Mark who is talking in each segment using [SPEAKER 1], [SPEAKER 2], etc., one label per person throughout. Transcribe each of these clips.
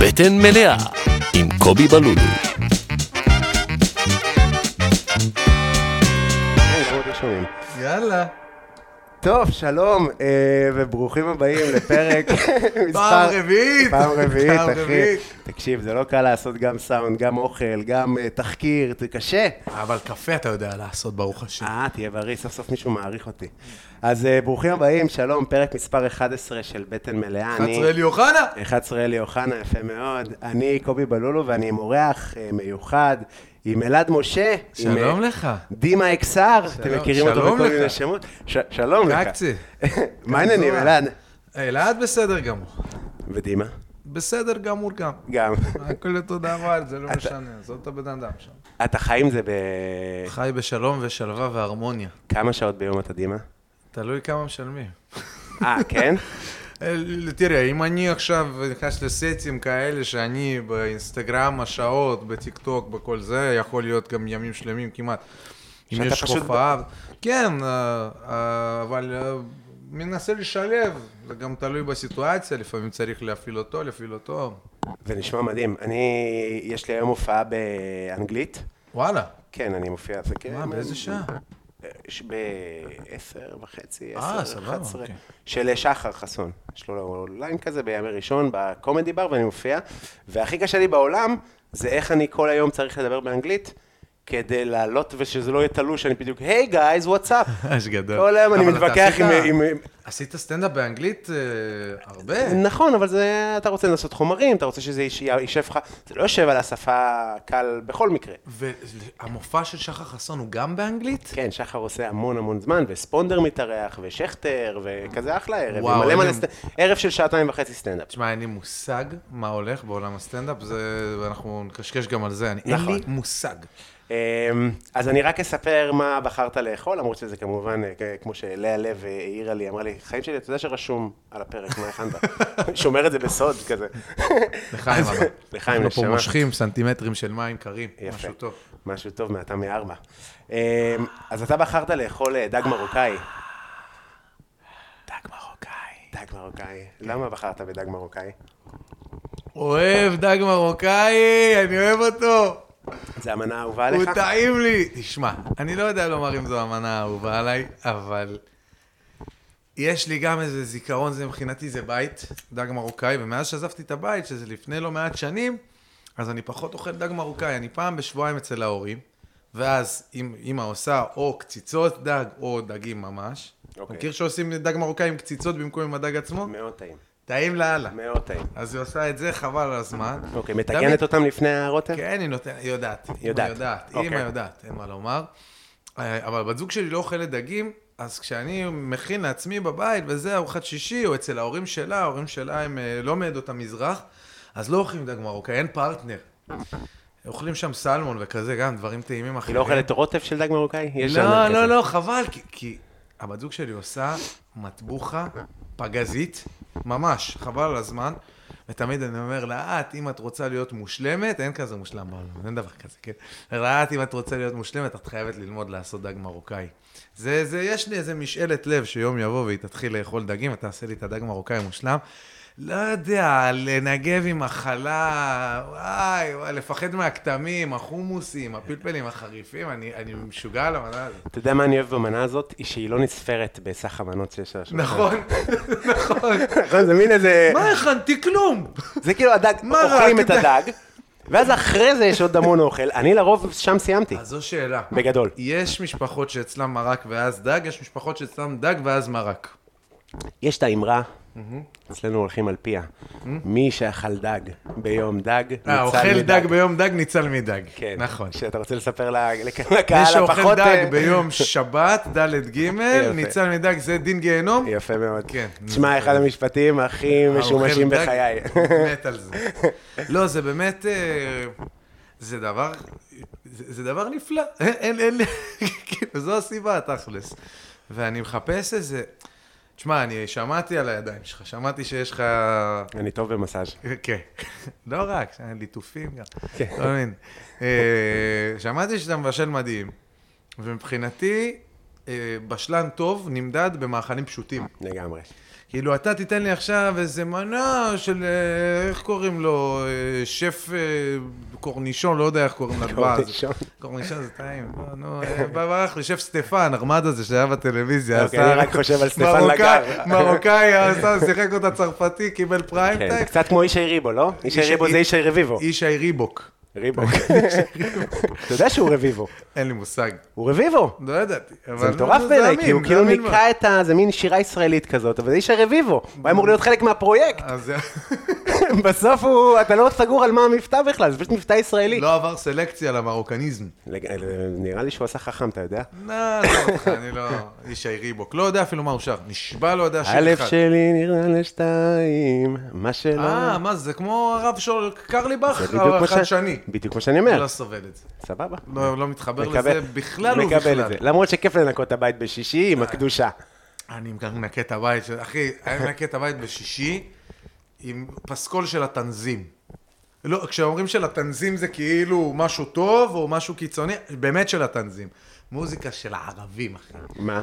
[SPEAKER 1] בטן מלאה עם קובי בלולו.
[SPEAKER 2] יאללה.
[SPEAKER 3] טוב, שלום, אה, וברוכים הבאים לפרק מספר...
[SPEAKER 2] פעם רביעית.
[SPEAKER 3] פעם רביעית,
[SPEAKER 2] פעם
[SPEAKER 3] אחי.
[SPEAKER 2] רביעית.
[SPEAKER 3] תקשיב, זה לא קל לעשות גם סאונד, גם אוכל, גם אה, תחקיר, זה קשה.
[SPEAKER 2] אבל קפה אתה יודע לעשות, ברוך השם.
[SPEAKER 3] אה, תהיה בריא, סוף סוף מישהו מעריך אותי. אז אה, ברוכים הבאים, שלום, פרק מספר 11 של בטן מלאה. אני-
[SPEAKER 2] 11 אלי אוחנה.
[SPEAKER 3] 11 אלי אוחנה, יפה מאוד. אני קובי בלולו ואני עם אורח אה, מיוחד, עם אלעד משה. עם,
[SPEAKER 2] שלום
[SPEAKER 3] אה,
[SPEAKER 2] לך.
[SPEAKER 3] דימה אקסר, אתם
[SPEAKER 2] שלום-
[SPEAKER 3] מכירים אותו
[SPEAKER 2] שלום
[SPEAKER 3] בכל
[SPEAKER 2] לך.
[SPEAKER 3] מיני שמות. ש- שלום לך.
[SPEAKER 2] קקצי.
[SPEAKER 3] מה העניינים,
[SPEAKER 2] קקצוע.
[SPEAKER 3] אלעד?
[SPEAKER 2] אלעד בסדר גמור.
[SPEAKER 3] ודימה?
[SPEAKER 2] בסדר גמור גם.
[SPEAKER 3] גם.
[SPEAKER 2] הכל אותו דבר, זה לא משנה, זאת את הבן אדם שם.
[SPEAKER 3] אתה חי עם זה
[SPEAKER 2] חי בשלום ושלווה והרמוניה.
[SPEAKER 3] בכמה שעות ביום אתה דימה?
[SPEAKER 2] תלוי כמה משלמים.
[SPEAKER 3] אה, כן?
[SPEAKER 2] אל- תראה, אם אני עכשיו э, נכנס לסטים כאלה שאני באינסטגרם, השעות, בטיקטוק, בכל זה, יכול להיות גם ימים שלמים כמעט. אם
[SPEAKER 3] שאתה
[SPEAKER 2] יש
[SPEAKER 3] פשוט ב-
[SPEAKER 2] הופעה... כן, אה, אה, אבל אה, מנסה לשלב, זה גם תלוי בסיטואציה, לפעמים צריך להפעיל אותו, להפעיל אותו.
[SPEAKER 3] זה נשמע מדהים. אני, יש לי היום הופעה באנגלית.
[SPEAKER 2] וואלה.
[SPEAKER 3] כן, אני מופיע על זה. כן. אה,
[SPEAKER 2] מה, באיזה שעה?
[SPEAKER 3] ש- בעשר וחצי,
[SPEAKER 2] אה,
[SPEAKER 3] עשר,
[SPEAKER 2] סבבה,
[SPEAKER 3] אחת עשרה,
[SPEAKER 2] אוקיי.
[SPEAKER 3] של שחר חסון. יש לו ליין כזה בימי ראשון, בקומדי בר, ואני מופיע. והכי קשה לי בעולם, זה איך אני כל היום צריך לדבר באנגלית, כדי לעלות ושזה לא יהיה תלוש, אני בדיוק, היי גייז, וואטסאפ.
[SPEAKER 2] אש גדול.
[SPEAKER 3] כל היום אני
[SPEAKER 2] אבל אתה
[SPEAKER 3] מתווכח עם...
[SPEAKER 2] עשית-
[SPEAKER 3] עם-
[SPEAKER 2] עשית סטנדאפ באנגלית אה, הרבה?
[SPEAKER 3] נכון, אבל זה, אתה רוצה לנסות חומרים, אתה רוצה שזה יש- יישב לך, זה לא יושב על השפה קל בכל מקרה.
[SPEAKER 2] והמופע של שחר חסון הוא גם באנגלית?
[SPEAKER 3] כן, שחר עושה המון המון זמן, וספונדר מתארח, ושכטר, וכזה אחלה ערב.
[SPEAKER 2] וואו,
[SPEAKER 3] ומלא מלא
[SPEAKER 2] אני-
[SPEAKER 3] סט- ערב של שעתיים וחצי סטנדאפ.
[SPEAKER 2] תשמע, אין לי מושג מה הולך בעולם הסטנדאפ, זה... ואנחנו נקשקש גם על זה, אני... אין
[SPEAKER 3] נכון.
[SPEAKER 2] לי מושג.
[SPEAKER 3] אמ, אז אני רק אספר מה בחרת לאכול, למרות שזה כמובן, אה, כ- כמו שלאה לב אה, העירה לי, אמרה לי, חיים שלי, אתה יודע שרשום על הפרק, מה הכנת? שומר את זה בסוד כזה.
[SPEAKER 2] לחיים
[SPEAKER 3] אז-
[SPEAKER 2] אבל.
[SPEAKER 3] לחיים,
[SPEAKER 2] אה, אנחנו פה
[SPEAKER 3] נשמה.
[SPEAKER 2] מושכים סנטימטרים של מים קרים,
[SPEAKER 3] יפה.
[SPEAKER 2] משהו טוב.
[SPEAKER 3] משהו טוב מעתה מארבע. אמ, אז אתה בחרת לאכול אה, דג מרוקאי. דג מרוקאי. דג מרוקאי. למה בחרת בדג מרוקאי?
[SPEAKER 2] אוהב דג מרוקאי, אני אוהב אותו.
[SPEAKER 3] זה המנה האהובה
[SPEAKER 2] הוא
[SPEAKER 3] עליך?
[SPEAKER 2] טעים לי. תשמע, אני לא יודע לומר אם זו המנה האהובה עליי, אבל יש לי גם איזה זיכרון, זה מבחינתי זה בית, דג מרוקאי, ומאז שעזבתי את הבית, שזה לפני לא מעט שנים, אז אני פחות אוכל דג מרוקאי, אני פעם בשבועיים אצל ההורים, ואז אם אימא עושה או קציצות דג או דגים ממש.
[SPEAKER 3] אוקיי.
[SPEAKER 2] מכיר שעושים דג מרוקאי עם קציצות במקום עם הדג עצמו?
[SPEAKER 3] מאוד טעים.
[SPEAKER 2] טעים לאללה.
[SPEAKER 3] מאוד טעים.
[SPEAKER 2] אז היא עושה את זה, חבל על הזמן.
[SPEAKER 3] אוקיי,
[SPEAKER 2] תמיד-
[SPEAKER 3] מתקנת אותם לפני הרוטב?
[SPEAKER 2] כן, היא נותנת, היא יודעת. אמא
[SPEAKER 3] יודעת.
[SPEAKER 2] יודעת,
[SPEAKER 3] אוקיי.
[SPEAKER 2] אימא יודעת, אין מה לומר. אה, אבל בת זוג שלי לא אוכלת דגים, אז כשאני מכין לעצמי בבית, וזה ארוחת שישי, או אצל ההורים שלה, ההורים שלה הם אה, לא מעדות המזרח, אז לא אוכלים דג מרוקאי, אין פרטנר. אוכלים שם סלמון וכזה, גם דברים טעימים
[SPEAKER 3] היא
[SPEAKER 2] אחרים.
[SPEAKER 3] לא אוכלת רוטב של דג מרוקאי? יש
[SPEAKER 2] לא,
[SPEAKER 3] ז'אנר
[SPEAKER 2] לא,
[SPEAKER 3] כזה.
[SPEAKER 2] לא, חבל, כי, כי הבת זוג שלי עושה מטבוחה פגזית, ממש, חבל על הזמן. ותמיד אני אומר לה, את, אם את רוצה להיות מושלמת, אין כזה מושלם בעולם, אין דבר כזה, כן? אני אומר לה, את, אם את רוצה להיות מושלמת, את חייבת ללמוד לעשות דג מרוקאי. זה, זה, יש לי איזה משאלת לב שיום יבוא והיא תתחיל לאכול דגים, אתה עושה לי את הדג מרוקאי מושלם. לא יודע, לנגב עם החלה, וואי, וואי, לפחד מהכתמים, החומוסים, הפלפלים החריפים, אני, אני משוגע על המנה הזאת.
[SPEAKER 3] אתה יודע מה אני אוהב במנה הזאת? היא שהיא לא נספרת בסך המנות שיש על השולחן.
[SPEAKER 2] נכון, נכון.
[SPEAKER 3] נכון, זה מין איזה...
[SPEAKER 2] מה הכנתי? כלום.
[SPEAKER 3] זה כאילו הדג,
[SPEAKER 2] מה רע,
[SPEAKER 3] אוכלים את
[SPEAKER 2] אתה יודע?
[SPEAKER 3] הדג, ואז אחרי זה יש עוד המון אוכל. אני לרוב שם סיימתי.
[SPEAKER 2] אז זו שאלה.
[SPEAKER 3] בגדול.
[SPEAKER 2] יש משפחות שאצלם מרק ואז דג, יש משפחות שאצלם דג ואז מרק. אה,
[SPEAKER 3] יש את האמרה, אצלנו הולכים על פיה, מי שאכל דג ביום דג, ניצל
[SPEAKER 2] אה, אוכל דג ביום דג, ניצל מדג.
[SPEAKER 3] כן.
[SPEAKER 2] נכון.
[SPEAKER 3] שאתה רוצה לספר ל- לקהל
[SPEAKER 2] מי
[SPEAKER 3] הפחות...
[SPEAKER 2] שאוכל דג
[SPEAKER 3] אה,
[SPEAKER 2] ביום שבת, ד' ג',
[SPEAKER 3] יפה.
[SPEAKER 2] ניצל מדג, זה דין גיהנום?
[SPEAKER 3] יפה מאוד.
[SPEAKER 2] כן.
[SPEAKER 3] תשמע, אחד המשפטים הכי משומשים
[SPEAKER 2] האוכל דג,
[SPEAKER 3] בחיי.
[SPEAKER 2] מת על זה. לא, זה באמת, אה, זה דבר, זה זה דבר נפלא. אין, אין, אין, לי- כאילו, זו הסיבה, תכלס. ואני מחפש איזה, תשמע, אני שמעתי על הידיים שלך, שמעתי שיש לך...
[SPEAKER 3] אני טוב במסאז'.
[SPEAKER 2] כן, לא רק, שם ליטופים גם,
[SPEAKER 3] כן.
[SPEAKER 2] לא מבין. אה, שמעתי שאתה מבשל מדהים, ומבחינתי, אה, בשלן טוב נמדד במאכלים פשוטים.
[SPEAKER 3] לגמרי.
[SPEAKER 2] כאילו, אתה תיתן לי עכשיו איזה מנה של, אה, איך קוראים לו, אה, שף אה, קורנישון, לא יודע איך קוראים לדבז.
[SPEAKER 3] קורנישון.
[SPEAKER 2] קורנישון זה טעים. לא, נו, אה, בא ברח לי, שף סטפן, ארמד הזה שהיה בטלוויזיה.
[SPEAKER 3] אוקיי,
[SPEAKER 2] עשה-
[SPEAKER 3] אני רק חושב על סטפן
[SPEAKER 2] מרוקאי-
[SPEAKER 3] לגר.
[SPEAKER 2] מרוקאי עשה, שיחק אותה צרפתי, קיבל פריים
[SPEAKER 3] כן,
[SPEAKER 2] טיים.
[SPEAKER 3] זה קצת כמו אישי ריבו, לא? אישי ריבו זה אישי רביבו.
[SPEAKER 2] ישי ריבוק.
[SPEAKER 3] ריבו. אתה יודע שהוא רביבו.
[SPEAKER 2] אין לי מושג.
[SPEAKER 3] הוא רביבו.
[SPEAKER 2] לא ידעתי.
[SPEAKER 3] זה מטורף בעיניי, כי הוא כאילו ניקה את ה... זה מין שירה ישראלית כזאת, אבל זה איש הרביבו, הוא היה אמור להיות חלק מהפרויקט.
[SPEAKER 2] אז
[SPEAKER 3] בסוף הוא, אתה לא סגור על מה המבטא בכלל, זה פשוט מבטא ישראלי.
[SPEAKER 2] לא עבר סלקציה למרוקניזם.
[SPEAKER 3] לג- אה, נראה לי שהוא עשה חכם, אתה יודע?
[SPEAKER 2] לא, לא, אותך, אני לא... ישי ריבוק. לא יודע אפילו מה הוא שר. נשבע לא יודע שיר
[SPEAKER 3] הלב
[SPEAKER 2] אחד.
[SPEAKER 3] שלי נראה לשתיים, מה שלא...
[SPEAKER 2] אה, מה זה? זה כמו הרב שול קרליבך,
[SPEAKER 3] זה בדיוק כמו ש- כן.
[SPEAKER 2] החדשני.
[SPEAKER 3] בדיוק כמו שאני
[SPEAKER 2] אני
[SPEAKER 3] אומר,
[SPEAKER 2] לא סובל את זה.
[SPEAKER 3] סבבה.
[SPEAKER 2] לא לא מתחבר
[SPEAKER 3] מקבל-
[SPEAKER 2] לזה בכלל
[SPEAKER 3] מקבל
[SPEAKER 2] ובכלל.
[SPEAKER 3] את זה. למרות שכיף לנקות את הבית בשישי עם הקדושה.
[SPEAKER 2] אני גם מנקה את הבית, של- אחי, אני מנקה את הבית בשישי עם פסקול של התנזים. לא, כשאומרים של התנזים זה כאילו משהו טוב או משהו קיצוני, באמת של התנזים. מוזיקה של הערבים, אחי.
[SPEAKER 3] מה?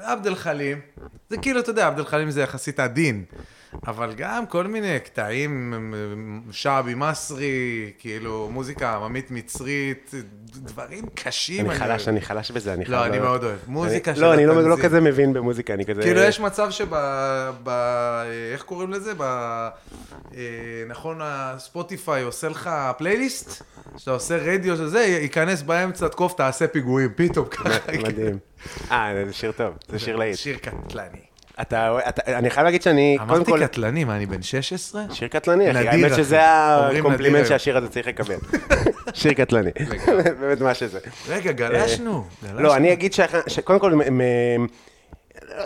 [SPEAKER 2] עבד אל חלים, זה כאילו, אתה יודע, עבד אל חלים זה יחסית עדין, אבל גם כל מיני קטעים, שעבי מסרי, כאילו, מוזיקה עממית מצרית, דברים קשים.
[SPEAKER 3] אני חלש,
[SPEAKER 2] אוהב. לא,
[SPEAKER 3] אני חלש בזה, אני חייב...
[SPEAKER 2] אני
[SPEAKER 3] להודות.
[SPEAKER 2] מאוד אוהב. מוזיקה
[SPEAKER 3] אני-
[SPEAKER 2] של
[SPEAKER 3] לא, אני לא- לא
[SPEAKER 2] התנזים.
[SPEAKER 3] כזה מבין במוזיקה, אני כזה...
[SPEAKER 2] כאילו, יש מצב שב... ב, איך קוראים לזה? ב... אה, נכון, הספוטיפיי עושה לך פלייליסט? שאתה עושה רדיו של זה, ייכנס באמצע, תקוף, תעשה פיגועים, פתאום ככה.
[SPEAKER 3] מדהים. אה, זה שיר טוב, זה שיר להיט.
[SPEAKER 2] שיר קטלני.
[SPEAKER 3] אתה, אתה, אני חייב להגיד שאני, קודם
[SPEAKER 2] אמרתי
[SPEAKER 3] כל,
[SPEAKER 2] קטלני, מה, אני בן 16?
[SPEAKER 3] שיר קטלני, אחי,
[SPEAKER 2] נדיר,
[SPEAKER 3] האמת
[SPEAKER 2] אחי.
[SPEAKER 3] שזה
[SPEAKER 2] אומרים נדיר
[SPEAKER 3] הקומפלימנט
[SPEAKER 2] היום.
[SPEAKER 3] שהשיר הזה צריך לקבל. שיר קטלני,
[SPEAKER 2] לגמרי.
[SPEAKER 3] באמת מה שזה.
[SPEAKER 2] רגע, גלשנו. גלשנו.
[SPEAKER 3] אה,
[SPEAKER 2] אה,
[SPEAKER 3] לא, אני אגיד שאח- שקודם כל, מ- מ-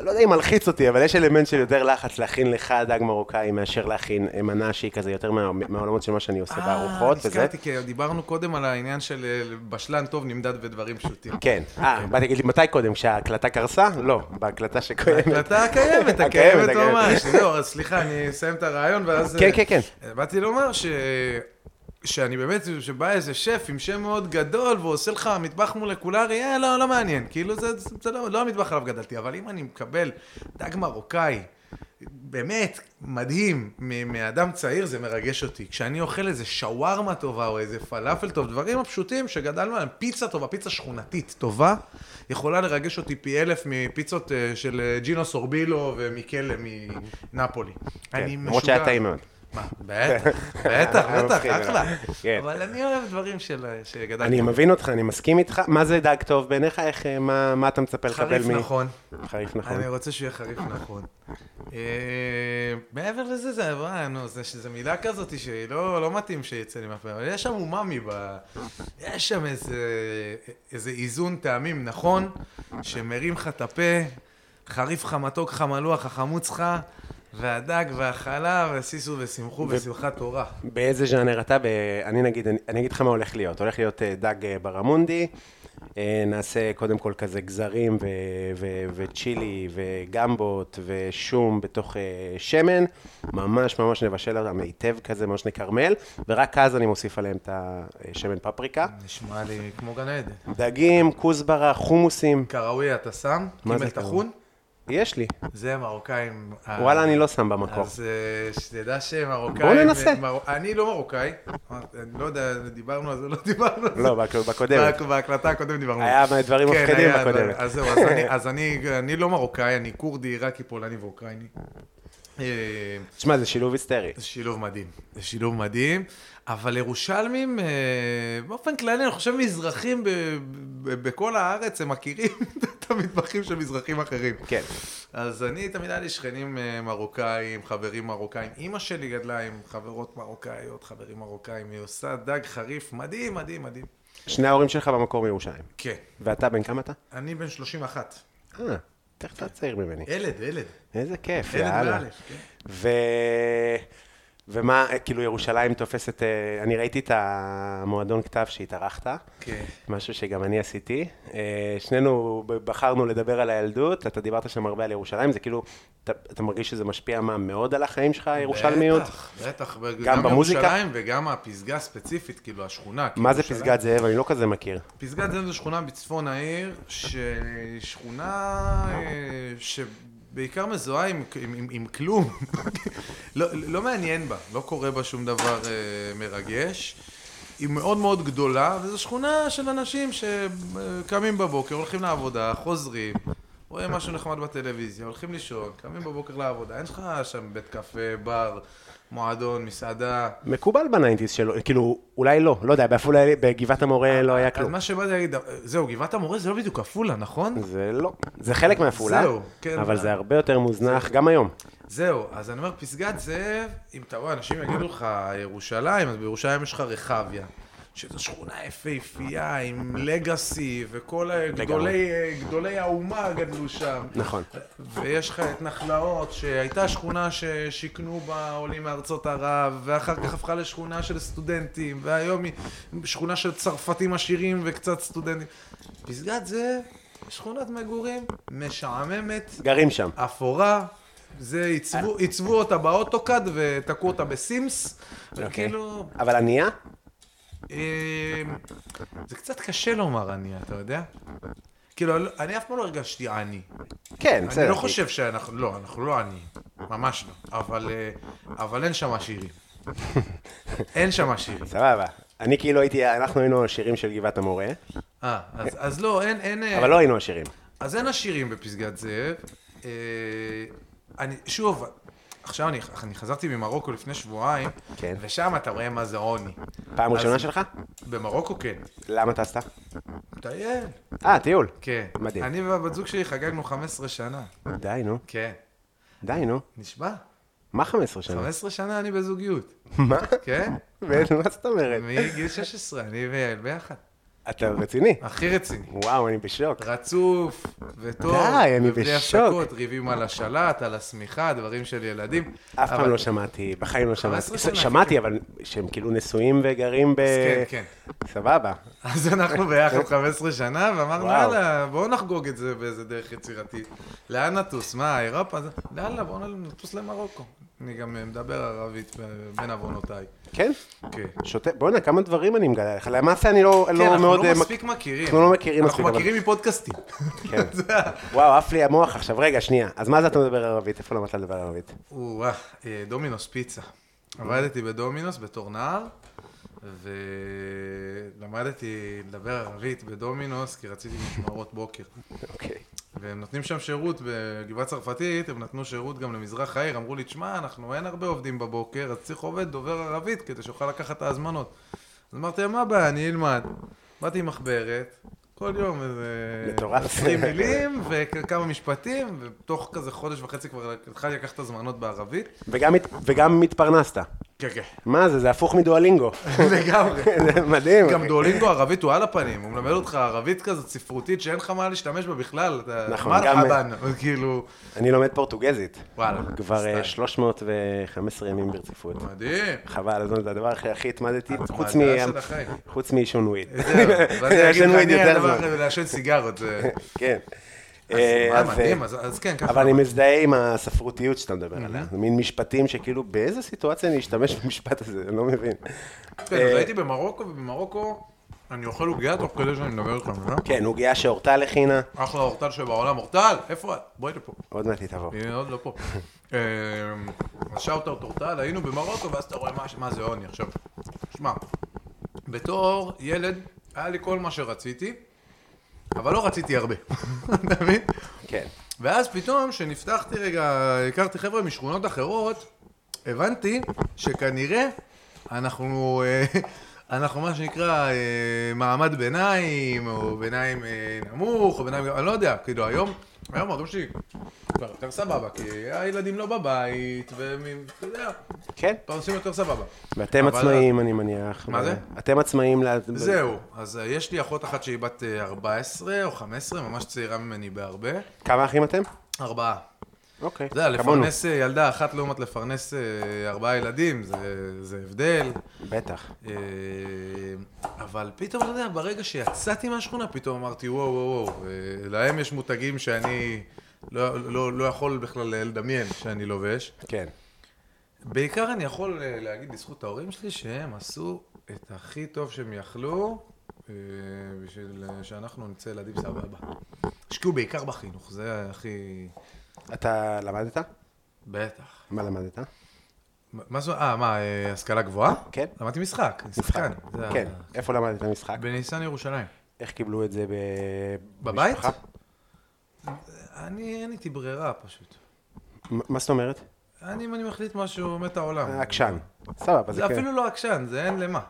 [SPEAKER 3] לא יודע אם מלחיץ אותי, אבל יש אלמנט של יותר לחץ להכין לך דג מרוקאי מאשר להכין אה, מנה שהיא כזה יותר מה- מהעולמות של מה שאני עושה בארוחות
[SPEAKER 2] אה,
[SPEAKER 3] וזה.
[SPEAKER 2] נזכרתי, כי דיברנו קודם על העניין של אה, בשלן טוב נמדד בדברים פשוטים.
[SPEAKER 3] כן, אה, באתי להגיד לי מתי קודם, כשההקלטה קרסה? לא, בהקלטה שקיימת.
[SPEAKER 2] ההקלטה
[SPEAKER 3] הקיימת,
[SPEAKER 2] הקיימת, הקיימת
[SPEAKER 3] הקיימת.
[SPEAKER 2] ממש. זהו, אז סליחה, אני אסיים את הרעיון ואז... אה,
[SPEAKER 3] כן, כן, כן.
[SPEAKER 2] באתי לומר ש... שאני באמת, שבא איזה שף עם שם מאוד גדול ועושה לך מטבח מולקולרי, אה, לא, לא מעניין. כאילו, זה, זה, זה לא, לא המטבח עליו גדלתי, אבל אם אני מקבל דג מרוקאי, באמת, מדהים, מ- מאדם צעיר, זה מרגש אותי. כשאני אוכל איזה שווארמה טובה או איזה פלאפל טוב, דברים הפשוטים שגדלנו עליהם, פיצה טובה, פיצה שכונתית טובה, יכולה לרגש אותי פי אלף מפיצות אה, של אה, ג'ינו סורבילו ומיקלה מנפולי.
[SPEAKER 3] כן,
[SPEAKER 2] אני משוגע.
[SPEAKER 3] למרות שהיה טעים מאוד.
[SPEAKER 2] מה, בטח, בטח,
[SPEAKER 3] היה
[SPEAKER 2] בטח,
[SPEAKER 3] מפחיד,
[SPEAKER 2] אחלה.
[SPEAKER 3] כן.
[SPEAKER 2] אבל אני אוהב דברים של- אה, שגדלתי.
[SPEAKER 3] אני מבין אותך, אני מסכים איתך. מה זה דג טוב בעיניך? איך, אה, מה מה אתה מצפה לקבל מ...
[SPEAKER 2] חריף נכון.
[SPEAKER 3] חריף נכון.
[SPEAKER 2] אני רוצה שהוא יהיה חריף נכון. אה, מעבר לזה, זה אה, נו, זה שזו מילה כזאת שהיא לא לא מתאים שיצא לי מהפה, אבל יש שם אומאמי, ב- יש שם איזה איזה איזון טעמים נכון, שמרים לך את הפה, חריף לך, מתוק לך, מלוח לך, חמוץ לך, והדג והחלב, ושישו ושמחו בשמחת תורה.
[SPEAKER 3] באיזה ז'אנר אתה? ב... אני נגיד, אני, אני אגיד לך מה הולך להיות. הולך להיות אה, דג אה, ברמונדי, אה, נעשה קודם כל כזה גזרים ו... ו... וצ'ילי וגמבות ושום בתוך אה, שמן, ממש ממש נבשל אותם היטב כזה, ממש נקרמל, ורק אז אני מוסיף עליהם את השמן פפריקה.
[SPEAKER 2] נשמע לי כמו גן עדן.
[SPEAKER 3] דגים, כוסברה, חומוסים,
[SPEAKER 2] קראוויה אתה שם?
[SPEAKER 3] מה זה
[SPEAKER 2] קימל
[SPEAKER 3] קראוויה?
[SPEAKER 2] טחון?
[SPEAKER 3] יש לי.
[SPEAKER 2] זה המרוקאים. אה, ה-
[SPEAKER 3] וואלה, אני לא שם במקור.
[SPEAKER 2] אז אה, שתדע שמרוקאים...
[SPEAKER 3] בוא ננסה.
[SPEAKER 2] מר- אני לא מרוקאי, אני לא יודע, דיברנו על זה, לא דיברנו על זה.
[SPEAKER 3] לא, בק- בקודמת.
[SPEAKER 2] בהק- בהקלטה הקודמת דיברנו. על
[SPEAKER 3] היה
[SPEAKER 2] זה.
[SPEAKER 3] דברים
[SPEAKER 2] כן,
[SPEAKER 3] מפחידים
[SPEAKER 2] היה
[SPEAKER 3] בקודמת.
[SPEAKER 2] דברים. אז זהו, אז אני- אז אני- אני לא מרוקאי, אני כורדי, עיראקי, פולני ואוקראיני. אה,
[SPEAKER 3] תשמע, זה שילוב היסטרי.
[SPEAKER 2] זה שילוב מדהים, זה שילוב מדהים, אבל ירושלמים, אה, באופן כללי, אני חושב מזרחים ב- ב- בכל הארץ, הם מכירים את המטבחים של מזרחים אחרים.
[SPEAKER 3] כן.
[SPEAKER 2] אז אני, תמיד היה לי שכנים אה, מרוקאים, חברים מרוקאים. אימא שלי גדלה עם חברות מרוקאיות, חברים מרוקאים, היא עושה דג חריף מדהים, מדהים, מדהים.
[SPEAKER 3] שני ההורים שלך במקור מירושלים.
[SPEAKER 2] כן,
[SPEAKER 3] ואתה, בן כמה אתה?
[SPEAKER 2] אני בן 31.
[SPEAKER 3] אה, אתה קצת צעיר ממני.
[SPEAKER 2] ילד, ילד.
[SPEAKER 3] איזה כיף,
[SPEAKER 2] ילד
[SPEAKER 3] יאללה.
[SPEAKER 2] באלף, כן.
[SPEAKER 3] ו... ומה, אה, כאילו ירושלים תופסת, אה, אני ראיתי את המועדון כתב שהתארחת,
[SPEAKER 2] כן.
[SPEAKER 3] משהו שגם אני עשיתי. אה, שנינו ב- בחרנו לדבר על הילדות, אתה דיברת שם הרבה על ירושלים, זה כאילו, אתה, אתה מרגיש שזה משפיע מה, מאוד על החיים שלך, הירושלמיות?
[SPEAKER 2] בטח, בטח,
[SPEAKER 3] גם
[SPEAKER 2] גם
[SPEAKER 3] במוזיקה?
[SPEAKER 2] ירושלים וגם הפסגה הספציפית, כאילו השכונה.
[SPEAKER 3] מה
[SPEAKER 2] כאילו,
[SPEAKER 3] זה
[SPEAKER 2] ירושלים.
[SPEAKER 3] פסגת זאב? אני לא כזה מכיר.
[SPEAKER 2] פסגת זאב זו שכונה בצפון העיר, שהיא שכונה אה, שבעיקר מזוהה עם, עם, עם, עם כלום. לא, לא מעניין בה, לא קורה בה שום דבר אה, מרגש. היא מאוד מאוד גדולה, וזו שכונה של אנשים שקמים בבוקר, הולכים לעבודה, חוזרים, רואים משהו נחמד בטלוויזיה, הולכים לישון, קמים בבוקר לעבודה, אין לך שם בית קפה, בר, מועדון, מסעדה.
[SPEAKER 3] מקובל בניינטיז שלו, כאילו, אולי לא, לא יודע, בעפולה, בגבעת המורה לא היה
[SPEAKER 2] אז
[SPEAKER 3] כלום.
[SPEAKER 2] מה שבאתי להגיד, אה, זהו, גבעת המורה זה לא בדיוק עפולה, נכון?
[SPEAKER 3] זה לא, זה חלק מעפולה,
[SPEAKER 2] זהו, כן.
[SPEAKER 3] אבל זה הרבה יותר מוזנח גם היום.
[SPEAKER 2] זהו, אז אני אומר, פסגת זאב, אם אתה רואה, אנשים יגידו לך ירושלים, אז בירושלים יש לך רחביה. שזו שכונה יפהפייה עם לגאסי, וכל ה- גדולי, גדולי האומה גדלו שם.
[SPEAKER 3] נכון.
[SPEAKER 2] ויש לך את נחלאות, שהייתה שכונה ששיכנו בה עולים מארצות ערב, ואחר כך הפכה לשכונה של סטודנטים, והיום היא שכונה של צרפתים עשירים וקצת סטודנטים. פסגת זאב, שכונת מגורים, משעממת,
[SPEAKER 3] גרים שם.
[SPEAKER 2] אפורה, זה עיצבו, עיצבו אותה באוטוקאד ותקעו אותה בסימס, וכאילו,
[SPEAKER 3] אוקיי. אבל ענייה?
[SPEAKER 2] אה, זה קצת קשה לומר אני, אתה יודע? כאילו, אני- אני אף פעם לא הרגשתי עני.
[SPEAKER 3] כן, בסדר.
[SPEAKER 2] אני לא חושב שאנחנו, לא, אנחנו לא עניים, ממש לא. אבל, אה, אבל אין שם עשירים. אין שם עשירים.
[SPEAKER 3] סבבה. אני כאילו הייתי, אנחנו היינו השירים של גבעת המורה,
[SPEAKER 2] אה, אז, אז לא, אין, אין... אה,
[SPEAKER 3] אבל לא היינו השירים.
[SPEAKER 2] אז אין עשירים בפסגת זאב. אה, אני, שוב, עכשיו אני, אני חזרתי ממרוקו לפני שבועיים,
[SPEAKER 3] כן.
[SPEAKER 2] ושם אתה רואה מה זה עוני.
[SPEAKER 3] פעם
[SPEAKER 2] אז-
[SPEAKER 3] ראשונה שלך?
[SPEAKER 2] במרוקו כן.
[SPEAKER 3] למה טסת?
[SPEAKER 2] מטייל.
[SPEAKER 3] אה, טיול.
[SPEAKER 2] כן.
[SPEAKER 3] מדהים.
[SPEAKER 2] אני והבת זוג שלי חגגנו 15 שנה.
[SPEAKER 3] די, נו.
[SPEAKER 2] כן.
[SPEAKER 3] די, נו.
[SPEAKER 2] נשבע?
[SPEAKER 3] אה. מה 15 שנה?
[SPEAKER 2] 15 שנה אני בזוגיות.
[SPEAKER 3] מה?
[SPEAKER 2] כן?
[SPEAKER 3] באמת, מה זאת אומרת?
[SPEAKER 2] מגיל 16, אני ויעל ביחד.
[SPEAKER 3] אתה רציני?
[SPEAKER 2] הכי רציני.
[SPEAKER 3] וואו, אני בשוק.
[SPEAKER 2] רצוף, וטוב,
[SPEAKER 3] די, אני
[SPEAKER 2] ובלי
[SPEAKER 3] בשוק.
[SPEAKER 2] הפסקות, ריבים על השלט, על השמיכה, דברים של ילדים.
[SPEAKER 3] אף פעם
[SPEAKER 2] אבל-
[SPEAKER 3] לא שמעתי, בחיים לא שמעתי.
[SPEAKER 2] 15 שנה,
[SPEAKER 3] שמעתי,
[SPEAKER 2] כן.
[SPEAKER 3] אבל שהם כאילו נשואים וגרים ב...
[SPEAKER 2] כן, כן.
[SPEAKER 3] סבבה.
[SPEAKER 2] אז אנחנו ביחד 15 שנה, ואמרנו,
[SPEAKER 3] וואו.
[SPEAKER 2] יאללה, בואו נחגוג את זה באיזה דרך יצירתית. לאן נטוס? מה, אירופה? זה- יאללה, בואו נטוס למרוקו. אני גם אה, מדבר ערבית ב- בין עוונותיי.
[SPEAKER 3] כן?
[SPEAKER 2] כן.
[SPEAKER 3] שותה, בואנה, כמה דברים אני מגלה לך. למעשה אני לא
[SPEAKER 2] כן,
[SPEAKER 3] לא
[SPEAKER 2] אנחנו
[SPEAKER 3] מאוד...
[SPEAKER 2] לא
[SPEAKER 3] אה, מק-
[SPEAKER 2] מספיק מכירים.
[SPEAKER 3] אנחנו לא מכירים
[SPEAKER 2] אנחנו
[SPEAKER 3] מספיק, אבל-
[SPEAKER 2] מכירים מפודקאסטים.
[SPEAKER 3] כן.
[SPEAKER 2] זה ה-
[SPEAKER 3] וואו, עף לי המוח עכשיו. רגע, שנייה. אז מה זה אתה מדבר ערבית? איפה למדת לדבר ערבית?
[SPEAKER 2] וואו, אה, דומינוס פיצה. עבדתי בדומינוס בתור נער, ולמדתי לדבר ערבית בדומינוס כי רציתי משמרות בוקר.
[SPEAKER 3] אוקיי.
[SPEAKER 2] והם נותנים שם שירות בגבעה צרפתית, הם נתנו שירות גם למזרח העיר, אמרו לי, תשמע, אנחנו אין הרבה עובדים בבוקר, אז צריך עובד דובר ערבית כדי שיוכל לקחת את ההזמנות. אז אמרתי, להם, מה הבעיה, אני אלמד. באתי עם מחברת, כל יום איזה...
[SPEAKER 3] מטורף.
[SPEAKER 2] 20 מילים וכמה משפטים, ותוך כזה חודש וחצי כבר התחלתי לקחת הזמנות בערבית.
[SPEAKER 3] וגם הת- וגם התפרנסת.
[SPEAKER 2] כן, כן.
[SPEAKER 3] מה זה? זה הפוך מדואלינגו.
[SPEAKER 2] לגמרי.
[SPEAKER 3] זה מדהים.
[SPEAKER 2] גם דואלינגו ערבית הוא על הפנים, הוא מלמד אותך ערבית כזאת ספרותית שאין לך מה להשתמש בה בכלל. אתה-
[SPEAKER 3] נכון,
[SPEAKER 2] מה
[SPEAKER 3] גם-
[SPEAKER 2] רחבן, כאילו,
[SPEAKER 3] אני לומד פורטוגזית.
[SPEAKER 2] וואלה.
[SPEAKER 3] כבר אה,
[SPEAKER 2] סטייל.
[SPEAKER 3] 315 ימים ברציפות.
[SPEAKER 2] מדהים.
[SPEAKER 3] חבל, אז זה הדבר הכי הכי התמדתי,
[SPEAKER 2] אה,
[SPEAKER 3] חוץ מ...
[SPEAKER 2] המדע של החיים.
[SPEAKER 3] חוץ מעישון וויד.
[SPEAKER 2] אה, זהו, ואז
[SPEAKER 3] מעשן
[SPEAKER 2] אני
[SPEAKER 3] וויד
[SPEAKER 2] אגיד לך, אני
[SPEAKER 3] יותר
[SPEAKER 2] הדבר
[SPEAKER 3] זמן.
[SPEAKER 2] אחר לעשן סיגרות. זה-
[SPEAKER 3] כן.
[SPEAKER 2] אז
[SPEAKER 3] אה,
[SPEAKER 2] מה,
[SPEAKER 3] אז,
[SPEAKER 2] מדהים,
[SPEAKER 3] אה,
[SPEAKER 2] אז- אז כן, ככה.
[SPEAKER 3] אבל אני מזדהה עם הספרותיות שאתה מדבר עליה. זה מין משפטים שכאילו, באיזה סיטואציה אני אשתמש במשפט הזה? אני לא מבין.
[SPEAKER 2] כן,
[SPEAKER 3] אה,
[SPEAKER 2] אז הייתי במרוקו, ובמרוקו אני אוכל עוגיה תוך כדי שאני מדבר איתך, אה?
[SPEAKER 3] כן, עוגיה שאורטל הכינה,
[SPEAKER 2] אחלה אורטל שבעולם. אורטל, איפה את? בואי לפה.
[SPEAKER 3] עוד מעט היא תבוא.
[SPEAKER 2] היא עוד לא פה. אה, אז שאוט-אאוט אורטל, היינו במרוקו, ואז אתה רואה מה- מה זה עוני עכשיו. שמע, בתור ילד, היה לי כל מה שרציתי, אבל לא רציתי הרבה. אתה מבין?
[SPEAKER 3] כן.
[SPEAKER 2] ואז פתאום, כשנפתחתי רגע, הכרתי חבר'ה משכונות אחרות, הבנתי שכנראה אנחנו, אה, אנחנו מה שנקרא אה, מעמד ביניים, או ביניים אה, נמוך, או ביניים, אני לא יודע, כאילו היום, היום ההורים שלי כבר יותר סבבה, כי הילדים לא בבית, והם, אתה יודע,
[SPEAKER 3] כן.
[SPEAKER 2] פרנסים יותר סבבה.
[SPEAKER 3] ואתם
[SPEAKER 2] אבל-
[SPEAKER 3] עצמאים, אני מניח.
[SPEAKER 2] מה זה?
[SPEAKER 3] אתם עצמאים ל...
[SPEAKER 2] זהו, אז אה, יש לי אחות אחת שהיא בת אה, 14 או 15, ממש צעירה ממני בהרבה.
[SPEAKER 3] כמה אחים אתם?
[SPEAKER 2] ארבעה.
[SPEAKER 3] אוקיי,
[SPEAKER 2] אתה יודע,
[SPEAKER 3] כמונו.
[SPEAKER 2] לפרנס אה, ילדה אחת לעומת לפרנס אה, ארבעה ילדים, זה- זה הבדל.
[SPEAKER 3] בטח.
[SPEAKER 2] אה, אבל פתאום, אתה יודע, ברגע שיצאתי מהשכונה, פתאום אמרתי, וואו, וואו, וואו, אה, להם יש מותגים שאני לא, לא, לא יכול בכלל לדמיין שאני לובש.
[SPEAKER 3] כן.
[SPEAKER 2] בעיקר אני יכול אה, להגיד לזכות ההורים שלי שהם עשו את הכי טוב שהם יכלו אה, בשביל אה, שאנחנו נצא ילדים סבבה. השקיעו בעיקר בחינוך, זה הכי...
[SPEAKER 3] אתה למדת?
[SPEAKER 2] בטח.
[SPEAKER 3] מה למדת?
[SPEAKER 2] כן, מה- מה זו, אה, מה, אה, השכלה גבוהה?
[SPEAKER 3] כן.
[SPEAKER 2] למדתי משחק, אני שחקן. זה ה-
[SPEAKER 3] כן. איפה למדת משחק?
[SPEAKER 2] בניסן ירושלים.
[SPEAKER 3] איך קיבלו את זה ב...
[SPEAKER 2] בבית?
[SPEAKER 3] במשפחה?
[SPEAKER 2] אני, אין איתי ברירה פשוט.
[SPEAKER 3] מ- מה זאת אומרת?
[SPEAKER 2] אני, אם אני מחליט משהו, מת העולם.
[SPEAKER 3] אה, עקשן. סבבה, זה
[SPEAKER 2] אה, זה
[SPEAKER 3] כן.
[SPEAKER 2] אפילו לא עקשן, זה אין למה.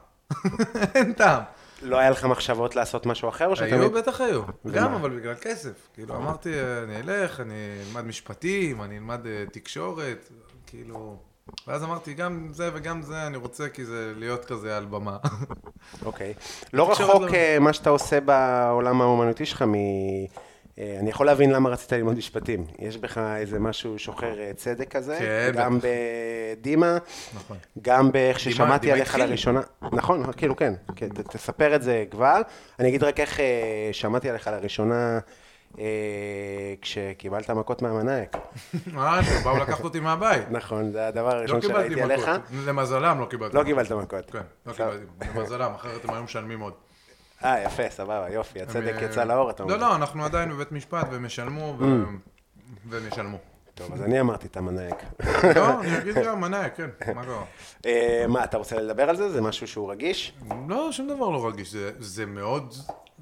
[SPEAKER 2] אין טעם.
[SPEAKER 3] לא היה לך מחשבות לעשות משהו אחר, או
[SPEAKER 2] היו,
[SPEAKER 3] שתמיד...
[SPEAKER 2] בטח היו.
[SPEAKER 3] ומה?
[SPEAKER 2] גם, אבל בגלל כסף. כאילו, אמרתי, אה, אני אלך, אני אלמד משפטים, אני אלמד אה, תקשורת, כאילו... ואז אמרתי, גם זה וגם זה אני רוצה, כי זה להיות כזה על במה.
[SPEAKER 3] אוקיי. לא
[SPEAKER 2] תקשורת
[SPEAKER 3] רחוק
[SPEAKER 2] לא-
[SPEAKER 3] אה, מה שאתה עושה בעולם האומנותי שלך מ... אה, אני יכול להבין למה רצית ללמוד משפטים. יש בך איזה משהו שוחר אה, צדק כזה,
[SPEAKER 2] כן,
[SPEAKER 3] גם
[SPEAKER 2] בטח.
[SPEAKER 3] בדימה,
[SPEAKER 2] נכון.
[SPEAKER 3] גם באיך ששמעתי
[SPEAKER 2] דימה
[SPEAKER 3] עליך
[SPEAKER 2] התחיל.
[SPEAKER 3] לראשונה, נכון, כאילו כן, כן, ת- תספר את זה כבר. אני אגיד רק איך אה, שמעתי עליך לראשונה אה, כשקיבלת מכות מהמנאייק.
[SPEAKER 2] אה, שבאו לקחת אותי מהבית.
[SPEAKER 3] נכון, זה הדבר
[SPEAKER 2] לא
[SPEAKER 3] הראשון שראיתי
[SPEAKER 2] קיבלתי
[SPEAKER 3] עליך.
[SPEAKER 2] מכות. למזלם לא קיבלתי.
[SPEAKER 3] לא
[SPEAKER 2] מכות.
[SPEAKER 3] קיבלת מכות.
[SPEAKER 2] כן, לא
[SPEAKER 3] סבבה.
[SPEAKER 2] קיבלתי. למזלם, אחרת הם היו משלמים עוד.
[SPEAKER 3] אה, יפה, סבבה, יופי, הצדק
[SPEAKER 2] הם,
[SPEAKER 3] יצא
[SPEAKER 2] אה,
[SPEAKER 3] לאור, אתה אומר. Mm.
[SPEAKER 2] לא, לא, אנחנו עדיין בבית משפט, והם ישלמו, והם- והם ישלמו.
[SPEAKER 3] טוב, אז אני אמרתי את המנהיג.
[SPEAKER 2] לא, אני אגיד גם מנאי, כן, מה קרה?
[SPEAKER 3] אה, מה, אתה רוצה לדבר על זה? זה משהו שהוא רגיש?
[SPEAKER 2] לא, שום דבר לא רגיש, זה- זה מאוד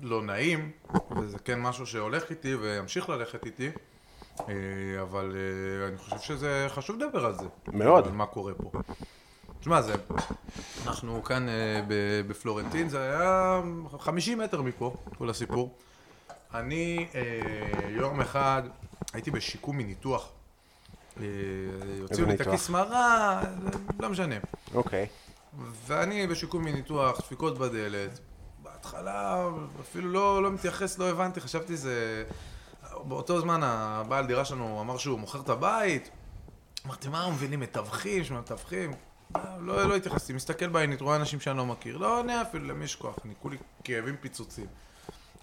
[SPEAKER 2] לא נעים, וזה כן משהו שהולך איתי וימשיך ללכת איתי, אה, אבל אה, אני חושב שזה חשוב לדבר על זה.
[SPEAKER 3] מאוד.
[SPEAKER 2] על מה קורה פה. תשמע, זה... אנחנו כאן אה, ב- בפלורנטין, זה היה 50 מטר מפה, כל הסיפור. אני אה, יום אחד הייתי בשיקום מניתוח. אה,
[SPEAKER 3] איזה
[SPEAKER 2] הוציאו לי את
[SPEAKER 3] ניתוח?
[SPEAKER 2] הכיסמרה, לא משנה.
[SPEAKER 3] אוקיי.
[SPEAKER 2] ואני בשיקום מניתוח, דפיקות בדלת. בהתחלה אפילו לא, לא מתייחס, לא הבנתי, חשבתי זה... באותו זמן הבעל דירה שלנו אמר שהוא מוכר את הבית. אמרתי, מה מבינים, מתווכים, שמתווכים? לא, לא התייחסתי, מסתכל בעינית, רואה אנשים שאני לא מכיר. לא עונה אפילו למי יש כוח, אני כולי כאבים פיצוצים.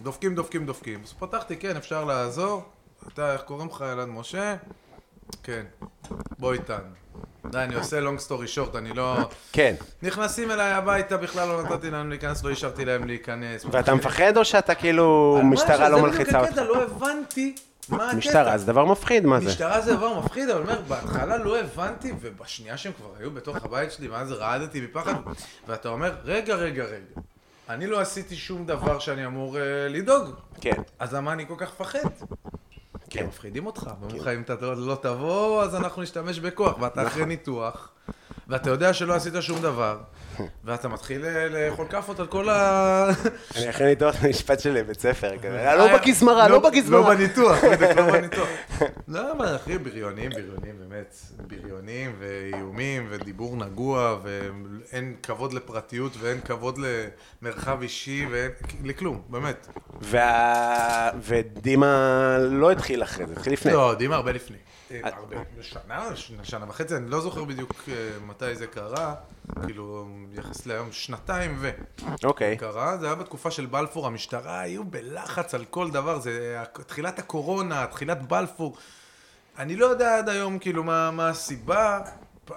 [SPEAKER 2] דופקים, דופקים, דופקים. אז פתחתי, כן, אפשר לעזור. אתה, איך קוראים לך, ילד משה? כן, בוא איתנו. די, אני עושה long story short, אני לא...
[SPEAKER 3] כן.
[SPEAKER 2] נכנסים אליי הביתה, בכלל לא נתתי להם להיכנס, לא השארתי להם להיכנס.
[SPEAKER 3] ואתה מפחד או שאתה כאילו, משטרה לא מלחיצה
[SPEAKER 2] זה בדיוק
[SPEAKER 3] אותך?
[SPEAKER 2] הקטע, לא הבנתי מה הקטע.
[SPEAKER 3] משטרה, זה דבר מפחיד, מה זה?
[SPEAKER 2] משטרה זה דבר מפחיד, אבל אומר, בהתחלה לא הבנתי, ובשנייה שהם כבר היו בתוך הבית שלי, ואז רעדתי מפחד, ואתה אומר, רגע, רגע, רגע, אני לא עשיתי שום דבר שאני אמור אה, לדאוג,
[SPEAKER 3] כן.
[SPEAKER 2] אז למה אני כל כך מפחד? כי
[SPEAKER 3] כן. נכון.
[SPEAKER 2] הם מפחידים אותך, הם אומרים לך, אם אתה לא לא תבוא, אז אנחנו נשתמש בכוח, ואתה אחרי ניתוח, ואתה יודע שלא עשית שום דבר, ואתה מתחיל אה, לאכול כאפות על כל ה...
[SPEAKER 3] אני אכן איתו משפט של בית ספר כזה. לא בגזמרה, לא
[SPEAKER 2] אה, לא
[SPEAKER 3] בגזמרה.
[SPEAKER 2] בניתוח, בדיוק, לא בניתוח. לא, אבל אחי, בריונים, בריונים, באמת. בריונים ואיומים ודיבור נגוע, ואין כבוד לפרטיות ואין כבוד למרחב אישי ואין... לכלום, באמת.
[SPEAKER 3] וה- ודימה לא התחיל אחרי זה, התחיל לפני.
[SPEAKER 2] לא, יודעים הרבה לפני. אה, הרבה, שנה, שנה- שנה וחצי, אני לא זוכר בדיוק אה, מתי זה קרה, כאילו, יחס להיום, שנתיים ו...
[SPEAKER 3] אוקיי.
[SPEAKER 2] קרה, זה היה בתקופה של בלפור, המשטרה היו בלחץ על כל דבר, זה תחילת הקורונה, תחילת בלפור. אני לא יודע עד היום כאילו מה, מה הסיבה,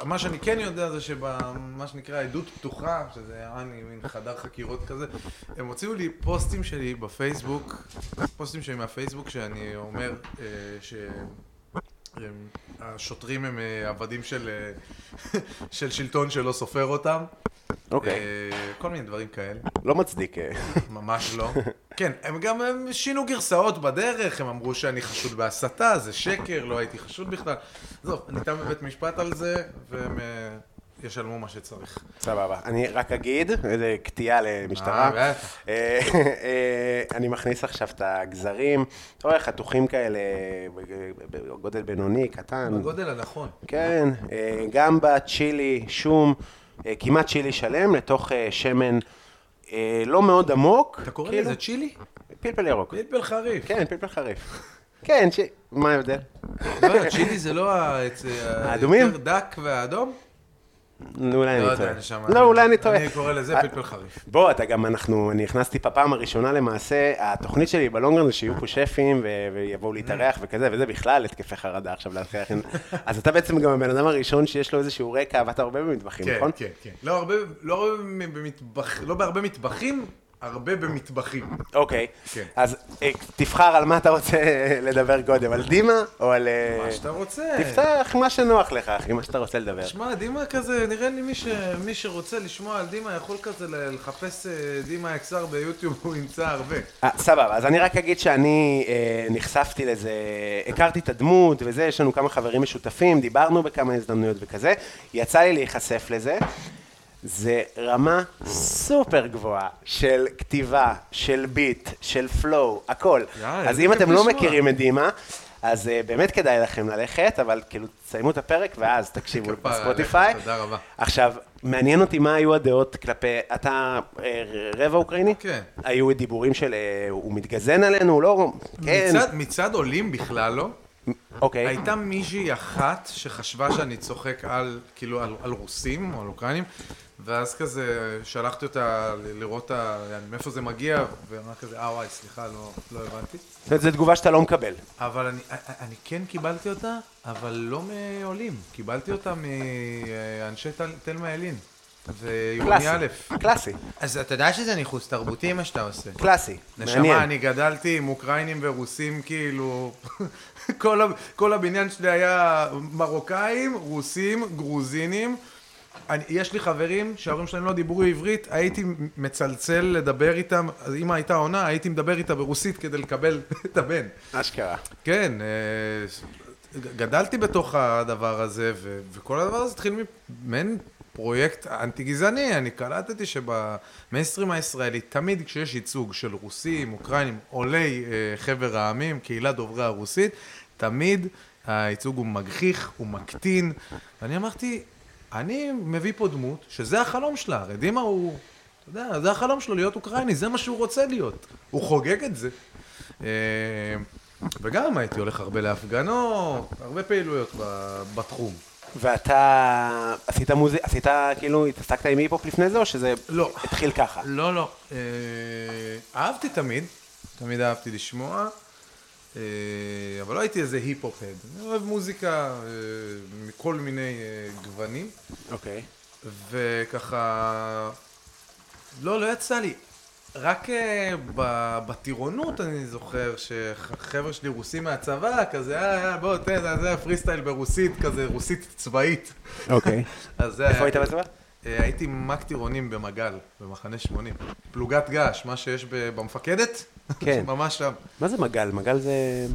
[SPEAKER 2] מה שאני כן יודע זה שבמה שנקרא עדות פתוחה, שזה היה אני מין חדר חקירות כזה, הם הוציאו לי פוסטים שלי בפייסבוק, פוסטים שלי מהפייסבוק שאני אומר אה, ש... הם- השוטרים הם אה, עבדים של, אה, של שלטון שלא סופר אותם.
[SPEAKER 3] אוקיי.
[SPEAKER 2] אה, כל מיני דברים כאלה.
[SPEAKER 3] לא מצדיק. אה.
[SPEAKER 2] ממש לא. כן, הם גם הם שינו גרסאות בדרך, הם אמרו שאני חשוד בהסתה, זה שקר, לא הייתי חשוד בכלל. עזוב, אני תם בבית משפט על זה, והם אה, ישלמו מה שצריך.
[SPEAKER 3] סבבה. אני רק אגיד, איזה קטיעה למשטרה.
[SPEAKER 2] אה, בטח.
[SPEAKER 3] אה, אה, אני מכניס עכשיו את הגזרים, אתה רואה חתוכים כאלה, גודל בינוני, קטן.
[SPEAKER 2] בגודל הנכון.
[SPEAKER 3] כן, אה, גם בצ'ילי, שום, אה, כמעט צ'ילי שלם, לתוך אה, שמן אה, לא מאוד עמוק.
[SPEAKER 2] אתה קורא
[SPEAKER 3] כאילו,
[SPEAKER 2] לזה צ'ילי?
[SPEAKER 3] פלפל ירוק.
[SPEAKER 2] פלפל חריף.
[SPEAKER 3] כן, פלפל חריף. כן, ש... מה ההבדל?
[SPEAKER 2] לא, הצ'ילי זה לא העץ...
[SPEAKER 3] האדומים?
[SPEAKER 2] היותר דק והאדום?
[SPEAKER 3] אולי
[SPEAKER 2] לא
[SPEAKER 3] אני
[SPEAKER 2] יודע,
[SPEAKER 3] טועה.
[SPEAKER 2] נשמה.
[SPEAKER 3] לא, אולי אני טועה.
[SPEAKER 2] אני קורא לזה פלפל חריף.
[SPEAKER 3] בוא, אתה גם, אנחנו, אני נכנסתי בפעם הראשונה למעשה, התוכנית שלי בלונגרנד זה שיהיו פה שפים ו- ויבואו להתארח וכזה, וזה בכלל התקפי חרדה עכשיו להתחיל עם... אז אתה בעצם גם הבן אדם הראשון שיש לו איזשהו רקע, ואתה הרבה במטבחים,
[SPEAKER 2] כן,
[SPEAKER 3] נכון?
[SPEAKER 2] כן, כן. לא הרבה, לא הרבה במטבח- לא בהרבה מטבחים, הרבה במטבחים.
[SPEAKER 3] אוקיי,
[SPEAKER 2] כן.
[SPEAKER 3] אז אה, תבחר על מה אתה רוצה לדבר קודם, על דימה או על... אה,
[SPEAKER 2] מה שאתה רוצה.
[SPEAKER 3] תפתח מה שנוח לך, אחי, מה שאתה רוצה לדבר.
[SPEAKER 2] שמע, דימה כזה, נראה לי מי, ש... מי שרוצה לשמוע על דימה יכול כזה ל- לחפש אה, דימה XR ביוטיוב, הוא ימצא הרבה.
[SPEAKER 3] אה, סבבה, אז אני רק אגיד שאני אה, נחשפתי לזה, הכרתי את הדמות וזה, יש לנו כמה חברים משותפים, דיברנו בכמה הזדמנויות וכזה, יצא לי להיחשף לזה. זה רמה סופר גבוהה של כתיבה, של ביט, של פלואו, הכל.
[SPEAKER 2] יא,
[SPEAKER 3] אז
[SPEAKER 2] איזה
[SPEAKER 3] אם
[SPEAKER 2] כיף
[SPEAKER 3] אתם לא
[SPEAKER 2] לשמוע.
[SPEAKER 3] מכירים את דימה, אז אה, באמת כדאי לכם ללכת, אבל כאילו תסיימו את הפרק ואז תקשיבו
[SPEAKER 2] כפרה עליך,
[SPEAKER 3] בספוטיפיי.
[SPEAKER 2] תודה רבה.
[SPEAKER 3] עכשיו, מעניין אותי מה היו הדעות כלפי, אתה אה, רבע אוקראיני?
[SPEAKER 2] כן.
[SPEAKER 3] היו דיבורים של אה, הוא מתגזן עלינו, הוא לא... כן.
[SPEAKER 2] מצד, מצד עולים בכלל לא.
[SPEAKER 3] אוקיי.
[SPEAKER 2] הייתה מישהי אחת שחשבה שאני צוחק על, כאילו, על, על רוסים או על אוקראינים, ואז כזה שלחתי אותה ל- לראות ה- יעני, מאיפה זה מגיע, ואמרה כזה, אה וואי, סליחה, לא, לא הבנתי.
[SPEAKER 3] זאת אומרת, זו תגובה שאתה לא מקבל.
[SPEAKER 2] אבל אני, אני כן קיבלתי אותה, אבל לא מעולים. קיבלתי אותה מאנשי תל, תלמה ילין. ויוני א'.
[SPEAKER 3] קלאסי,
[SPEAKER 2] אז אתה יודע שזה ניחוס תרבותי מה שאתה עושה.
[SPEAKER 3] קלאסי. מעניין.
[SPEAKER 2] נשמה, אני גדלתי עם אוקראינים ורוסים, כאילו... כל, ה- כל הבניין שלי היה מרוקאים, רוסים, גרוזינים. אני, יש לי חברים שההורים שלהם לא דיברו עברית, הייתי מצלצל לדבר איתם, אז אמא הייתה עונה, הייתי מדבר איתה ברוסית כדי לקבל את הבן.
[SPEAKER 3] אשכרה.
[SPEAKER 2] כן, אה, ס- ג- גדלתי בתוך הדבר הזה, ו- וכל הדבר הזה התחיל ממעין פרויקט אנטי-גזעני. אני קלטתי שבמיינסטרים הישראלי, תמיד כשיש ייצוג של רוסים, אוקראינים, עולי אה, חבר העמים, קהילה דוברי הרוסית, תמיד אה, הייצוג הוא מגחיך, הוא מקטין. ואני אמרתי, אני מביא פה דמות שזה החלום שלה, הרי דימה הוא... אתה יודע, זה החלום שלו להיות אוקראיני, זה מה שהוא רוצה להיות. הוא חוגג את זה. אה, וגם הייתי הולך הרבה להפגנות, הרבה פעילויות ב- בתחום.
[SPEAKER 3] ואתה עשית מוזיק, עשית, כאילו, התעסקת עם היפ-הופ לפני זה, או שזה
[SPEAKER 2] לא.
[SPEAKER 3] התחיל ככה?
[SPEAKER 2] לא, לא. אה, אהבתי תמיד, תמיד אהבתי לשמוע, אה, אבל לא הייתי איזה היפ-הופ-הד. אני אוהב מוזיקה אה, מכל מיני אה, גוונים,
[SPEAKER 3] אוקיי.
[SPEAKER 2] וככה... לא, לא יצא לי. רק אה, ב- בטירונות אני זוכר שחבר'ה שלי רוסים מהצבא, כזה, אה, אה, בוא, תן, זה- זה הפרי סטייל ברוסית, כזה רוסית צבאית.
[SPEAKER 3] אוקיי.
[SPEAKER 2] אז זה
[SPEAKER 3] איפה
[SPEAKER 2] היה-
[SPEAKER 3] היית בצבא?
[SPEAKER 2] אה, הייתי מ"ק טירונים במגל, במחנה 80. פלוגת געש, מה שיש ב- במפקדת?
[SPEAKER 3] כן.
[SPEAKER 2] ממש שם.
[SPEAKER 3] מה זה מגל? מגל זה...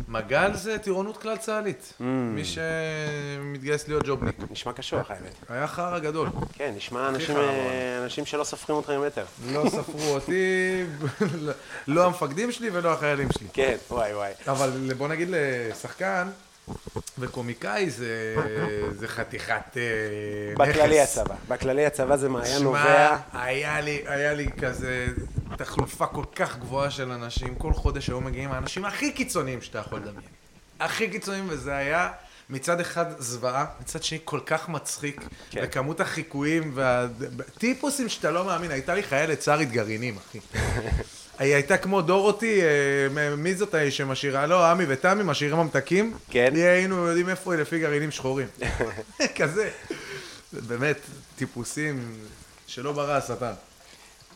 [SPEAKER 2] מגל זה טירונות כלל צה"לית.
[SPEAKER 3] Mm.
[SPEAKER 2] מי שמתגייס להיות ג'ובניק.
[SPEAKER 3] נשמע קשוח, האמת.
[SPEAKER 2] היה חרא גדול.
[SPEAKER 3] כן, נשמע אנשים,
[SPEAKER 2] חרא,
[SPEAKER 3] אה, אנשים שלא סופרים אותך ממטר.
[SPEAKER 2] לא ספרו אותי, לא המפקדים שלי ולא החיילים שלי.
[SPEAKER 3] כן, וואי וואי.
[SPEAKER 2] אבל בוא נגיד לשחקן וקומיקאי זה זה חתיכת אה, נכס.
[SPEAKER 3] בכללי הצבא. בכללי הצבא זה מעיין
[SPEAKER 2] שמע,
[SPEAKER 3] נובע.
[SPEAKER 2] היה לי, היה לי כזה תחלופה כל כך גבוהה של אנשים, כל חודש היו מגיעים האנשים הכי קיצוניים שאתה יכול לדמיין. הכי קיצוניים, וזה היה מצד אחד זוועה, מצד שני כל כך מצחיק,
[SPEAKER 3] כן.
[SPEAKER 2] כן. וכמות החיקויים והטיפוסים שאתה לא מאמין, הייתה לי חיילת שרית גרעינים, אחי. היא הייתה כמו דורותי, אה, מ- מי זאת ההיא שמשאירה? לא, עמי ותמי משאירים ממתקים.
[SPEAKER 3] כן.
[SPEAKER 2] היא, היינו יודעים איפה היא לפי גרעינים שחורים. כזה. זה באמת, טיפוסים שלא ברא השטן.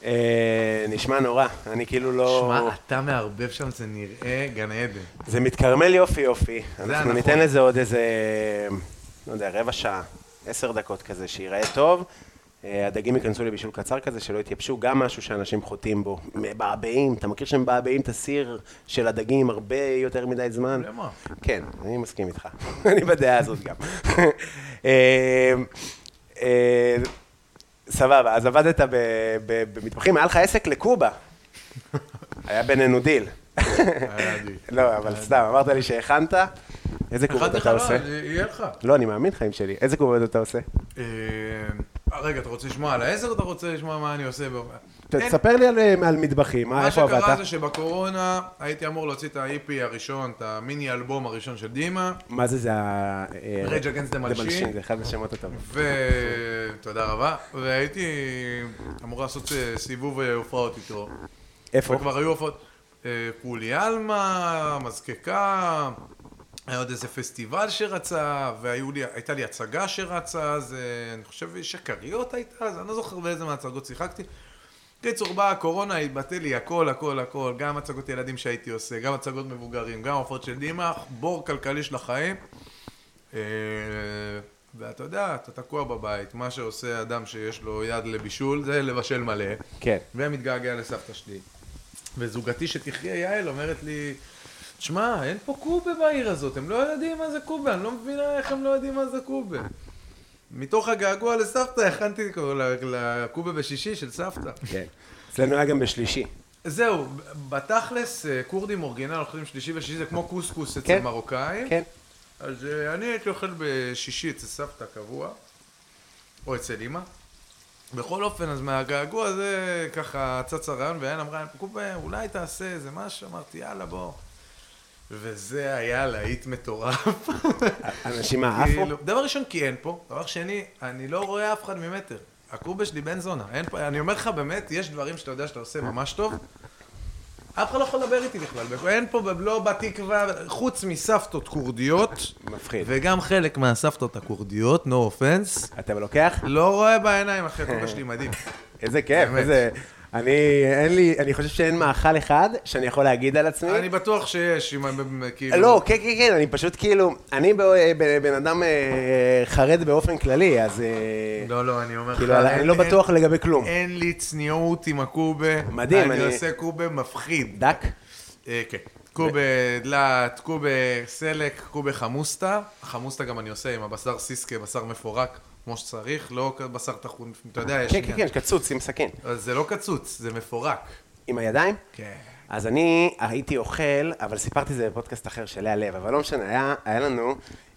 [SPEAKER 3] אה, נשמע נורא. אני כאילו לא...
[SPEAKER 2] שמע, אתה מערבב שם, זה נראה גן עדן.
[SPEAKER 3] זה מתקרמל יופי יופי. אנחנו
[SPEAKER 2] הנכון.
[SPEAKER 3] ניתן לזה עוד איזה, לא יודע, רבע שעה, עשר דקות כזה, שייראה טוב. אה, הדגים ייכנסו לבישול קצר כזה, שלא יתייבשו, גם משהו שאנשים חוטאים בו. מבעבעים, אתה מכיר שמבעבעים את הסיר של הדגים הרבה יותר מדי זמן?
[SPEAKER 2] למה?
[SPEAKER 3] כן, אני מסכים איתך. אני בדעה הזאת גם. אה, אה, סבבה, אז עבדת ב- ב- במטבחים, היה לך עסק לקובה. היה בינינו דיל.
[SPEAKER 2] היה לי.
[SPEAKER 3] לא,
[SPEAKER 2] אה,
[SPEAKER 3] אבל סתם, אמרת לי שהכנת, איזה קובות
[SPEAKER 2] אחד
[SPEAKER 3] אתה
[SPEAKER 2] אחד,
[SPEAKER 3] עושה?
[SPEAKER 2] לא, אה, יהיה לך.
[SPEAKER 3] לא, אני מאמין חיים שלי, איזה קובות אתה עושה?
[SPEAKER 2] אה, רגע, אתה רוצה לשמוע על העזר או אתה רוצה לשמוע מה אני עושה? ב- אין.
[SPEAKER 3] תספר לי על אה, על מטבחים, מה,
[SPEAKER 2] מה
[SPEAKER 3] איפה
[SPEAKER 2] שקרה
[SPEAKER 3] עבדת?
[SPEAKER 2] זה שבקורונה הייתי אמור להוציא את ה-EP הראשון, את המיני אלבום הראשון של דימה,
[SPEAKER 3] מה זה, זה ה... אה,
[SPEAKER 2] Rage Against the Machine.
[SPEAKER 3] זה אחד השמות הטובים.
[SPEAKER 2] ותודה רבה, והייתי אמור לעשות אה, סיבוב אה, הופעות איתו.
[SPEAKER 3] איפה?
[SPEAKER 2] וכבר היו הופעות, אה, פולי עלמה, מזקקה, היה עוד איזה פסטיבל שרצה, והייתה לי הצגה שרצה, אז אה, אני חושב שקריות הייתה, אז אני לא זוכר באיזה מההצגות שיחקתי. קיצור, באה הקורונה, התבטא לי הכל, הכל, הכל, גם הצגות ילדים שהייתי עושה, גם הצגות מבוגרים, גם הופעות של דימה, בור כלכלי של החיים. אה, ואתה יודע, אתה תקוע בבית, מה שעושה אדם שיש לו יד לבישול, זה לבשל מלא.
[SPEAKER 3] כן.
[SPEAKER 2] ומתגעגע לסבתא שלי. וזוגתי שתחיה, יעל, אומרת לי, תשמע, אין פה קובה בעיר הזאת, הם לא יודעים מה זה קובה, אני לא מבינה איך הם לא יודעים מה זה קובה. מתוך הגעגוע לסבתא, הכנתי ל- לקובה בשישי של סבתא.
[SPEAKER 3] כן. אצלנו היה גם בשלישי.
[SPEAKER 2] זהו, בתכלס, אה, כורדים אורגינל אוכלים שלישי ושישי, זה כמו קוסקוס אצל
[SPEAKER 3] כן.
[SPEAKER 2] מרוקאים.
[SPEAKER 3] כן.
[SPEAKER 2] אז אה, אני הייתי אוכל בשישי אצל סבתא קבוע, או אצל אימא. בכל אופן, אז מהגעגוע הזה ככה צץ הרעיון, ויעל אמרה, קופה, אולי תעשה איזה משהו, אמרתי, יאללה, בוא. וזה היה להיט מטורף.
[SPEAKER 3] אנשים מה, עפו?
[SPEAKER 2] כאילו, דבר ראשון, כי אין פה. דבר שני, אני לא רואה אף אחד ממטר. הקובה שלי בן זונה. אין פה, אני אומר לך, באמת, יש דברים שאתה יודע שאתה עושה ממש טוב. אף אחד לא יכול לדבר איתי בכלל. אין פה, לא בתקווה, חוץ מסבתות כורדיות.
[SPEAKER 3] מפחיד.
[SPEAKER 2] וגם חלק מהסבתות הכורדיות, no offense,
[SPEAKER 3] אתה לוקח?
[SPEAKER 2] לא רואה בעיניים אחרי הכובע
[SPEAKER 3] אה.
[SPEAKER 2] שלי מדהים.
[SPEAKER 3] איזה כיף,
[SPEAKER 2] באמת.
[SPEAKER 3] איזה... אני, אין לי, אני חושב שאין מאכל אחד שאני יכול להגיד על עצמי.
[SPEAKER 2] אני בטוח שיש, אם הם כאילו...
[SPEAKER 3] לא, כן, כן, כן, אני פשוט כאילו, אני בא- בן- בן אדם אה, חרד באופן כללי, אז... אה,
[SPEAKER 2] לא, לא, אני אומר לך...
[SPEAKER 3] כאילו, אני
[SPEAKER 2] אין-
[SPEAKER 3] לא
[SPEAKER 2] אין-
[SPEAKER 3] בטוח לגבי כלום.
[SPEAKER 2] אין לי צניעות עם הקובה.
[SPEAKER 3] מדהים, אני-
[SPEAKER 2] אני עושה קובה מפחיד.
[SPEAKER 3] דק?
[SPEAKER 2] אה, כן. קובה דלעת, קובה סלק, קובה חמוסטה. החמוסטה גם אני עושה עם הבשר סיסקה, בשר מפורק, כמו שצריך, לא בשר טחון, אתה יודע, יש
[SPEAKER 3] כן, כן, כן,
[SPEAKER 2] עניין.
[SPEAKER 3] קצוץ עם סכין.
[SPEAKER 2] אבל זה לא קצוץ, זה מפורק.
[SPEAKER 3] עם הידיים?
[SPEAKER 2] כן.
[SPEAKER 3] אז אני הייתי אוכל, אבל סיפרתי את זה בפודקאסט אחר של לאה לב, אבל לא משנה, היה, היה לנו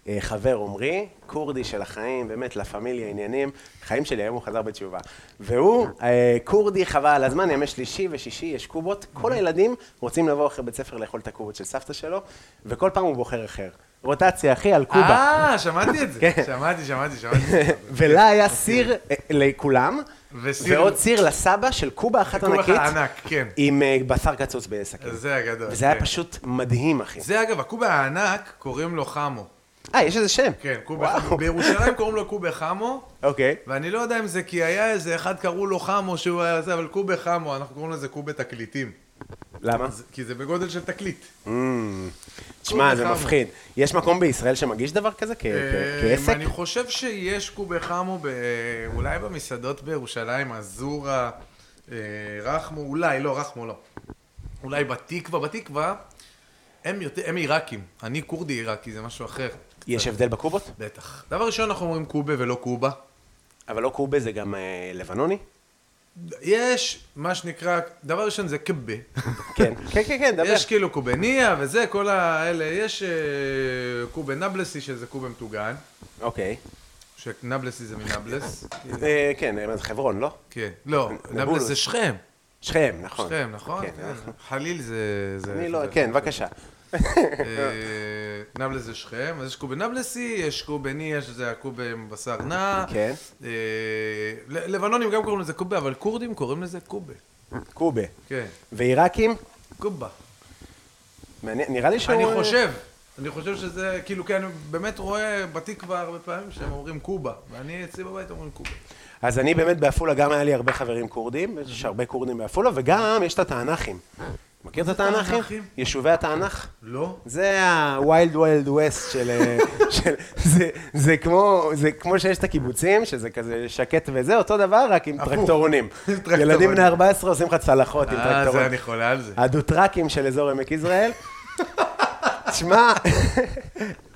[SPEAKER 3] אה, חבר עומרי, כורדי של החיים, באמת, לה פמיליה עניינים, חיים שלי, היום הוא חזר בתשובה. והוא, אה, כורדי חבל על הזמן, ימי שלישי ושישי יש קובות, כל הילדים רוצים לבוא אחרי בית ספר לאכול את הקובות של סבתא שלו, וכל פעם הוא בוחר אחר. רוטציה, אחי, על קובה.
[SPEAKER 2] אה, שמעתי את זה.
[SPEAKER 3] כן.
[SPEAKER 2] שמעתי, שמעתי, שמעתי.
[SPEAKER 3] ולה היה סיר אה, לכולם,
[SPEAKER 2] וסיר-
[SPEAKER 3] ועוד סיר לסבא של קובה אחת
[SPEAKER 2] קובה אחת
[SPEAKER 3] ענקית,
[SPEAKER 2] ענק, כן.
[SPEAKER 3] עם אה, בשר קצוץ בשקית.
[SPEAKER 2] זה הגדול.
[SPEAKER 3] וזה היה
[SPEAKER 2] כן.
[SPEAKER 3] פשוט מדהים, אחי.
[SPEAKER 2] זה אגב, הקובה הענק קוראים לו חמו.
[SPEAKER 3] אה, יש איזה שם.
[SPEAKER 2] כן, קובה
[SPEAKER 3] וואו.
[SPEAKER 2] חמו. בירושלים קוראים לו קובה חמו,
[SPEAKER 3] אוקיי.
[SPEAKER 2] ואני לא יודע אם זה כי היה איזה אחד קראו לו חמו שהוא היה זה, אבל קובה חמו, אנחנו קוראים לזה קובה תקליטים.
[SPEAKER 3] למה?
[SPEAKER 2] זה- כי זה בגודל של תקליט.
[SPEAKER 3] תשמע, זה
[SPEAKER 2] חמו.
[SPEAKER 3] מפחיד. יש מקום בישראל שמגיש דבר כזה כ-
[SPEAKER 2] אה,
[SPEAKER 3] כ- כעסק?
[SPEAKER 2] אני חושב שיש קובה חמו ב- אולי במסעדות בירושלים, עזורה, אה, רחמו, אולי, לא, רחמו לא. אולי בתקווה, בתקווה, הם יותר- הם עיראקים. אני כורדי עיראקי, זה משהו אחר.
[SPEAKER 3] יש הבדל בקובות?
[SPEAKER 2] בטח. דבר ראשון, אנחנו אומרים קובה ולא קובה.
[SPEAKER 3] אבל לא קובה זה גם אה, לבנוני?
[SPEAKER 2] יש מה שנקרא, דבר ראשון זה קבה.
[SPEAKER 3] כן. כן, כן, כן, דבר.
[SPEAKER 2] יש כאילו קובניה וזה, כל האלה, יש אה, קובה נבלסי שזה קובה מטוגן,
[SPEAKER 3] אוקיי.
[SPEAKER 2] שנבלסי זה מנבלס.
[SPEAKER 3] אה, כן, אה, זה חברון, לא?
[SPEAKER 2] כן, לא, נבלס זה שכם,
[SPEAKER 3] שכם, נכון.
[SPEAKER 2] שכם, נכון?
[SPEAKER 3] כן,
[SPEAKER 2] כן.
[SPEAKER 3] אנחנו-
[SPEAKER 2] חליל זה... זה-
[SPEAKER 3] אני לא,
[SPEAKER 2] זה-
[SPEAKER 3] כן, בבקשה.
[SPEAKER 2] אה, נבלס זה שכם, אז יש קובה נבלסי, יש קובניה שזה הקובה עם בשר נע.
[SPEAKER 3] כן.
[SPEAKER 2] אה, ל- לבנונים גם קוראים לזה קובה, אבל כורדים קוראים לזה קובה.
[SPEAKER 3] קובה.
[SPEAKER 2] כן,
[SPEAKER 3] ועיראקים?
[SPEAKER 2] קובה.
[SPEAKER 3] מעניין, נראה לי שהוא...
[SPEAKER 2] אני חושב, אני חושב שזה, כאילו, כי אני באמת רואה בתקווה הרבה פעמים שהם אומרים קובה, ואני אצלי בבית אומרים קובה.
[SPEAKER 3] אז אני באמת בעפולה, גם היה לי הרבה חברים כורדים, יש הרבה כורדים בעפולה, וגם יש את התענכים. מכיר את התענכים?
[SPEAKER 2] תענכים?
[SPEAKER 3] יישובי התענך?
[SPEAKER 2] לא?
[SPEAKER 3] זה הווילד ווילד ווסט של... אה, של זה, זה, כמו, זה כמו שיש את הקיבוצים, שזה כזה שקט וזה, אותו דבר, רק עם
[SPEAKER 2] הפוך.
[SPEAKER 3] טרקטורונים.
[SPEAKER 2] עם טרקטורונים.
[SPEAKER 3] ילדים בני 14 עושים לך צלחות עם
[SPEAKER 2] אה, זה
[SPEAKER 3] טרקטורונים.
[SPEAKER 2] אני חולה על זה.
[SPEAKER 3] הדו-טרקים של אזור עמק יזרעאל. תשמע,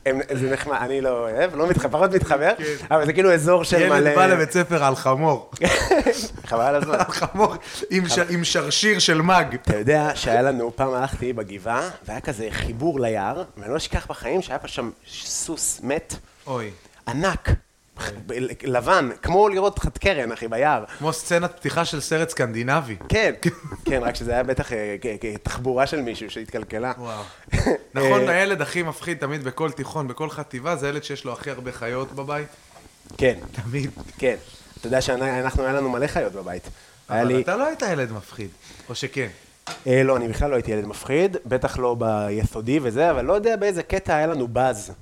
[SPEAKER 3] הם- זה נחמד, אני לא אוהב, לא מתחבר, פחות מתחבר,
[SPEAKER 2] כן.
[SPEAKER 3] אבל זה כאילו אזור של מלא...
[SPEAKER 2] ילד בא לבית ספר על חמור,
[SPEAKER 3] חבל על הזמן.
[SPEAKER 2] על חמור עם ש- עם שרשיר של מאג.
[SPEAKER 3] אתה יודע שהיה לנו, פעם הלכתי בגבעה, והיה כזה חיבור ליער, ואני לא אשכח בחיים שהיה פה שם סוס מת,
[SPEAKER 2] אוי.
[SPEAKER 3] ענק, ב- לבן, כמו לראות חד קרן, אחי, ביער.
[SPEAKER 2] כמו סצנת פתיחה של סרט סקנדינבי.
[SPEAKER 3] כן, כן, רק שזה היה בטח אה, כ- כ- תחבורה של מישהו שהתקלקלה.
[SPEAKER 2] וואו. נכון,
[SPEAKER 3] אה,
[SPEAKER 2] הילד הכי מפחיד תמיד בכל תיכון, בכל חטיבה, זה הילד שיש לו הכי הרבה חיות בבית.
[SPEAKER 3] כן,
[SPEAKER 2] תמיד.
[SPEAKER 3] כן. אתה יודע שאנחנו, היה לנו מלא חיות בבית. היה
[SPEAKER 2] אבל
[SPEAKER 3] לי...
[SPEAKER 2] אתה לא היית ילד מפחיד, או שכן.
[SPEAKER 3] אה, לא, אני בכלל לא הייתי ילד מפחיד, בטח לא ביסודי וזה, אבל לא יודע באיזה קטע היה לנו באז.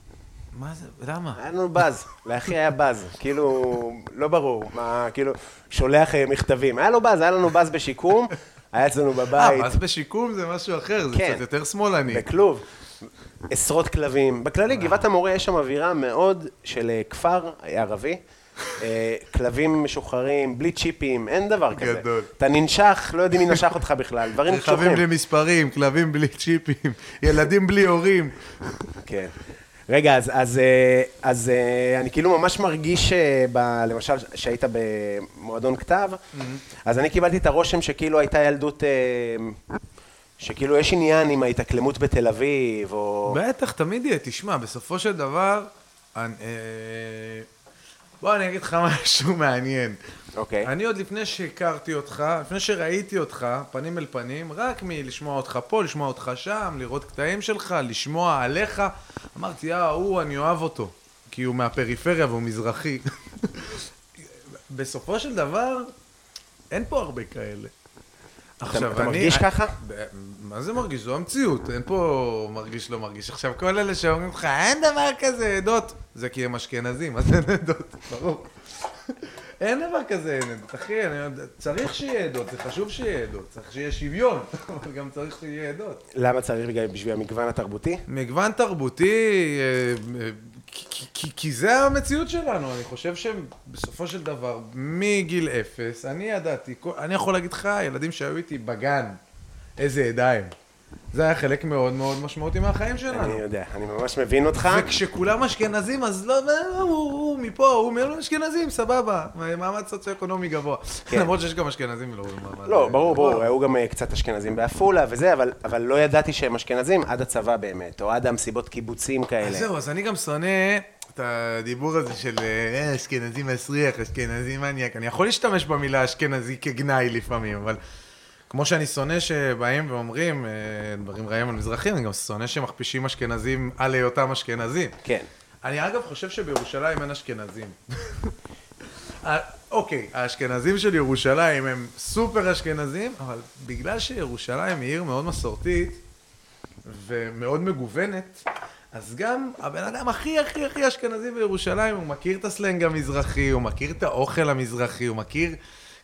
[SPEAKER 2] מה זה, למה?
[SPEAKER 3] היה לנו באז, לאחי היה באז, כאילו, לא ברור, מה, כאילו, שולח אה, מכתבים. היה לו באז, היה לנו באז בשיקום, היה אצלנו
[SPEAKER 2] אה,
[SPEAKER 3] בבית,
[SPEAKER 2] אז בשיקום זה משהו אחר, זה
[SPEAKER 3] כן.
[SPEAKER 2] קצת יותר שמאלני.
[SPEAKER 3] בכלוב, עשרות כלבים. בכללי,
[SPEAKER 2] אה.
[SPEAKER 3] גבעת המורה יש שם אווירה מאוד של אה, כפר אה, ערבי. אה, כלבים משוחררים, בלי צ'יפים, אין דבר כזה.
[SPEAKER 2] גדול.
[SPEAKER 3] אתה ננשך, לא יודעים מי נשך אותך בכלל, דברים
[SPEAKER 2] רכבים
[SPEAKER 3] קשוחים.
[SPEAKER 2] בלי מספרים, כלבים בלי צ'יפים, ילדים בלי הורים.
[SPEAKER 3] כן. רגע, אז, אז, אה, אז אה, אני כאילו ממש מרגיש, אה, ב- למשל, שהיית במועדון כתב,
[SPEAKER 2] Mm-hmm.
[SPEAKER 3] אז אני קיבלתי את הרושם שכאילו הייתה ילדות, אה, שכאילו יש עניין עם ההתאקלמות בתל אביב, או...
[SPEAKER 2] בטח, תמיד יהיה. תשמע, בסופו של דבר, אני, אה, בוא אני אגיד לך משהו מעניין.
[SPEAKER 3] אוקיי.
[SPEAKER 2] אני עוד לפני שהכרתי אותך, לפני שראיתי אותך, פנים אל פנים, רק מלשמוע אותך פה, לשמוע אותך שם, לראות קטעים שלך, לשמוע עליך, אמרתי, אה, הוא, אני אוהב אותו, כי הוא מהפריפריה והוא מזרחי. בסופו של דבר, אין פה הרבה כאלה. עכשיו,
[SPEAKER 3] אתה
[SPEAKER 2] אני... אה,
[SPEAKER 3] מרגיש ככה?
[SPEAKER 2] ב- מה זה מרגיש? זו המציאות, אין פה מרגיש לא מרגיש. עכשיו, כל אלה שאומרים לך, אין דבר כזה עדות, זה כי הם אשכנזים, אז אין עדות, ברור. אין דבר כזה אין עדות, אחי, אני יודע, צריך שיהיה עדות, זה חשוב שיהיה עדות, צריך שיהיה שוויון, אבל גם צריך שיהיה עדות.
[SPEAKER 3] למה צריך בגלל, בשביל המגוון התרבותי?
[SPEAKER 2] מגוון תרבותי, אה, אה, כי- כי- כי- כי זה המציאות שלנו, אני חושב שבסופו של דבר, מגיל אפס, אני ידעתי, כל- אני יכול להגיד לך, הילדים שהיו איתי בגן, איזה ידיים. זה היה חלק מאוד מאוד משמעותי מהחיים שלנו.
[SPEAKER 3] אני יודע, אני ממש מבין אותך. לא,
[SPEAKER 2] וכשכולם אשכנזים, אז לא, לא, הוא, הוא מפה, הוא מ- אשכנזים, סבבה, מעמד סוציו-אקונומי גבוה.
[SPEAKER 3] כן.
[SPEAKER 2] למרות שיש גם אשכנזים ולא מעמד...
[SPEAKER 3] לא, ברור, ברור, היו גם אה, קצת אשכנזים בעפולה וזה, אבל, אבל לא ידעתי שהם אשכנזים עד הצבא באמת, או עד המסיבות קיבוצים
[SPEAKER 2] אז
[SPEAKER 3] כאלה.
[SPEAKER 2] אה, זהו, אז אני גם שונא את הדיבור הזה של אה, אשכנזי מסריח, אשכנזי מניאק. אני יכול להשתמש במילה אשכנזי כגנאי לפעמים, אבל כמו שאני שונא שבאים ואומרים אה, דברים רעים על מזרחים, אני גם שונא שמכפישים אשכנזים על היותם אשכנזים.
[SPEAKER 3] כן.
[SPEAKER 2] אני אגב חושב שבירושלים אין אשכנזים. אה, אוקיי, האשכנזים של ירושלים הם סופר אשכנזים, אבל בגלל שירושלים היא עיר מאוד מסורתית ומאוד מגוונת, אז גם הבן אדם הכי הכי הכי אשכנזי בירושלים, הוא מכיר את הסלנג המזרחי, הוא מכיר את האוכל המזרחי, הוא מכיר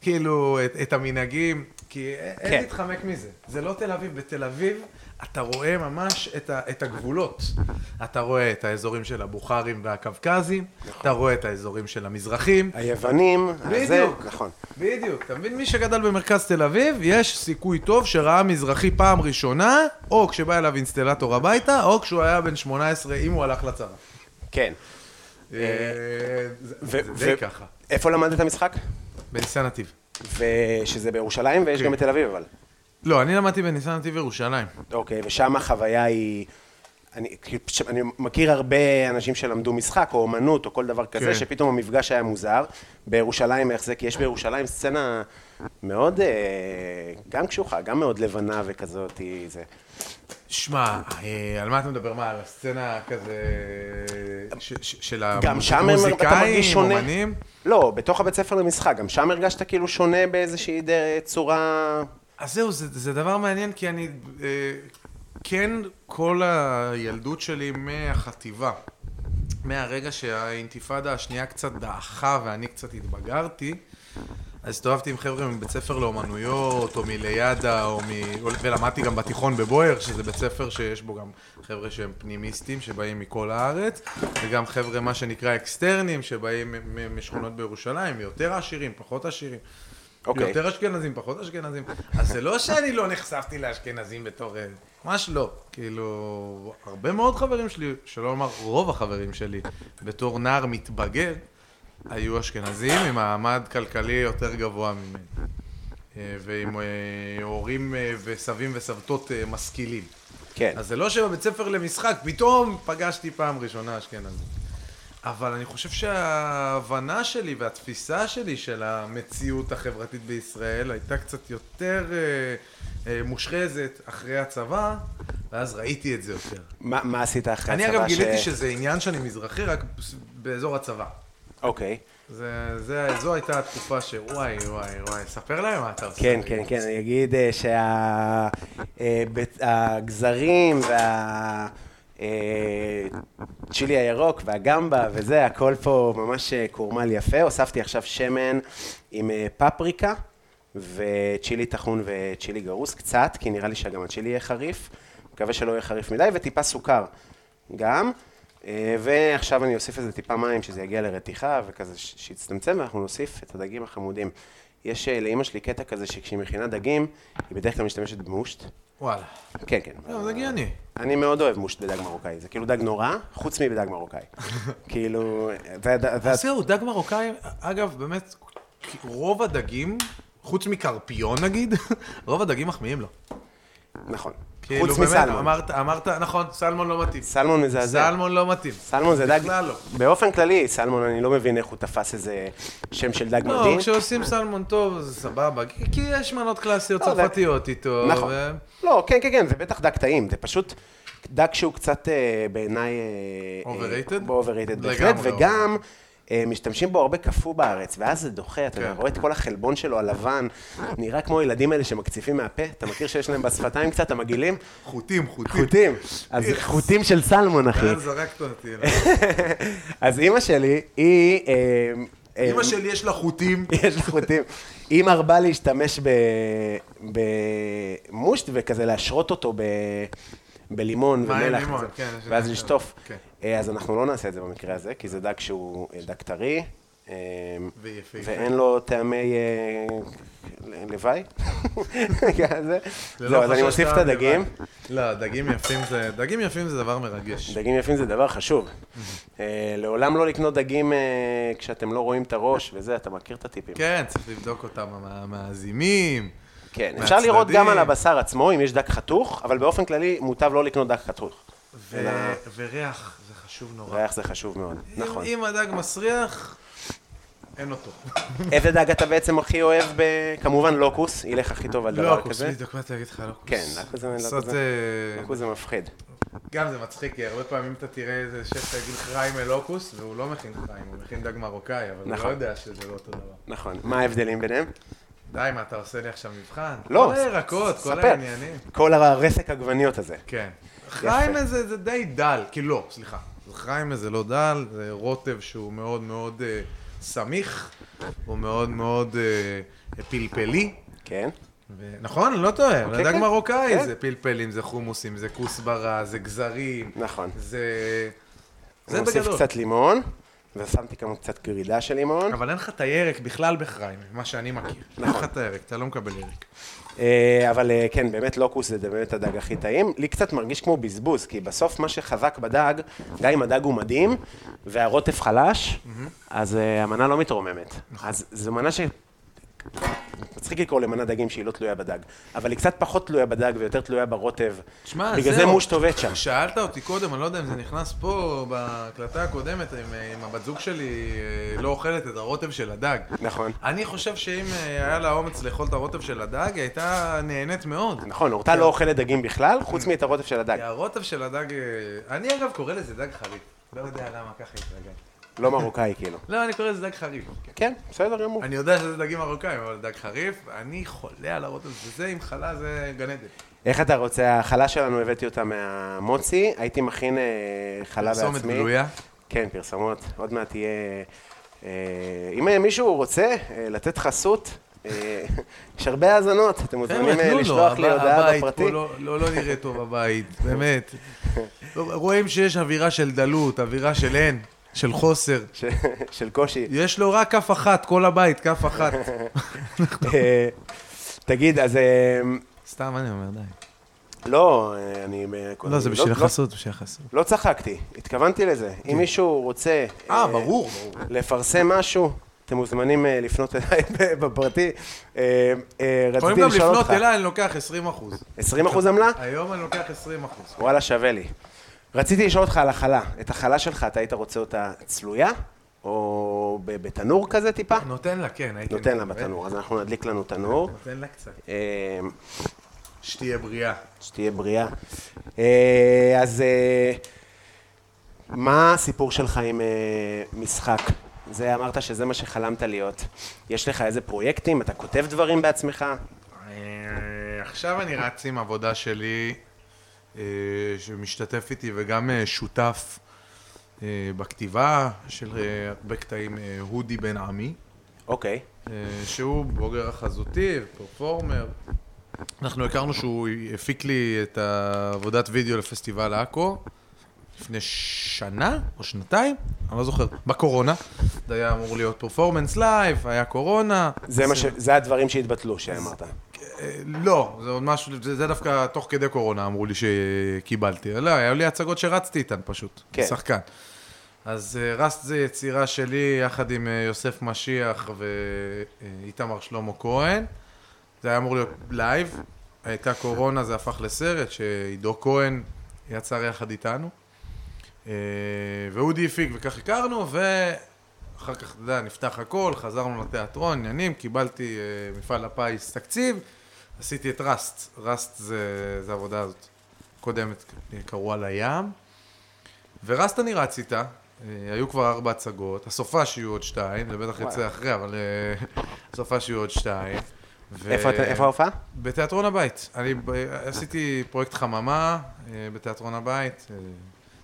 [SPEAKER 2] כאילו את, את המנהגים, כי אין-
[SPEAKER 3] כן.
[SPEAKER 2] אין להתחמק מזה. זה לא תל אביב, בתל אביב אתה רואה ממש את, ה, את הגבולות. אתה רואה את האזורים של הבוכרים והקווקזים, אתה רואה את האזורים של המזרחים.
[SPEAKER 3] היוונים, הזה,
[SPEAKER 2] בדיוק.
[SPEAKER 3] נכון.
[SPEAKER 2] בדיוק. אתה מבין, מי שגדל במרכז תל אביב, יש סיכוי טוב שראה מזרחי פעם ראשונה, או כשבא אליו אינסטלטור הביתה, או כשהוא היה בן 18, אם הוא הלך לצבא.
[SPEAKER 3] כן.
[SPEAKER 2] אה, זה זה די ככה.
[SPEAKER 3] איפה למדת את המשחק?
[SPEAKER 2] בניסן נתיב.
[SPEAKER 3] ושזה בירושלים ויש
[SPEAKER 2] כן.
[SPEAKER 3] גם בתל אביב אבל.
[SPEAKER 2] לא, אני למדתי בניסן נתיב ירושלים.
[SPEAKER 3] אוקיי, ושם החוויה היא... אני, כאילו, פשוט- אני מכיר הרבה אנשים שלמדו משחק, או אומנות, או כל דבר כזה,
[SPEAKER 2] כן.
[SPEAKER 3] שפתאום המפגש היה מוזר. בירושלים, איך זה? כי יש בירושלים סצנה מאוד, אה, גם קשוחה, גם מאוד לבנה וכזאת, היא זה.
[SPEAKER 2] שמע, אה, על מה אתה מדבר? מה, על הסצנה כזה... ש- ש- של
[SPEAKER 3] גם שם הם- אתה מרגיש
[SPEAKER 2] המוזיקאים,
[SPEAKER 3] שונה.
[SPEAKER 2] אומנים?
[SPEAKER 3] לא, בתוך הבית ספר למשחק, גם שם הרגשת כאילו שונה באיזושהי דר- צורה...
[SPEAKER 2] אז זהו, זה, זה דבר מעניין, כי אני... אה, כן, כל הילדות שלי מהחטיבה, מהרגע שהאינתיפאדה השנייה קצת דעכה ואני קצת התבגרתי, אז הסתובבתי עם חבר'ה מבית ספר לאומנויות, או מליאדה, או מ... או- ולמדתי גם בתיכון בבויאר, שזה בית ספר שיש בו גם חבר'ה שהם פנימיסטים, שבאים מכל הארץ, וגם חבר'ה, מה שנקרא אקסטרנים, שבאים מ- מ- משכונות בירושלים, יותר עשירים, פחות עשירים.
[SPEAKER 3] אוקיי.
[SPEAKER 2] יותר אשכנזים, פחות אשכנזים. אז זה לא שאני לא נחשפתי לאשכנזים בתור... אה, ממש לא. כאילו, הרבה מאוד חברים שלי, שלא לומר רוב החברים שלי, בתור נער מתבגר, היו אשכנזים עם מעמד כלכלי יותר גבוה ממני. אה, ועם אה, הורים אה, וסבים וסבתות אה, משכילים.
[SPEAKER 3] כן.
[SPEAKER 2] אז זה לא שבבית ספר למשחק, פתאום פגשתי פעם ראשונה אשכנזים. אבל אני חושב שההבנה שלי והתפיסה שלי של המציאות החברתית בישראל הייתה קצת יותר אה, אה, מושחזת אחרי הצבא, ואז ראיתי את זה יותר.
[SPEAKER 3] מה מה עשית אחרי
[SPEAKER 2] אני
[SPEAKER 3] הצבא?
[SPEAKER 2] אגב גיליתי
[SPEAKER 3] ש-
[SPEAKER 2] שזה עניין שאני מזרחי רק בס- באזור הצבא.
[SPEAKER 3] אוקיי.
[SPEAKER 2] זה, זה, זו הייתה התקופה שוואי, וואי, וואי, ספר להם מה אתה עושה.
[SPEAKER 3] כן, כן, כן, אני אגיד שהגזרים וה... אה, צ'ילי הירוק והגמבה וזה, הכל פה ממש אה, קורמל יפה. הוספתי עכשיו שמן עם אה, פפריקה וצ'ילי טחון וצ'ילי גרוס קצת, כי נראה לי שגם הצ'ילי יהיה חריף. מקווה שלא יהיה חריף מדי, וטיפה סוכר גם. אה, ועכשיו אני אוסיף לזה טיפה מים, שזה יגיע לרתיחה וכזה ש- שיצטמצם, ואנחנו נוסיף את הדגים החמודים. יש אה, לאימא שלי קטע כזה שכשהיא מכינה דגים, היא בדרך כלל משתמשת במושט.
[SPEAKER 2] וואלה.
[SPEAKER 3] כן, כן.
[SPEAKER 2] לא, זה הגיוני.
[SPEAKER 3] אני מאוד אוהב מושט בדג מרוקאי, זה כאילו דג נורא, חוץ מבדג מרוקאי. כאילו, זה הד- זה
[SPEAKER 2] אז זהו, דג מרוקאי, אגב, באמת, רוב הדגים, חוץ מקרפיון נגיד, רוב הדגים מחמיאים לו.
[SPEAKER 3] נכון.
[SPEAKER 2] כאילו,
[SPEAKER 3] חוץ
[SPEAKER 2] באמת,
[SPEAKER 3] מסלמון.
[SPEAKER 2] אמרת, אמרת, נכון, סלמון לא מתאים.
[SPEAKER 3] סלמון מזעזע.
[SPEAKER 2] סלמון לא מתאים.
[SPEAKER 3] סלמון זה דג...
[SPEAKER 2] בכלל לא.
[SPEAKER 3] באופן כללי, סלמון, אני לא מבין איך הוא תפס איזה שם של דג
[SPEAKER 2] לא,
[SPEAKER 3] מדהים.
[SPEAKER 2] כשעושים סלמון טוב, זה סבבה, כי כי יש מנות קלאסיות
[SPEAKER 3] לא, זה-
[SPEAKER 2] צרפתיות איתו.
[SPEAKER 3] נכון.
[SPEAKER 2] ו-
[SPEAKER 3] לא, כן, כן, כן, זה בטח דג טעים, זה פשוט דג שהוא קצת אה, בעיניי... אה,
[SPEAKER 2] Overrated?
[SPEAKER 3] אה, overrated בהחלט,
[SPEAKER 2] לגמרי
[SPEAKER 3] וגם אה, משתמשים בו הרבה קפוא בארץ, ואז זה דוחה, אתה
[SPEAKER 2] כן.
[SPEAKER 3] יודע, רואה את כל החלבון שלו הלבן, נראה כמו הילדים האלה שמקציפים מהפה, אתה מכיר שיש להם בשפתיים קצת, המגעילים?
[SPEAKER 2] חוטים, חוטים.
[SPEAKER 3] חוטים, אז חוטים של סלמון, אחי.
[SPEAKER 2] אה, זרקת אותי.
[SPEAKER 3] אז אימא שלי, היא... אה, אה,
[SPEAKER 2] אמא שלי יש לה חוטים.
[SPEAKER 3] יש לך חוטים. היא מרבה להשתמש ב- במושט וכזה להשרות אותו ב... בלימון
[SPEAKER 2] מים,
[SPEAKER 3] ומלח,
[SPEAKER 2] לימון,
[SPEAKER 3] כזה,
[SPEAKER 2] כן, יש
[SPEAKER 3] ואז
[SPEAKER 2] לי-
[SPEAKER 3] לשטוף.
[SPEAKER 2] כן.
[SPEAKER 3] אה, אז אנחנו לא נעשה את זה במקרה הזה, כי זה דג שהוא אה, דג טרי, אה,
[SPEAKER 2] ויפהפה.
[SPEAKER 3] ואין לו טעמי אה, ל- לוואי. כזה.
[SPEAKER 2] ללא
[SPEAKER 3] זהו, אז אני
[SPEAKER 2] חשש
[SPEAKER 3] מוסיף את
[SPEAKER 2] לא טעם
[SPEAKER 3] הדגים.
[SPEAKER 2] לבד. לא, דגים יפים זה, דגים יפים זה דבר מרגש.
[SPEAKER 3] דגים יפים זה דבר חשוב. אה, לעולם לא לקנות דגים אה, כשאתם לא רואים את הראש וזה, אתה מכיר את הטיפים.
[SPEAKER 2] כן, צריך לבדוק אותם, המאזימים.
[SPEAKER 3] כן, אפשר
[SPEAKER 2] מהצדדים.
[SPEAKER 3] לראות גם על הבשר עצמו אם יש דק חתוך, אבל באופן כללי מוטב לא לקנות דק חתוך.
[SPEAKER 2] ו-
[SPEAKER 3] אלא
[SPEAKER 2] וריח, זה חשוב נורא.
[SPEAKER 3] ריח זה חשוב מאוד,
[SPEAKER 2] אם-
[SPEAKER 3] נכון.
[SPEAKER 2] אם הדג מסריח, אין אותו.
[SPEAKER 3] איזה דג אתה בעצם הכי אוהב? ב- כמובן לוקוס, ילך הכי טוב על
[SPEAKER 2] לא
[SPEAKER 3] דבר
[SPEAKER 2] הכוס,
[SPEAKER 3] כזה.
[SPEAKER 2] בדיוק, באתי להגיד לך לוקוס.
[SPEAKER 3] כן, לוקוס זה-
[SPEAKER 2] לעשות,
[SPEAKER 3] לוקוס זה-
[SPEAKER 2] אה,
[SPEAKER 3] לוקוס זה מפחיד.
[SPEAKER 2] גם זה מצחיק, כי הרבה פעמים אתה תראה איזה שף שיגיד חריימה לוקוס, והוא לא מכין חריימה, הוא מכין דג מרוקאי, אבל הוא
[SPEAKER 3] נכון.
[SPEAKER 2] לא יודע שזה לא אותו דבר.
[SPEAKER 3] נכון, מה ההבדלים ביניהם?
[SPEAKER 2] די, מה, אתה עושה לי עכשיו מבחן?
[SPEAKER 3] לא,
[SPEAKER 2] כל הירקות, כל
[SPEAKER 3] ספר.
[SPEAKER 2] העניינים.
[SPEAKER 3] כל הרסק עגבניות הזה.
[SPEAKER 2] כן. חריימה זה, זה די דל, כי לא, סליחה. חריימה זה לא דל, זה רוטב שהוא מאוד מאוד אה, סמיך, הוא מאוד מאוד אה, פלפלי.
[SPEAKER 3] כן,
[SPEAKER 2] ו... נכון, אני לא טועה, אבל
[SPEAKER 3] כן,
[SPEAKER 2] דג
[SPEAKER 3] כן.
[SPEAKER 2] מרוקאי
[SPEAKER 3] כן.
[SPEAKER 2] זה פלפלים, זה חומוסים, זה כוסברה, זה גזרים,
[SPEAKER 3] נכון.
[SPEAKER 2] זה... זה
[SPEAKER 3] אני מוסיף
[SPEAKER 2] בגדול.
[SPEAKER 3] קצת לימון, ושמתי גם קצת גרידה של לימון.
[SPEAKER 2] אבל אין לך את הירק בכלל בחריימה, מה שאני מכיר. אין לך את הירק, אתה לא מקבל ירק.
[SPEAKER 3] אה, אבל אה, כן, באמת לוקוס זה באמת הדג הכי טעים. לי קצת מרגיש כמו בזבוז, כי בסוף מה שחזק בדג, גם אם הדג הוא מדהים, והרוטף חלש, אז אה, המנה לא מתרוממת. אז זו מנה ש... מצחיק לקרוא למנה דגים שהיא לא תלויה בדג, אבל היא קצת פחות תלויה בדג ויותר תלויה ברוטב.
[SPEAKER 2] שמע,
[SPEAKER 3] בגלל זה מושט עובד שם.
[SPEAKER 2] שאלת אותי קודם, אני לא יודע אם זה נכנס פה, בהקלטה הקודמת, אם, אה, אם הבת זוג שלי אה, לא אוכלת את הרוטב של הדג.
[SPEAKER 3] נכון.
[SPEAKER 2] אני חושב שאם אה, היה לה אומץ לאכול את הרוטב של הדג, היא הייתה נהנית מאוד.
[SPEAKER 3] נכון, אורטל לא אוכלת דגים בכלל, חוץ מאת הרוטף של הדג.
[SPEAKER 2] כי הרוטב של הדג, אה, אני אגב קורא לזה דג חריף. לא יודע למה ככה התרגלתי.
[SPEAKER 3] לא מרוקאי כאילו.
[SPEAKER 2] לא, אני קורא לזה דג חריף.
[SPEAKER 3] כן, בסדר גמור.
[SPEAKER 2] אני יודע שזה דגים מרוקאים, אבל דג חריף, אני חולה על הרוטב, וזה עם חלה זה גן עדן.
[SPEAKER 3] איך אתה רוצה? החלה שלנו הבאתי אותה מהמוצי, הייתי מכין אה, חלה בעצמי.
[SPEAKER 2] פרסומת גלויה.
[SPEAKER 3] כן, פרסומות. עוד מעט תהיה... אה, אם אה, מישהו רוצה אה, לתת חסות, אה, יש הרבה האזנות,
[SPEAKER 2] כן,
[SPEAKER 3] אתם מוזמנים אה, לשלוח לי
[SPEAKER 2] הב-
[SPEAKER 3] הודעה
[SPEAKER 2] הבית
[SPEAKER 3] בפרטי.
[SPEAKER 2] פה לא, לא, לא נראה טוב הבית, באמת. לא, רואים שיש אווירה של דלות, אווירה של אין, של חוסר.
[SPEAKER 3] ש- של קושי.
[SPEAKER 2] יש לו רק כף אחת, כל הבית, כף אחת.
[SPEAKER 3] אה, תגיד, אז אה,
[SPEAKER 2] סתם אני אומר, די.
[SPEAKER 3] לא, אה, אני... אה, קודם-
[SPEAKER 2] לא, זה בשביל
[SPEAKER 3] לא-
[SPEAKER 2] החסות, בשביל החסות.
[SPEAKER 3] לא צחקתי, התכוונתי לזה. אם מישהו רוצה...
[SPEAKER 2] אה, ברור, ברור.
[SPEAKER 3] לפרסם משהו, אתם מוזמנים אה, לפנות אליי בפרטי. אה, אה,
[SPEAKER 2] יכולים
[SPEAKER 3] רציתי
[SPEAKER 2] גם
[SPEAKER 3] לשאול
[SPEAKER 2] לפנות
[SPEAKER 3] אותך,
[SPEAKER 2] אליי, אני לוקח 20 אחוז.
[SPEAKER 3] 20% עמלה?
[SPEAKER 2] היום אני לוקח 20 אחוז.
[SPEAKER 3] וואלה, שווה לי. רציתי לשאול אותך על החלה. את החלה שלך, אתה היית רוצה אותה צלויה? או ב- בתנור כזה טיפה?
[SPEAKER 2] נותן לה, כן, הייתי...
[SPEAKER 3] נותן לה
[SPEAKER 2] מקווה.
[SPEAKER 3] בתנור, אז אנחנו נדליק לנו תנור.
[SPEAKER 2] נותן לה קצת.
[SPEAKER 3] אמ,
[SPEAKER 2] שתהיה בריאה.
[SPEAKER 3] שתהיה בריאה. אה, אז אה, מה הסיפור שלך עם אה, משחק? זה אמרת שזה מה שחלמת להיות. יש לך איזה פרויקטים? אתה כותב דברים בעצמך?
[SPEAKER 2] אה, עכשיו אני רץ עם עבודה שלי, אה, שמשתתף איתי וגם אה, שותף אה, בכתיבה של אה, הרבה קטעים, אה, הודי בן עמי,
[SPEAKER 3] אוקיי.
[SPEAKER 2] אה, שהוא בוגר החזותי, פרפורמר. אנחנו הכרנו שהוא הפיק לי את עבודת וידאו לפסטיבל עכו לפני שנה או שנתיים, אני לא זוכר, בקורונה. זה היה אמור להיות פרפורמנס לייב, היה קורונה.
[SPEAKER 3] זה, מה ש... זה הדברים שהתבטלו שאמרת.
[SPEAKER 2] אה, לא, זה עוד משהו, זה, זה דווקא תוך כדי קורונה אמרו לי שקיבלתי. לא, היו לי הצגות שרצתי איתן פשוט,
[SPEAKER 3] כן.
[SPEAKER 2] כן. שחקן. אז אה, רסט זה יצירה שלי יחד עם אה, יוסף משיח ואיתמר שלמה כהן. זה היה אמור להיות לייב, הייתה קורונה, זה הפך לסרט שעידו כהן יצר יחד איתנו. אה, ואודי הפיק וכך הכרנו, ואחר כך, אתה יודע, נפתח הכל, חזרנו לתיאטרון, עניינים, קיבלתי אה, מפעל הפיס תקציב, עשיתי את ראסט, ראסט זה, זה העבודה הזאת, קודמת, אה, קראו על הים, וראסט אני רץ איתה. אה, היו כבר ארבע הצגות, הסופה שיהיו עוד שתיים, זה בטח יצא אחרי, אבל אה, הסופה שיהיו עוד שתיים. ו-
[SPEAKER 3] איפה, אתה- איפה ההופעה?
[SPEAKER 2] בתיאטרון הבית. אני ב- עשיתי פרויקט חממה אה, בתיאטרון הבית. אה,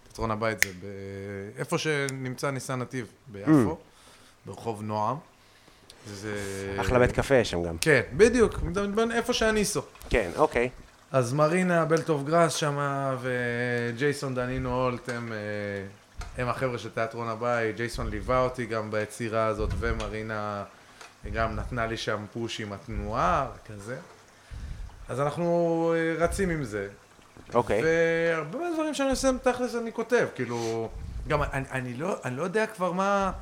[SPEAKER 2] תיאטרון הבית זה ב- איפה שנמצא ניסן נתיב, ביפו, ברחוב נועם. זה...
[SPEAKER 3] Mm. אחלה בית קפה יש שם גם.
[SPEAKER 2] כן, בדיוק, מדבר- איפה שהניסו.
[SPEAKER 3] כן, אוקיי.
[SPEAKER 2] אז מרינה בלטוב גראס שמה, וג'ייסון דנינו הולט הם, אה, הם החבר'ה של תיאטרון הבית, ג'ייסון ליווה אותי גם ביצירה הזאת, ומרינה גם נתנה לי שם פוש עם התנועה, כזה. אז אנחנו אה, רצים עם זה.
[SPEAKER 3] אוקיי.
[SPEAKER 2] והרבה מהדברים שאני עושה, תכלס אני כותב, כאילו... גם אני, אני, לא, אני לא יודע כבר מה...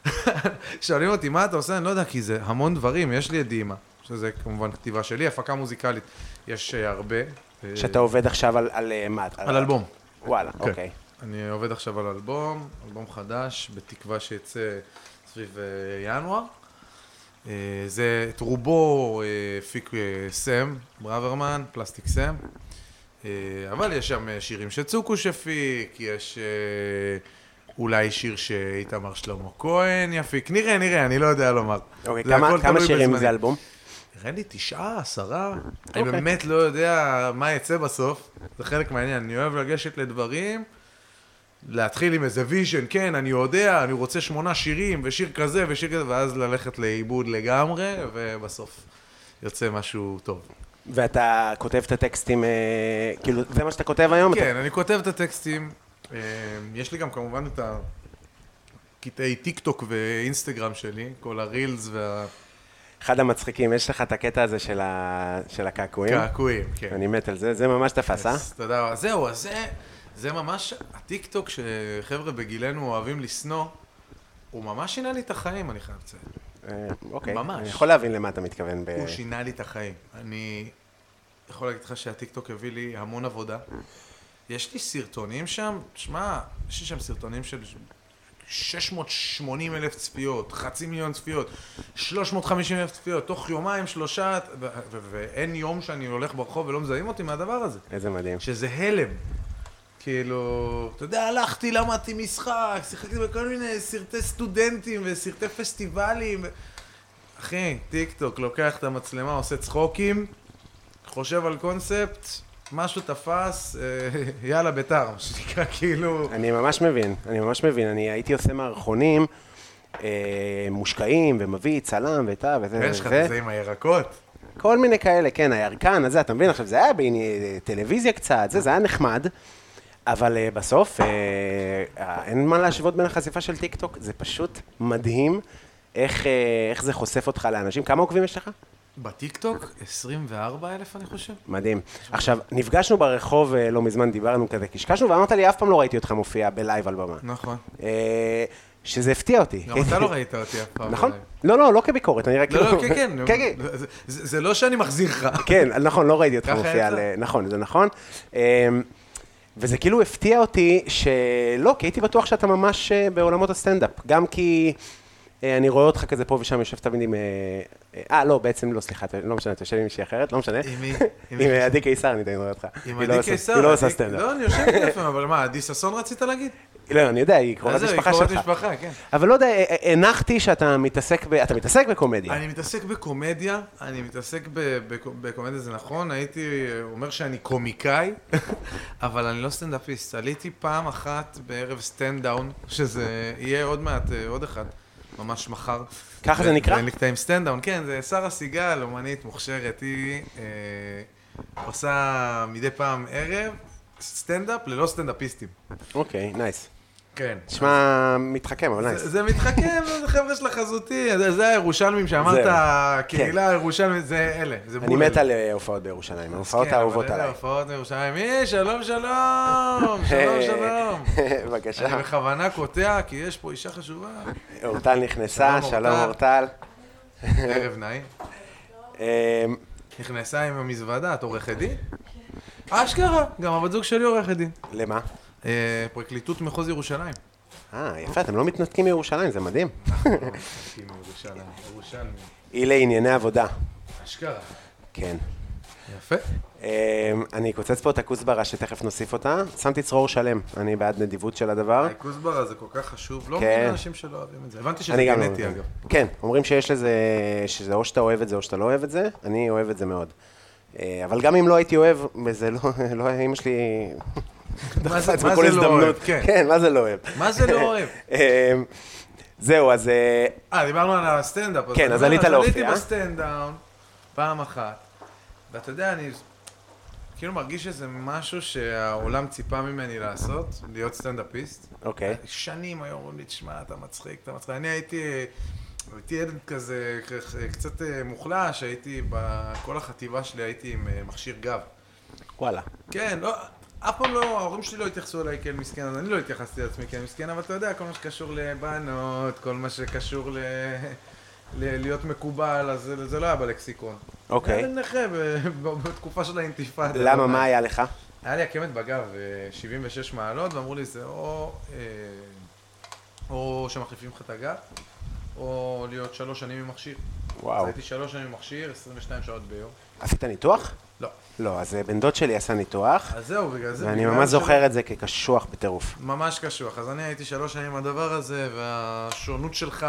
[SPEAKER 2] שואלים אותי, מה אתה עושה? אני לא יודע, כי זה המון דברים. יש לי את דימה, שזה כמובן כתיבה שלי, הפקה מוזיקלית, יש אה, הרבה. אה,
[SPEAKER 3] שאתה עובד עכשיו על, על אה, מה?
[SPEAKER 2] על אלבום.
[SPEAKER 3] וואלה,
[SPEAKER 2] כן.
[SPEAKER 3] אוקיי.
[SPEAKER 2] אני עובד עכשיו על אלבום, אלבום חדש, בתקווה שיצא סביב אה, ינואר. אה, זה, את רובו אה, הפיק אה, סם, ברוורמן, פלסטיק סם. אה, אבל יש שם אה, שירים שצוקו שפיק, יש אה, אולי שיר שאיתמר שלמה כהן יפיק. נראה, נראה, אני לא יודע לומר.
[SPEAKER 3] אוקיי,
[SPEAKER 2] זה
[SPEAKER 3] כמה,
[SPEAKER 2] הכל
[SPEAKER 3] כמה
[SPEAKER 2] תלוי
[SPEAKER 3] שירים
[SPEAKER 2] בזמנים.
[SPEAKER 3] זה אלבום?
[SPEAKER 2] נראה לי תשעה, עשרה. אני
[SPEAKER 3] אוקיי.
[SPEAKER 2] באמת לא יודע מה יצא בסוף. זה חלק מהעניין. אני אוהב לגשת לדברים, להתחיל עם איזה ויז'ן, כן, אני יודע, אני רוצה שמונה שירים, ושיר כזה ושיר כזה, ואז ללכת לאיבוד לגמרי, ובסוף יוצא משהו טוב.
[SPEAKER 3] ואתה כותב את הטקסטים, אה, כאילו, זה מה שאתה כותב היום? אתה-
[SPEAKER 2] כן, אני כותב את הטקסטים. אה, יש לי גם כמובן את הקטעי טיק טוק ואינסטגרם שלי, כל הרילס
[SPEAKER 3] אחד המצחיקים, יש לך את הקטע הזה של, ה... של הקעקועים?
[SPEAKER 2] והקעקועים, כן.
[SPEAKER 3] אני מת על זה, זה ממש תפס, אה?
[SPEAKER 2] אז תודה רבה. זהו, אז זה, זה ממש הטיקטוק שחבר'ה בגילנו אוהבים לשנוא, הוא ממש שינה לי את החיים, אני חייב לציין.
[SPEAKER 3] אה, אוקיי.
[SPEAKER 2] ממש.
[SPEAKER 3] אני יכול להבין למה אתה מתכוון ב...
[SPEAKER 2] הוא שינה לי את החיים. אני יכול להגיד לך שהטיקטוק הביא לי המון עבודה. יש לי סרטונים שם, תשמע, יש לי שם סרטונים של 680 אלף צפיות, חצי מיליון צפיות, 350 אלף צפיות, תוך יומיים, שלושה, ו- ו- ואין יום שאני הולך ברחוב ולא מזהים אותי מהדבר הזה.
[SPEAKER 3] איזה מדהים.
[SPEAKER 2] שזה הלם. כאילו, אתה יודע, הלכתי, למדתי משחק, שיחקתי בכל מיני סרטי סטודנטים וסרטי פסטיבלים. ו- אחי, טיק טוק, לוקח את המצלמה, עושה צחוקים, חושב על קונספט, משהו תפס, אה, יאללה ביתר, מה שנקרא, כאילו...
[SPEAKER 3] אני ממש מבין, אני ממש מבין. אני הייתי עושה מערכונים אה, מושקעים, ומביא צלם ותה וזה
[SPEAKER 2] ויש לך את זה עם הירקות.
[SPEAKER 3] כל מיני כאלה, כן, הירקן הזה, אתה מבין? עכשיו, זה היה בטלוויזיה קצת, זה, זה היה נחמד, אבל אה, בסוף, אה, אה, אין מה להשוות בין החשיפה של טיק טוק, זה פשוט מדהים איך, אה, איך זה חושף אותך לאנשים. כמה עוקבים יש לך?
[SPEAKER 2] בטיקטוק, 24 אלף, אני חושב.
[SPEAKER 3] מדהים. עכשיו, נפגשנו ברחוב אה, לא מזמן, דיברנו כזה, קשקשנו, ואמרת לי, אף פעם לא ראיתי אותך מופיע בלייב על במה.
[SPEAKER 2] נכון.
[SPEAKER 3] אה, שזה הפתיע אותי.
[SPEAKER 2] גם אתה לא ראית אותי אף פעם.
[SPEAKER 3] כן. נכון?
[SPEAKER 2] אולי.
[SPEAKER 3] לא, לא, לא כביקורת, אני רק...
[SPEAKER 2] לא, לא,
[SPEAKER 3] כאילו-
[SPEAKER 2] כן, כן.
[SPEAKER 3] כן, כן.
[SPEAKER 2] זה- זה זה לא שאני מחזיר לך.
[SPEAKER 3] כן, נכון, לא ראיתי אותך
[SPEAKER 2] ככה
[SPEAKER 3] מופיע
[SPEAKER 2] יצא.
[SPEAKER 3] על... נכון, זה נכון. אמ, וזה כאילו הפתיע אותי שלא, כי הייתי בטוח שאתה ממש אה, בעולמות הסטנדאפ. גם כי אה, אני רואה אותך כזה פה ושם יושב תמיד עם... אה, אה, לא, בעצם לא, סליחה, אתה- לא משנה, אתה יושב עם מישהי אחרת, לא משנה.
[SPEAKER 2] עם מי? עם
[SPEAKER 3] עם אה,
[SPEAKER 2] מי?
[SPEAKER 3] עדי קיסר, אני עדיין רואה אותך.
[SPEAKER 2] עם
[SPEAKER 3] היא לא
[SPEAKER 2] עדי
[SPEAKER 3] עושה-
[SPEAKER 2] קיסר.
[SPEAKER 3] היא לא עושה
[SPEAKER 2] עדי-
[SPEAKER 3] סטנדאפ.
[SPEAKER 2] לא, אני יושב איתה לפעמים, אבל מה, עדי ששון רצית להגיד?
[SPEAKER 3] לא, אני יודע, היא
[SPEAKER 2] אז
[SPEAKER 3] קרובת
[SPEAKER 2] זהו, היא
[SPEAKER 3] משפחה
[SPEAKER 2] קרובת
[SPEAKER 3] שלך.
[SPEAKER 2] משפחה, כן.
[SPEAKER 3] אבל לא יודע, אה, אה, הנחתי שאתה מתעסק ב... אתה מתעסק בקומדיה.
[SPEAKER 2] אני מתעסק בקומדיה, אני מתעסק ב- בק- בקומדיה, זה נכון, הייתי אה, אומר שאני קומיקאי, אבל אני לא סטנדאפיסט. עליתי פעם אחת בערב סטנדאון, שזה יהיה עוד מעט, אה, עוד אחד, ממש מחר.
[SPEAKER 3] ככה זה
[SPEAKER 2] ו-
[SPEAKER 3] נקרא?
[SPEAKER 2] ואין לי קטעים סטנדאון, כן, זה שרה סיגל, אומנית מוכשרת, היא אה, עושה מדי פעם ערב סטנדאפ ללא סטנדאפיסטים.
[SPEAKER 3] אוקיי, נייס.
[SPEAKER 2] כן.
[SPEAKER 3] נשמע מתחכם, אבל נייס.
[SPEAKER 2] זה זה מתחכם, זה חבר'ה של החזותי, זה- זה הירושלמים שאמרת,
[SPEAKER 3] זהו. כן.
[SPEAKER 2] הקהילה הירושלמית, זה אלה, זה
[SPEAKER 3] אני
[SPEAKER 2] בול
[SPEAKER 3] מת
[SPEAKER 2] אלה.
[SPEAKER 3] על אה, הופעות בירושלים,
[SPEAKER 2] אז
[SPEAKER 3] ההופעות
[SPEAKER 2] כן, אבל
[SPEAKER 3] האהובות
[SPEAKER 2] אלה
[SPEAKER 3] עליי.
[SPEAKER 2] ההופעות בירושלים, היי, שלום, שלום, שלום, שלום. אני
[SPEAKER 3] בבקשה.
[SPEAKER 2] בכוונה קוטע, כי יש פה אישה חשובה.
[SPEAKER 3] אורטל נכנסה,
[SPEAKER 2] שלום,
[SPEAKER 3] שלום
[SPEAKER 2] אורטל.
[SPEAKER 3] אורטל.
[SPEAKER 2] ערב נעים.
[SPEAKER 3] אמ,
[SPEAKER 2] נכנסה עם המזוודה, את עורכת דין? כן. אשכרה, גם הבת זוג שלי עורכת דין.
[SPEAKER 3] למה?
[SPEAKER 2] אה, פרקליטות מחוז ירושלים.
[SPEAKER 3] אה, יפה, אתם לא מתנתקים מירושלים, זה מדהים.
[SPEAKER 2] עם ירושלים, ירושלמי.
[SPEAKER 3] היא לענייני עבודה.
[SPEAKER 2] אשכרה.
[SPEAKER 3] כן.
[SPEAKER 2] יפה.
[SPEAKER 3] אמ, אני אקוצץ פה את הכוסברה שתכף נוסיף אותה. שמתי צרור שלם, אני בעד נדיבות של הדבר.
[SPEAKER 2] הכוסברה זה כל כך חשוב, לא
[SPEAKER 3] כן.
[SPEAKER 2] מבין אנשים שלא אוהבים את זה. הבנתי שזה
[SPEAKER 3] אני גם לא
[SPEAKER 2] גנטי
[SPEAKER 3] מבין.
[SPEAKER 2] אגב.
[SPEAKER 3] כן, אומרים שיש לזה, שזה או שאתה אוהב את זה או שאתה לא אוהב את זה, אני אוהב את זה מאוד. אה, אבל גם אם לא הייתי אוהב, וזה לא, לא, אמא שלי...
[SPEAKER 2] מה זה-
[SPEAKER 3] דחפה את
[SPEAKER 2] מה
[SPEAKER 3] בכל
[SPEAKER 2] זה לא אוהב?
[SPEAKER 3] הזדמנות.
[SPEAKER 2] כן.
[SPEAKER 3] כן, מה זה לא אוהב?
[SPEAKER 2] מה זה לא אוהב?
[SPEAKER 3] אמ, זהו, אז אה,
[SPEAKER 2] אה, דיברנו על הסטנדאפ.
[SPEAKER 3] כן,
[SPEAKER 2] אני
[SPEAKER 3] אז
[SPEAKER 2] אומר,
[SPEAKER 3] עלית להופיע.
[SPEAKER 2] עליתי בסטנדאון פעם אחת, ואתה יודע, אני כאילו מרגיש שזה משהו שהעולם ציפה ממני לעשות, להיות סטנדאפיסט.
[SPEAKER 3] אוקיי.
[SPEAKER 2] שנים היו אומרים לי, תשמע, אתה מצחיק, אתה מצחיק. אני הייתי, הייתי ילד כזה כ- קצת אה, מוחלש, הייתי, בכל החטיבה שלי הייתי עם אה, מכשיר גב.
[SPEAKER 3] וואלה.
[SPEAKER 2] כן, לא, אף פעם לא, ההורים שלי לא התייחסו אליי כאל מסכן, אז אני לא התייחסתי לעצמי כאל מסכן, אבל אתה יודע, כל מה שקשור לבנות, כל מה שקשור ל... ל- להיות מקובל, אז זה, זה לא היה בלקסיקון.
[SPEAKER 3] אוקיי.
[SPEAKER 2] היה לי נכה ב- ב- בתקופה של האינתיפאדה.
[SPEAKER 3] למה, מה היה לך?
[SPEAKER 2] היה לי עקמת בגב, אה, 76 מעלות, ואמרו לי זה או, אה, או שמחליפים לך את הגב, או להיות שלוש שנים עם מכשיר.
[SPEAKER 3] וואו.
[SPEAKER 2] אז הייתי שלוש שנים עם מכשיר, 22 שעות ביום.
[SPEAKER 3] עשית ניתוח?
[SPEAKER 2] לא.
[SPEAKER 3] לא, אז אה, בן דוד שלי עשה ניתוח,
[SPEAKER 2] אז זהו, בגלל אה, זה.
[SPEAKER 3] ואני
[SPEAKER 2] בגלל
[SPEAKER 3] ממש
[SPEAKER 2] שלא-
[SPEAKER 3] זוכר את זה כקשוח בטירוף.
[SPEAKER 2] ממש קשוח. אז אני הייתי שלוש שנים עם הדבר הזה, והשונות שלך...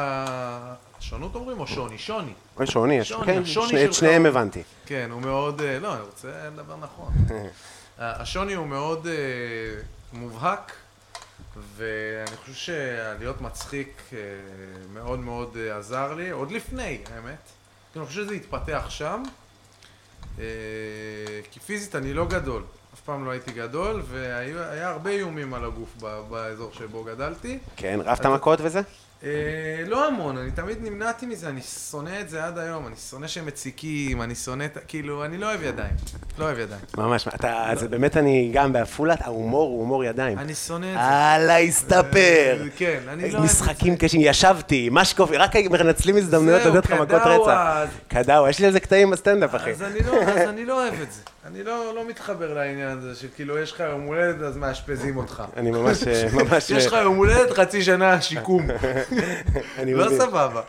[SPEAKER 2] שונות אומרים או שוני? שוני.
[SPEAKER 3] אוי, שוני, יש,
[SPEAKER 2] שוני,
[SPEAKER 3] כן,
[SPEAKER 2] השוני
[SPEAKER 3] שני- את
[SPEAKER 2] שלך.
[SPEAKER 3] שניהם הבנתי.
[SPEAKER 2] כן, הוא מאוד... אה, לא, אני רוצה לדבר נכון. ה- השוני הוא מאוד אה, מובהק, ואני חושב שלהיות מצחיק אה, מאוד מאוד אה, עזר לי, עוד לפני, האמת. אני חושב שזה התפתח שם, אה, כי פיזית אני לא גדול. אף פעם לא הייתי גדול, והיה הרבה איומים על הגוף ב- באזור שבו גדלתי.
[SPEAKER 3] כן, רבת מכות וזה?
[SPEAKER 2] אה, לא המון, אני תמיד נמנעתי מזה, אני שונא את זה עד היום, אני שונא שהם מציקים, אני שונא את... ה- כאילו, אני לא אוהב ידיים. לא אוהב ידיים.
[SPEAKER 3] ממש, אתה, זה באמת אני גם בעפולה, ההומור הוא הומור ידיים.
[SPEAKER 2] לא. אני שונא את זה.
[SPEAKER 3] הלאה, הסתפר.
[SPEAKER 2] אה, כן, אני לא...
[SPEAKER 3] משחקים קשים, ישבתי, משקוף, רק מנצלים הזדמנויות
[SPEAKER 2] זהו,
[SPEAKER 3] לתת לך מכות
[SPEAKER 2] קדאווה.
[SPEAKER 3] רצח. קדאווה, יש לי על זה קטעים בסטנדאפ, אחי.
[SPEAKER 2] אז אני לא, אז אני לא אוהב את זה. אני לא, לא מתחבר לעניין הזה, שכאילו יש לך יום הולדת, אז מאשפזים אותך.
[SPEAKER 3] אני ממש, אה, ממש,
[SPEAKER 2] יש לך יום הולדת, חצי שנה שיקום.
[SPEAKER 3] אני
[SPEAKER 2] לא
[SPEAKER 3] מבין.
[SPEAKER 2] סבבה.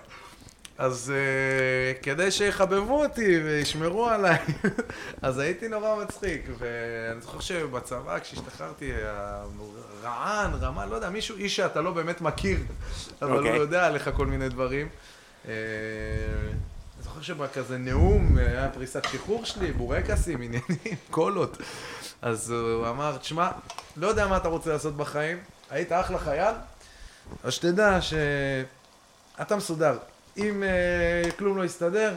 [SPEAKER 2] אז uh, כדי שיחבבו אותי וישמרו עליי, אז הייתי נורא מצחיק. ואני זוכר שבצבא, כשהשתחררתי, רען, רמה, לא יודע, מישהו, איש שאתה לא באמת מכיר, אבל הוא
[SPEAKER 3] אוקיי.
[SPEAKER 2] יודע עליך כל מיני דברים. אה, אני זוכר שבכזה נאום, היה פריסת שחרור שלי, בורקסים, עניינים, קולות. אז הוא אמר, תשמע, לא יודע מה אתה רוצה לעשות בחיים, היית אחלה חייל, אז שתדע שאתה מסודר. אם אה, כלום לא יסתדר,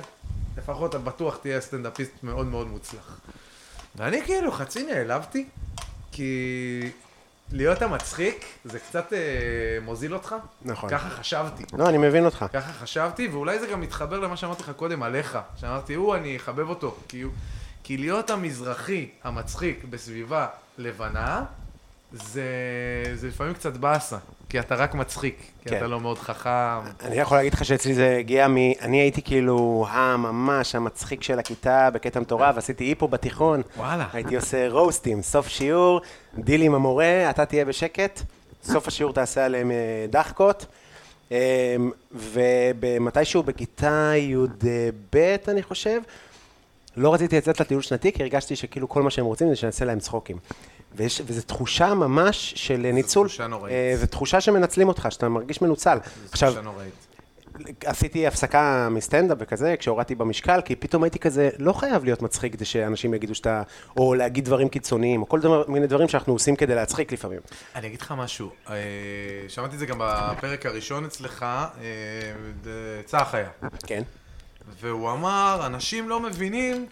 [SPEAKER 2] לפחות אתה בטוח תהיה סטנדאפיסט מאוד מאוד מוצלח. ואני כאילו חצי נעלבתי, כי להיות המצחיק זה קצת אה, מוזיל אותך.
[SPEAKER 3] נכון.
[SPEAKER 2] ככה חשבתי.
[SPEAKER 3] לא, אני מבין אותך.
[SPEAKER 2] ככה חשבתי, ואולי זה גם מתחבר למה שאמרתי לך קודם עליך, שאמרתי, הוא, אני אחבב אותו. כי, הוא- כי להיות המזרחי המצחיק בסביבה לבנה, זה, זה לפעמים קצת באסה, כי אתה רק מצחיק, כי
[SPEAKER 3] כן.
[SPEAKER 2] אתה לא מאוד חכם.
[SPEAKER 3] אני יכול להגיד לך שאצלי זה הגיע מ... אני הייתי כאילו הממש המצחיק של הכיתה בקטע מטורף, עשיתי היפו בתיכון.
[SPEAKER 2] אה. וואלה.
[SPEAKER 3] הייתי עושה רוסטים, סוף שיעור, דיל עם המורה, אתה תהיה בשקט, סוף השיעור תעשה עליהם אה, דחקות. אה, ומתישהו בכיתה י"ב, אני חושב, לא רציתי לצאת לטיול שנתי, כי הרגשתי שכאילו כל מה שהם רוצים זה שנעשה להם צחוקים. ויש, וזו תחושה ממש של אה, ניצול.
[SPEAKER 2] תחושה נוראית.
[SPEAKER 3] אה, זו תחושה שמנצלים אותך, שאתה מרגיש מנוצל. עכשיו,
[SPEAKER 2] זו תחושה נוראית.
[SPEAKER 3] עשיתי הפסקה מסטנדאפ וכזה, כשהורדתי במשקל, כי פתאום הייתי כזה, לא חייב להיות מצחיק כדי שאנשים יגידו שאתה, או להגיד דברים קיצוניים, או כל דבר, מיני דברים שאנחנו עושים כדי להצחיק לפעמים.
[SPEAKER 2] אני אגיד לך משהו, אה, שמעתי את זה גם בפרק הראשון אצלך, אה, ד- צח היה.
[SPEAKER 3] כן.
[SPEAKER 2] והוא אמר, אנשים לא מבינים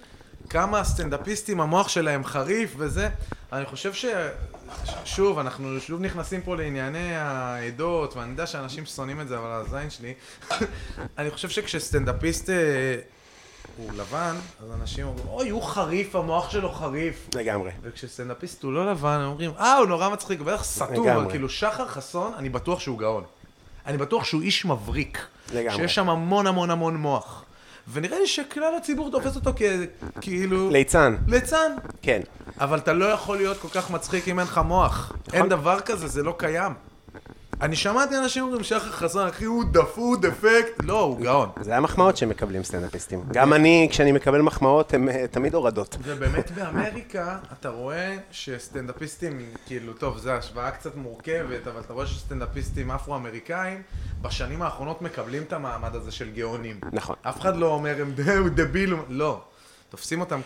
[SPEAKER 2] כמה הסטנדאפיסטים, המוח שלהם חריף וזה. אני חושב ש... ש- שוב, אנחנו שוב נכנסים פה לענייני העדות, ואני יודע שאנשים שונאים את זה, אבל הזין שלי. אני חושב שכשסטנדאפיסט אה, הוא לבן, אז אנשים אומרים, אוי, הוא חריף, המוח שלו חריף.
[SPEAKER 3] לגמרי.
[SPEAKER 2] וכשסטנדאפיסט הוא לא לבן, הם אומרים, אה, הוא נורא מצחיק, הוא בטח סתום,
[SPEAKER 3] לגמרי.
[SPEAKER 2] כאילו שחר חסון, אני בטוח שהוא גאון. אני בטוח שהוא איש מבריק.
[SPEAKER 3] לגמרי.
[SPEAKER 2] שיש שם המון המון המון מוח. ונראה לי שכלל הציבור תופס אותו כ... כאילו...
[SPEAKER 3] ליצן,
[SPEAKER 2] ליצן.
[SPEAKER 3] כן.
[SPEAKER 2] אבל אתה לא יכול להיות כל כך מצחיק אם אין לך מוח.
[SPEAKER 3] נכון.
[SPEAKER 2] אין דבר כזה, זה לא קיים. אני שמעתי אנשים אומרים, שחר חסון, אחי, הוא דפוק, הוא דפקט. לא, הוא גאון.
[SPEAKER 3] זה המחמאות שמקבלים סטנדאפיסטים. גם אני, כשאני מקבל מחמאות, הן אה, תמיד הורדות.
[SPEAKER 2] ובאמת באמריקה אתה רואה שסטנדאפיסטים, כאילו, טוב, זו השוואה קצת מורכבת, אבל אתה רואה שסטנדאפיסטים אפרו-אמריקאים בשנים האחרונות מקבלים את המעמד הזה של גאונים.
[SPEAKER 3] נכון.
[SPEAKER 2] אף אחד לא אומר, הם ד- הוא דביל, הוא-" לא. תופסים אותם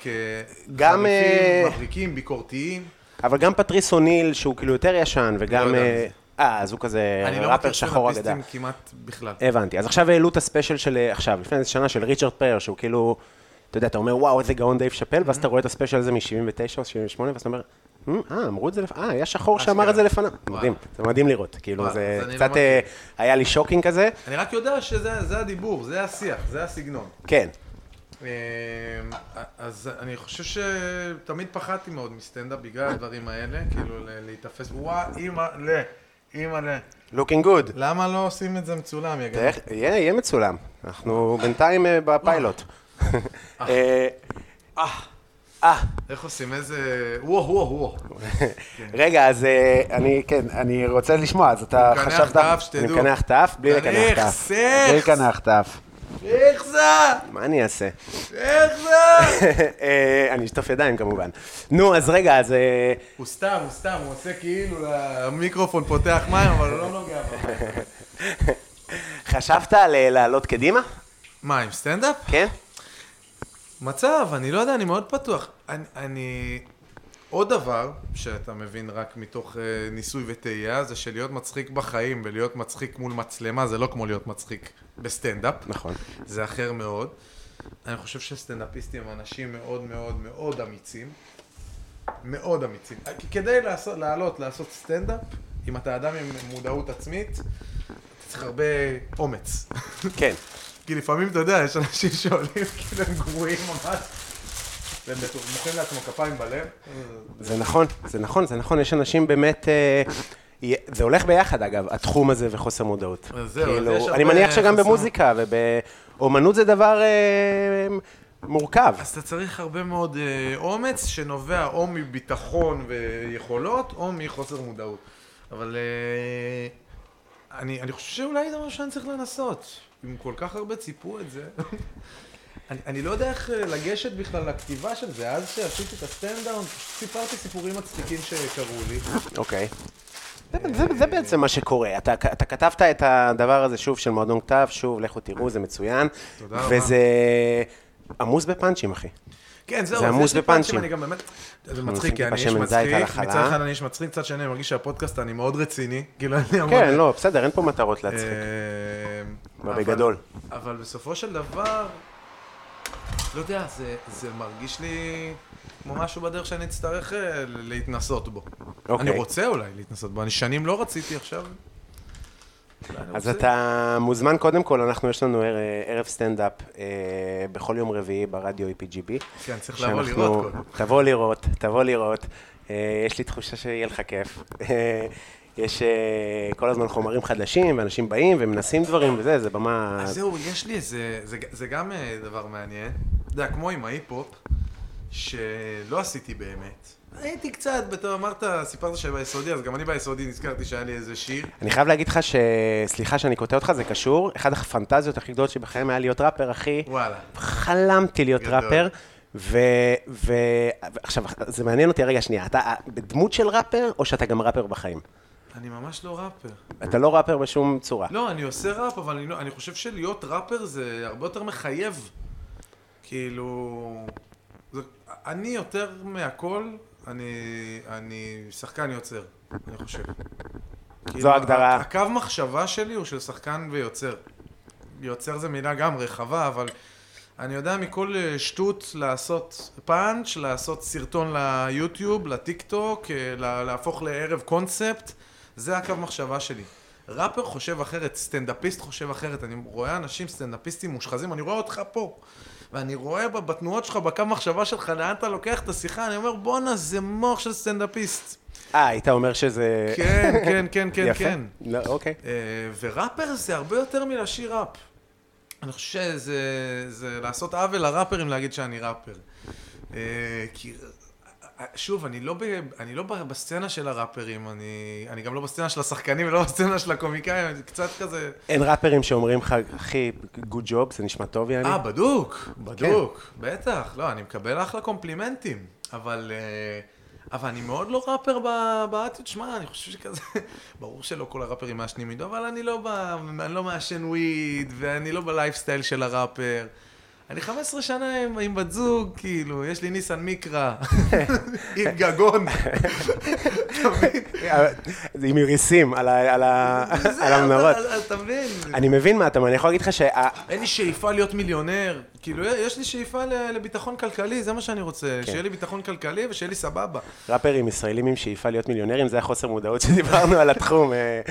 [SPEAKER 3] גם, אה,
[SPEAKER 2] כחריפים, מבריקים, ביקורתיים.
[SPEAKER 3] אבל גם פטריס אוניל, שהוא כאילו יותר ישן, וגם...
[SPEAKER 2] לא יודע.
[SPEAKER 3] אה, אה, אז הוא כזה
[SPEAKER 2] אני לא
[SPEAKER 3] ראפר
[SPEAKER 2] מכיר
[SPEAKER 3] שחור אה. אגדה.
[SPEAKER 2] סטנדאפיסטים כמעט בכלל.
[SPEAKER 3] הבנתי. אז עכשיו העלו את הספיישל של אה, עכשיו, לפני איזה שנה, של ריצ'רד פרייר, שהוא כאילו, אתה יודע, אתה אומר, וואו, איזה גאון דייב שאפל,
[SPEAKER 2] Mm-hmm.
[SPEAKER 3] ואז אתה רואה את הספיישל הזה מ-79 או 78, ואז אתה אומר, "מ, אה, אמרו את זה, לפ- אה, היה שחור שאמר
[SPEAKER 2] אשכרה.
[SPEAKER 3] את זה לפניו.
[SPEAKER 2] וואו.
[SPEAKER 3] מדהים, זה מדהים לראות. כאילו,
[SPEAKER 2] וואו,
[SPEAKER 3] זה
[SPEAKER 2] אז אני לא
[SPEAKER 3] קצת אה, היה לי שוקינג כזה.
[SPEAKER 2] אני רק יודע שזה זה הדיבור, זה השיח, זה הסגנון.
[SPEAKER 3] כן,
[SPEAKER 2] אמ, אז אני חושב שתמיד פחדתי מאוד מסטנדאפ בגלל הדברים האלה, כאילו ל- להיתפס, וואה, אימא ל, אימא ל.
[SPEAKER 3] לוקינג גוד.
[SPEAKER 2] למה לא עושים את זה מצולם, יא
[SPEAKER 3] אה?
[SPEAKER 2] גדול?
[SPEAKER 3] יהיה יהיה מצולם. אנחנו בינתיים אה, בפיילוט. אה, אה,
[SPEAKER 2] איך עושים איזה... וואו, וואו, וואו. כן.
[SPEAKER 3] רגע, אז אה, אני, כן, אני רוצה לשמוע, אז אתה
[SPEAKER 2] אני מקנח
[SPEAKER 3] חשבת...
[SPEAKER 2] את האף, שתדעו.
[SPEAKER 3] אני מקנח את האף, בלי
[SPEAKER 2] תריך,
[SPEAKER 3] לקנח את האף.
[SPEAKER 2] סכס.
[SPEAKER 3] בלי לקנח את האף.
[SPEAKER 2] איך זה?
[SPEAKER 3] מה אני אעשה?
[SPEAKER 2] איך זה?
[SPEAKER 3] אה, אני אשטוף ידיים כמובן. נו, אז רגע, אז... אה,
[SPEAKER 2] הוא סתם, הוא סתם, הוא עושה כאילו המיקרופון פותח מים, אבל הוא לא נוגע במים.
[SPEAKER 3] חשבת על אה, לעלות קדימה?
[SPEAKER 2] מה, עם סטנדאפ?
[SPEAKER 3] כן?
[SPEAKER 2] מצב, אני לא יודע, אני מאוד פתוח. אני, אני... עוד דבר שאתה מבין רק מתוך אה, ניסוי וטעייה, זה שלהיות מצחיק בחיים ולהיות מצחיק מול מצלמה זה לא כמו להיות מצחיק בסטנדאפ.
[SPEAKER 3] נכון.
[SPEAKER 2] זה אחר מאוד. אני חושב שסטנדאפיסטים הם אנשים מאוד מאוד מאוד אמיצים. מאוד אמיצים. אה, כי כדי לעשות, לעלות, לעשות סטנדאפ, אם אתה אדם עם מודעות עצמית, אתה צריך הרבה אומץ.
[SPEAKER 3] כן.
[SPEAKER 2] כי לפעמים, אתה יודע, יש אנשים שעולים כאילו הם גרועים ממש, והם בטוח- מוחאים לעצמם כפיים בלב.
[SPEAKER 3] זה נכון, זה נכון, זה נכון, יש אנשים באמת... אה, י- זה הולך ביחד אגב, התחום הזה וחוסר מודעות. כאילו,
[SPEAKER 2] אז זהו, אז יש הרבה
[SPEAKER 3] אני מניח שגם
[SPEAKER 2] חוסר-
[SPEAKER 3] במוזיקה ובאומנות זה דבר אה, מורכב.
[SPEAKER 2] אז אתה צריך הרבה מאוד אה, אומץ, שנובע או מביטחון ויכולות, או מחוסר מודעות. אבל אה, אני, אני חושב שאולי זה משהו שאני צריך לנסות. אם כל כך הרבה ציפו את זה. אני, אני לא יודע איך אה, לגשת בכלל לכתיבה של זה. אז שעשיתי את הסטנדאון, סיפרתי סיפורים מצחיקים שקרו לי.
[SPEAKER 3] אוקיי. זה- זה- זה בעצם מה שקורה, אתה, אתה כתבת את הדבר הזה שוב של מועדון כתב, שוב, לכו תראו, זה מצוין.
[SPEAKER 2] תודה רבה.
[SPEAKER 3] וזה עמוס בפאנצ'ים, אחי.
[SPEAKER 2] כן, זהו,
[SPEAKER 3] זה
[SPEAKER 2] אז
[SPEAKER 3] עמוס
[SPEAKER 2] יש לי
[SPEAKER 3] בפאנצ'ים.
[SPEAKER 2] אני גם באמת... זה
[SPEAKER 3] עושים
[SPEAKER 2] מצחיק, כי אני איש
[SPEAKER 3] טיפה שמן זית
[SPEAKER 2] מצחיק,
[SPEAKER 3] על
[SPEAKER 2] מצד
[SPEAKER 3] החלה.
[SPEAKER 2] אחד אני איש מצחיק, מצד שני אני מרגיש שהפודקאסט אני מאוד רציני, כאילו אני אמור...
[SPEAKER 3] כן, לא, בסדר, אין פה מטרות להצחיק.
[SPEAKER 2] אה,
[SPEAKER 3] אבל
[SPEAKER 2] אבל-
[SPEAKER 3] בגדול.
[SPEAKER 2] אבל בסופו של דבר, לא יודע, זה- זה מרגיש לי כמו משהו בדרך שאני אצטרך אה, להתנסות בו.
[SPEAKER 3] אוקיי.
[SPEAKER 2] אני רוצה אולי להתנסות בו, אני שנים לא רציתי עכשיו. אולי אני
[SPEAKER 3] אז
[SPEAKER 2] רוצה.
[SPEAKER 3] אתה מוזמן קודם כל, אנחנו יש לנו ער- ערב סטנדאפ אה, בכל יום רביעי ברדיו EPGB.
[SPEAKER 2] כן, צריך לבוא
[SPEAKER 3] שאנחנו-
[SPEAKER 2] לראות קודם.
[SPEAKER 3] תבוא לראות, תבוא לראות. אה, יש לי תחושה שיהיה לך כיף. אה, יש אה, כל הזמן חומרים חדשים, ואנשים באים ומנסים דברים וזה, זה במה...
[SPEAKER 2] אז זהו, יש לי איזה, זה, זה גם אה, דבר מעניין. אתה יודע, כמו עם ההיפ-הופ, שלא עשיתי באמת. הייתי קצת, בתור אמרת, סיפרת שביסודי, אז גם אני ביסודי נזכרתי שהיה לי איזה שיר.
[SPEAKER 3] אני חייב להגיד לך ש... סליחה שאני קוטע אותך, זה קשור. אחת הפנטזיות הכי גדולות שבחיים היה להיות ראפר, אחי.
[SPEAKER 2] וואלה.
[SPEAKER 3] חלמתי להיות
[SPEAKER 2] גדול.
[SPEAKER 3] ראפר. ו... ו... עכשיו, זה מעניין אותי, רגע, שנייה, אתה בדמות של ראפר, או שאתה גם ראפר בחיים?
[SPEAKER 2] אני ממש לא ראפר.
[SPEAKER 3] אתה לא ראפר בשום צורה.
[SPEAKER 2] לא, אני עושה ראפ, אבל אני, לא- אני חושב שלהיות ראפר זה הרבה יותר מחייב. כאילו... זה, אני יותר מהכל, אני, אני שחקן יוצר, אני חושב. כאילו,
[SPEAKER 3] ההגדרה.
[SPEAKER 2] ה- הקו מחשבה שלי הוא של שחקן ויוצר. יוצר זה מילה גם רחבה, אבל אני יודע מכל אה, שטות לעשות פאנץ', לעשות סרטון ליוטיוב, לטיק טוק, אה, לה- להפוך לערב קונספט, זה הקו מחשבה שלי. ראפר חושב אחרת, סטנדאפיסט חושב אחרת, אני רואה אנשים סטנדאפיסטים מושחזים, אני רואה אותך פה. ואני רואה ב- בתנועות שלך, בקו מחשבה שלך, לאן אתה לוקח את השיחה, אני אומר, בואנה, זה מוח של סטנדאפיסט.
[SPEAKER 3] אה, היית אומר שזה...
[SPEAKER 2] כן, כן, כן, כן,
[SPEAKER 3] אה. יפה?
[SPEAKER 2] כן.
[SPEAKER 3] לא, אוקיי.
[SPEAKER 2] אה, וראפר זה הרבה יותר מלשיר ראפ. אני חושב שזה זה לעשות עוול לראפרים להגיד שאני ראפר. אה, כי, אה, שוב, אני לא, ב, אני לא ב- בסצנה של הראפרים, אני, אני גם לא בסצנה של השחקנים ולא בסצנה של הקומיקאים, אני קצת כזה...
[SPEAKER 3] אין ראפרים שאומרים לך, אחי, גוד ג'וב, זה נשמע טוב, יעני?
[SPEAKER 2] אה,
[SPEAKER 3] כן.
[SPEAKER 2] בדוק, בדוק, בטח. לא, אני מקבל אחלה קומפלימנטים, אבל... אה, אבל אני מאוד לא ראפר ב- בעתיד, שמע, אני חושב שכזה, ברור שלא כל הראפרים מעשנים מידו, אבל אני לא, ב... אני לא מעשן וויד, ואני לא בלייפסטייל של הראפר. אני 15 שנה עם, עם בת זוג, כאילו, יש לי ניסן מיקרא, עם גגון. אתה מבין?
[SPEAKER 3] אה, זה עם איריסים על ה- על ה-
[SPEAKER 2] זהו,
[SPEAKER 3] על המנורות.
[SPEAKER 2] אתה- אתה מבין?
[SPEAKER 3] אני מבין מה אתה אומר, אני יכול להגיד לך שה...
[SPEAKER 2] אין לי שאיפה להיות מיליונר, כאילו יש לי שאיפה ל- לביטחון כלכלי, זה מה שאני רוצה,
[SPEAKER 3] כן.
[SPEAKER 2] שיהיה לי ביטחון כלכלי ושיהיה לי סבבה.
[SPEAKER 3] ראפרים ישראלים עם שאיפה להיות מיליונרים, זה החוסר מודעות שדיברנו על התחום, אה,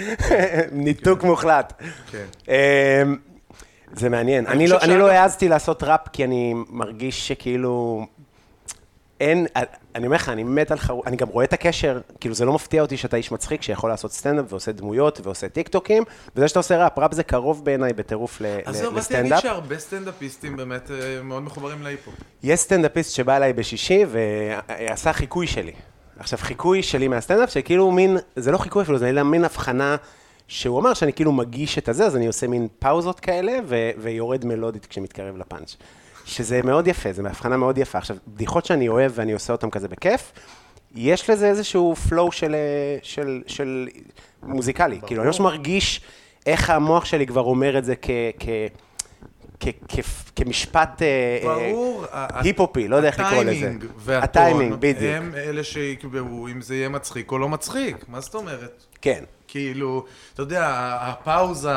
[SPEAKER 3] ניתוק מוחלט.
[SPEAKER 2] כן.
[SPEAKER 3] אה, זה מעניין, אני
[SPEAKER 2] חושב
[SPEAKER 3] לא- אני
[SPEAKER 2] שאגב-
[SPEAKER 3] לא העזתי לעשות ראפ כי אני מרגיש שכאילו... אין, אה, אני אומר לך, אני מת על חרוץ, אני גם רואה את הקשר, כאילו זה לא מפתיע אותי שאתה איש מצחיק שיכול לעשות סטנדאפ ועושה דמויות ועושה טיקטוקים, וזה שאתה עושה ראפ, ראפ זה קרוב בעיניי בטירוף ל-
[SPEAKER 2] אז
[SPEAKER 3] ל-
[SPEAKER 2] זהו, באתי להגיד
[SPEAKER 3] לסטנדאפ.
[SPEAKER 2] שהרבה סטנדאפיסטים באמת אה, מאוד מחוברים להיפו.
[SPEAKER 3] יש סטנדאפיסט שבא אליי בשישי ועשה חיקוי שלי. עכשיו, חיקוי שלי מהסטנדאפ, שכאילו מין, זה לא חיקוי אפילו, זה אלא מין הבחנה שהוא אמר שאני כאילו מגיש את הזה, אז אני עושה מין פאוזות כאלה ו- ויורד מלודית כשמתקרב לפאנץ'. שזה מאוד יפה, זו הבחנה מאוד יפה. עכשיו, בדיחות שאני אוהב ואני עושה אותן כזה בכיף, יש לזה איזשהו flow של, אה, של, של מוזיקלי. כאילו, אני ממש מרגיש איך המוח שלי כבר אומר את זה כ... כ כ- כ- כמשפט אה, אה,
[SPEAKER 2] ברור. ה- ה-
[SPEAKER 3] היפ-הופי, לא יודע איך לקרוא לזה.
[SPEAKER 2] הטיימינג והטון, אוקיי?
[SPEAKER 3] הטיימינג, בדיוק.
[SPEAKER 2] הם אלה שיקבעו אם זה יהיה מצחיק או לא מצחיק, מה זאת אומרת?
[SPEAKER 3] כן.
[SPEAKER 2] כאילו, אתה יודע, הפאוזה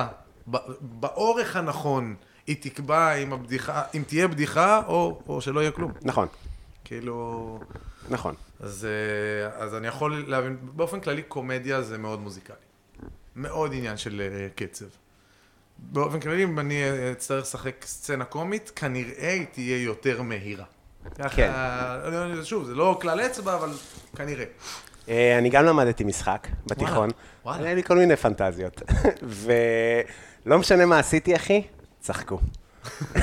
[SPEAKER 2] ב- באורך הנכון, היא תקבע אם הבדיחה, אם תהיה בדיחה או או שלא יהיה כלום.
[SPEAKER 3] נכון,
[SPEAKER 2] כאילו...
[SPEAKER 3] נכון.
[SPEAKER 2] אז, אה, אז אני יכול להבין, באופן כללי קומדיה זה מאוד מוזיקלי. מאוד עניין של אה, קצב. באופן כללי, אם אני אה, אצטרך לשחק סצנה קומית, כנראה היא תהיה יותר מהירה.
[SPEAKER 3] כן.
[SPEAKER 2] ככה, לא, לא, שוב, זה לא כלל אצבע, אבל כנראה.
[SPEAKER 3] אה, אני גם למדתי משחק בתיכון.
[SPEAKER 2] וואלה.
[SPEAKER 3] היה לי כל מיני פנטזיות. ולא משנה מה עשיתי, אחי, צחקו.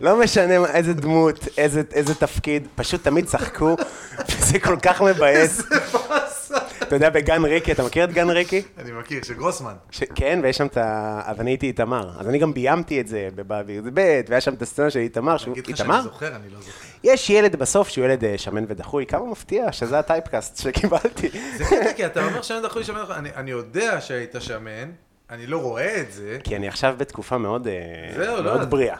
[SPEAKER 3] לא משנה מה- איזה דמות, איזה, איזה תפקיד, פשוט תמיד צחקו, וזה כל כך מבאס. אתה יודע, בגן ריקי, אתה מכיר את גן ריקי?
[SPEAKER 2] אני מכיר, של גרוסמן.
[SPEAKER 3] ש... כן, ויש שם את ה... אז אני הייתי איתמר, אז אני גם ביימתי את זה בבאביר ב', והיה שם את הסצנה של איתמר, שהוא...
[SPEAKER 2] אגיד לך שאני
[SPEAKER 3] איתמר?
[SPEAKER 2] זוכר, אני לא זוכר.
[SPEAKER 3] יש ילד בסוף שהוא ילד אה, שמן ודחוי, כמה מפתיע שזה הטייפקאסט שקיבלתי.
[SPEAKER 2] זה קטע, כי אתה אומר שמן דחוי, שמן דחוי. אני- אני יודע שהיית שמן, אני לא רואה את זה,
[SPEAKER 3] כי אני עכשיו בתקופה מאוד, אה,
[SPEAKER 2] זהו, לא,
[SPEAKER 3] מאוד
[SPEAKER 2] אז-
[SPEAKER 3] בריאה.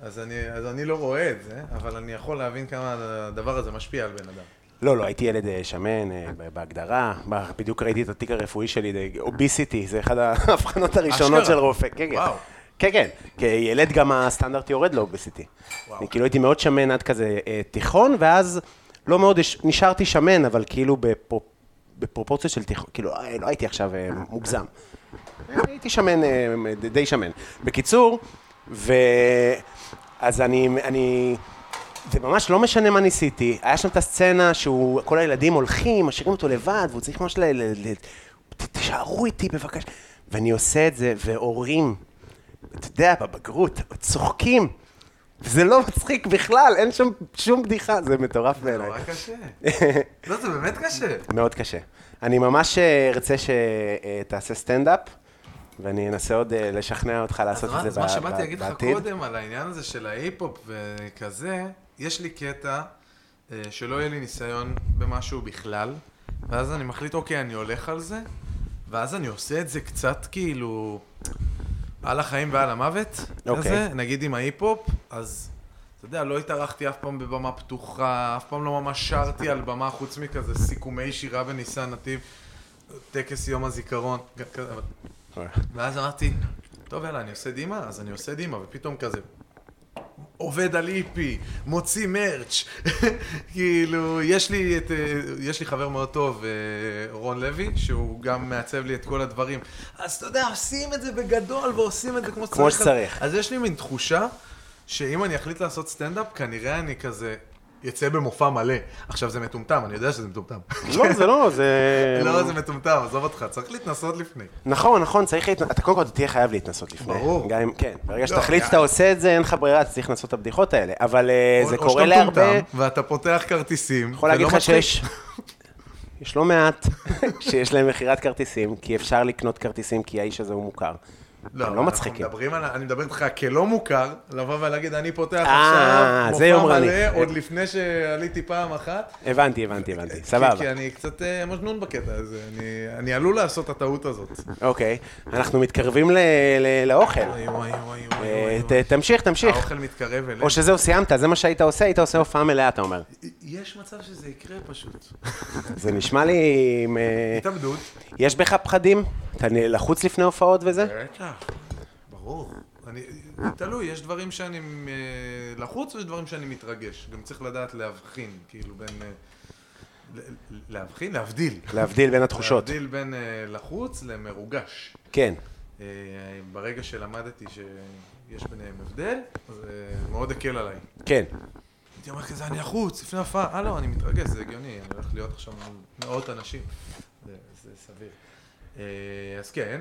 [SPEAKER 2] אז אני, אז אני לא רואה את זה, אבל אני יכול להבין כמה הדבר הזה משפיע על בן אדם.
[SPEAKER 3] לא, לא, הייתי ילד אה, שמן אה, ב- בהגדרה, ב- בדיוק ראיתי את התיק הרפואי שלי, אוביסיטי, זה אחד ההבחנות הראשונות
[SPEAKER 2] אשכרה.
[SPEAKER 3] של רופא. כן, כן.
[SPEAKER 2] וואו.
[SPEAKER 3] כן, כן, כילד גם הסטנדרט יורד לאוביסיטי.
[SPEAKER 2] וואו.
[SPEAKER 3] אני כאילו הייתי מאוד שמן עד כזה אה, תיכון, ואז לא מאוד הש- נשארתי שמן, אבל כאילו בפרו- בפרופורציות של תיכון, כאילו אה, לא הייתי עכשיו אה, מוגזם. הייתי שמן, אה, ד- די שמן. בקיצור, ו... אז אני, אני וממש לא משנה מה ניסיתי, היה שם את הסצנה שהוא, כל הילדים הולכים, משאירים אותו לבד, והוא צריך ממש ל... ל, ל ת- תישארו איתי בבקשה. ואני עושה את זה, והורים, אתה יודע, בבגרות, צוחקים. זה לא מצחיק בכלל, אין שם שום בדיחה, זה מטורף בעיניי.
[SPEAKER 2] נורא קשה. לא, זה באמת קשה.
[SPEAKER 3] מאוד קשה. אני ממש אה, ארצה שתעשה סטנדאפ, ואני אנסה עוד אה, לשכנע אותך לעשות
[SPEAKER 2] אז
[SPEAKER 3] את זה
[SPEAKER 2] מה- אז מה
[SPEAKER 3] ב-
[SPEAKER 2] שבאתי
[SPEAKER 3] ב-
[SPEAKER 2] להגיד לך
[SPEAKER 3] בעתיד.
[SPEAKER 2] קודם על העניין הזה של ההיפ-הופ וכזה, יש לי קטע אה, שלא יהיה לי ניסיון במשהו בכלל, ואז אני מחליט, אוקיי, אני הולך על זה, ואז אני עושה את זה קצת כאילו על החיים ועל המוות,
[SPEAKER 3] אוקיי.
[SPEAKER 2] כזה, נגיד עם ההיפ-הופ, אז... אתה יודע, לא התארחתי אף פעם בבמה פתוחה, אף פעם לא ממש שרתי על במה חוץ מכזה סיכומי שירה בניסן נתיב, טקס יום הזיכרון, כ- כזה, אבל ואז אמרתי, טוב יאללה, אני עושה דימה, אז אני עושה דימה, ופתאום כזה, עובד על איפי, מוציא מרץ', כאילו, יש לי, את, אה, יש לי חבר מאוד טוב, אה, רון לוי, שהוא גם מעצב לי את כל הדברים. אז אתה יודע, עושים את זה בגדול, ועושים את זה כמו,
[SPEAKER 3] כמו
[SPEAKER 2] אז-
[SPEAKER 3] שצריך.
[SPEAKER 2] אז יש לי מין תחושה, שאם אני אחליט לעשות סטנדאפ, כנראה אני כזה... יצא במופע מלא. עכשיו זה מטומטם, אני יודע שזה מטומטם.
[SPEAKER 3] לא, זה לא, זה...
[SPEAKER 2] לא, זה מטומטם, עזוב אותך, צריך להתנסות לפני.
[SPEAKER 3] נכון, נכון, צריך להתנסות, אתה קודם כל תהיה חייב להתנסות לפני.
[SPEAKER 2] ברור.
[SPEAKER 3] גם אם, כן, ברגע
[SPEAKER 2] לא,
[SPEAKER 3] שתחליט
[SPEAKER 2] יא.
[SPEAKER 3] שאתה עושה את זה, אין לך ברירה, אתה צריך לנסות את הבדיחות האלה. אבל אה,
[SPEAKER 2] או-
[SPEAKER 3] זה
[SPEAKER 2] או
[SPEAKER 3] קורה
[SPEAKER 2] שאתה
[SPEAKER 3] להרבה...
[SPEAKER 2] מטומטם, ואתה פותח כרטיסים.
[SPEAKER 3] יכול
[SPEAKER 2] זה
[SPEAKER 3] להגיד
[SPEAKER 2] לא
[SPEAKER 3] לך
[SPEAKER 2] מצחיק.
[SPEAKER 3] שיש... יש לא מעט שיש להם מכירת כרטיסים, כי אפשר לקנות כרטיסים כי האיש הזה הוא מוכר.
[SPEAKER 2] לא,
[SPEAKER 3] הם
[SPEAKER 2] אבל
[SPEAKER 3] לא
[SPEAKER 2] אנחנו
[SPEAKER 3] מצחיקים.
[SPEAKER 2] מדברים על... ה- אני מדבר איתך כלא מוכר, לבוא ולהגיד, אני פותח
[SPEAKER 3] אה,
[SPEAKER 2] עכשיו,
[SPEAKER 3] זה
[SPEAKER 2] מופע
[SPEAKER 3] יומרני.
[SPEAKER 2] מלא, עוד לפני שעליתי פעם אחת.
[SPEAKER 3] הבנתי, הבנתי, הבנתי,
[SPEAKER 2] כי-
[SPEAKER 3] סבבה.
[SPEAKER 2] כי אני קצת אה, מג'נון בקטע הזה, אני- אני עלול לעשות את הטעות הזאת.
[SPEAKER 3] אוקיי, אנחנו מתקרבים ל- ל- לאוכל.
[SPEAKER 2] אוי, אוי, אוי, אוי,
[SPEAKER 3] אה,
[SPEAKER 2] אוי,
[SPEAKER 3] ת-
[SPEAKER 2] אוי.
[SPEAKER 3] תמשיך, תמשיך.
[SPEAKER 2] האוכל מתקרב אלינו.
[SPEAKER 3] או שזהו, סיימת, זה מה שהיית עושה, היית עושה הופעה מלאה, אתה אומר.
[SPEAKER 2] יש מצב שזה יקרה פשוט.
[SPEAKER 3] זה נשמע לי... עם, אה,
[SPEAKER 2] התאבדות.
[SPEAKER 3] יש בך פחדים? אתה נ- לחוץ לפני הופעות וזה?
[SPEAKER 2] בטח, ברור. אני, תלוי, יש דברים שאני אה, לחוץ ויש דברים שאני מתרגש. גם צריך לדעת להבחין, כאילו בין... אה, ל- ל- להבחין? להבדיל.
[SPEAKER 3] להבדיל בין התחושות.
[SPEAKER 2] להבדיל בין אה, לחוץ למרוגש.
[SPEAKER 3] כן.
[SPEAKER 2] אה, ברגע שלמדתי שיש ביניהם הבדל, זה מאוד הקל עליי.
[SPEAKER 3] כן,
[SPEAKER 2] הייתי אומר כזה, אני לחוץ, לפני הופעה, אה לא, אני מתרגש, זה הגיוני, אני הולך להיות עכשיו מול מאות אנשים. זה, זה סביר. אה, אז כן,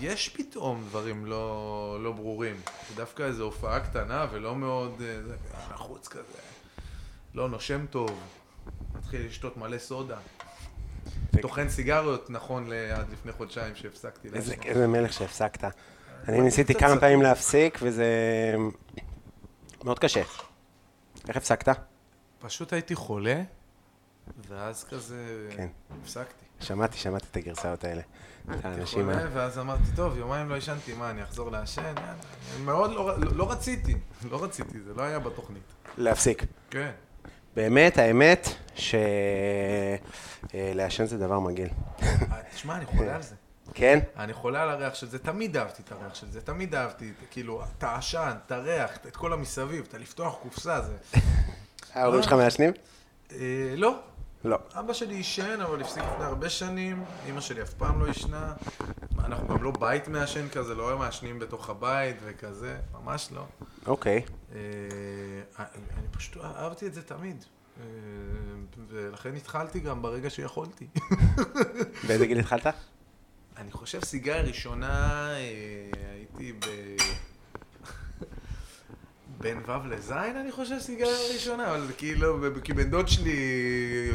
[SPEAKER 2] יש פתאום דברים לא, לא ברורים. דווקא איזו הופעה קטנה ולא מאוד, אה, זה, אה, לחוץ כזה, לא נושם טוב, מתחיל לשתות מלא סודה. טוחן סיגריות, נכון, ל- עד לפני חודשיים שהפסקתי.
[SPEAKER 3] איזה-
[SPEAKER 2] לעשן.
[SPEAKER 3] איזה מלך שהפסקת. אני ניסיתי
[SPEAKER 2] קצת
[SPEAKER 3] כמה
[SPEAKER 2] ספק.
[SPEAKER 3] פעמים להפסיק, וזה אמ, מאוד קשה. איך הפסקת?
[SPEAKER 2] פשוט הייתי חולה, ואז כזה,
[SPEAKER 3] כן.
[SPEAKER 2] הפסקתי.
[SPEAKER 3] שמעתי, שמעתי את הגרסאות האלה. את
[SPEAKER 2] הייתי
[SPEAKER 3] האנשים
[SPEAKER 2] חולה,
[SPEAKER 3] ה...
[SPEAKER 2] ואז אמרתי, טוב, יומיים לא ישנתי, מה, אני אחזור לעשן? יאללה." מאוד לא ר- לא רציתי, לא רציתי, זה לא היה בתוכנית.
[SPEAKER 3] להפסיק.
[SPEAKER 2] כן.
[SPEAKER 3] באמת, האמת, ש... אה, לעשן זה דבר מגעיל.
[SPEAKER 2] אה, תשמע, אני חולה על זה.
[SPEAKER 3] כן?
[SPEAKER 2] אני חולה על הריח של זה, תמיד אהבתי את הריח של זה, תמיד אהבתי, את- כאילו, את העשן, את הריח, את כל המסביב, את הלפתוח קופסה, זה...
[SPEAKER 3] ההורים שלך מעשנים?
[SPEAKER 2] אה, לא.
[SPEAKER 3] לא.
[SPEAKER 2] אבא שלי עישן, אבל הפסיק לפני הרבה שנים, אימא שלי אף פעם לא עישנה. מה, אנחנו גם לא בית מעשן כזה, לא מעשנים בתוך הבית וכזה, ממש לא.
[SPEAKER 3] אוקיי.
[SPEAKER 2] אה, אני אני פשוט אה- אהבתי את זה תמיד. אה, ולכן התחלתי גם ברגע שיכולתי.
[SPEAKER 3] באיזה גיל התחלת?
[SPEAKER 2] אני חושב סיגריה ראשונה, אה, הייתי ב... בין ו' לז', אני חושב סיגריה ראשונה, אבל כאילו, ב- כי בן דוד שלי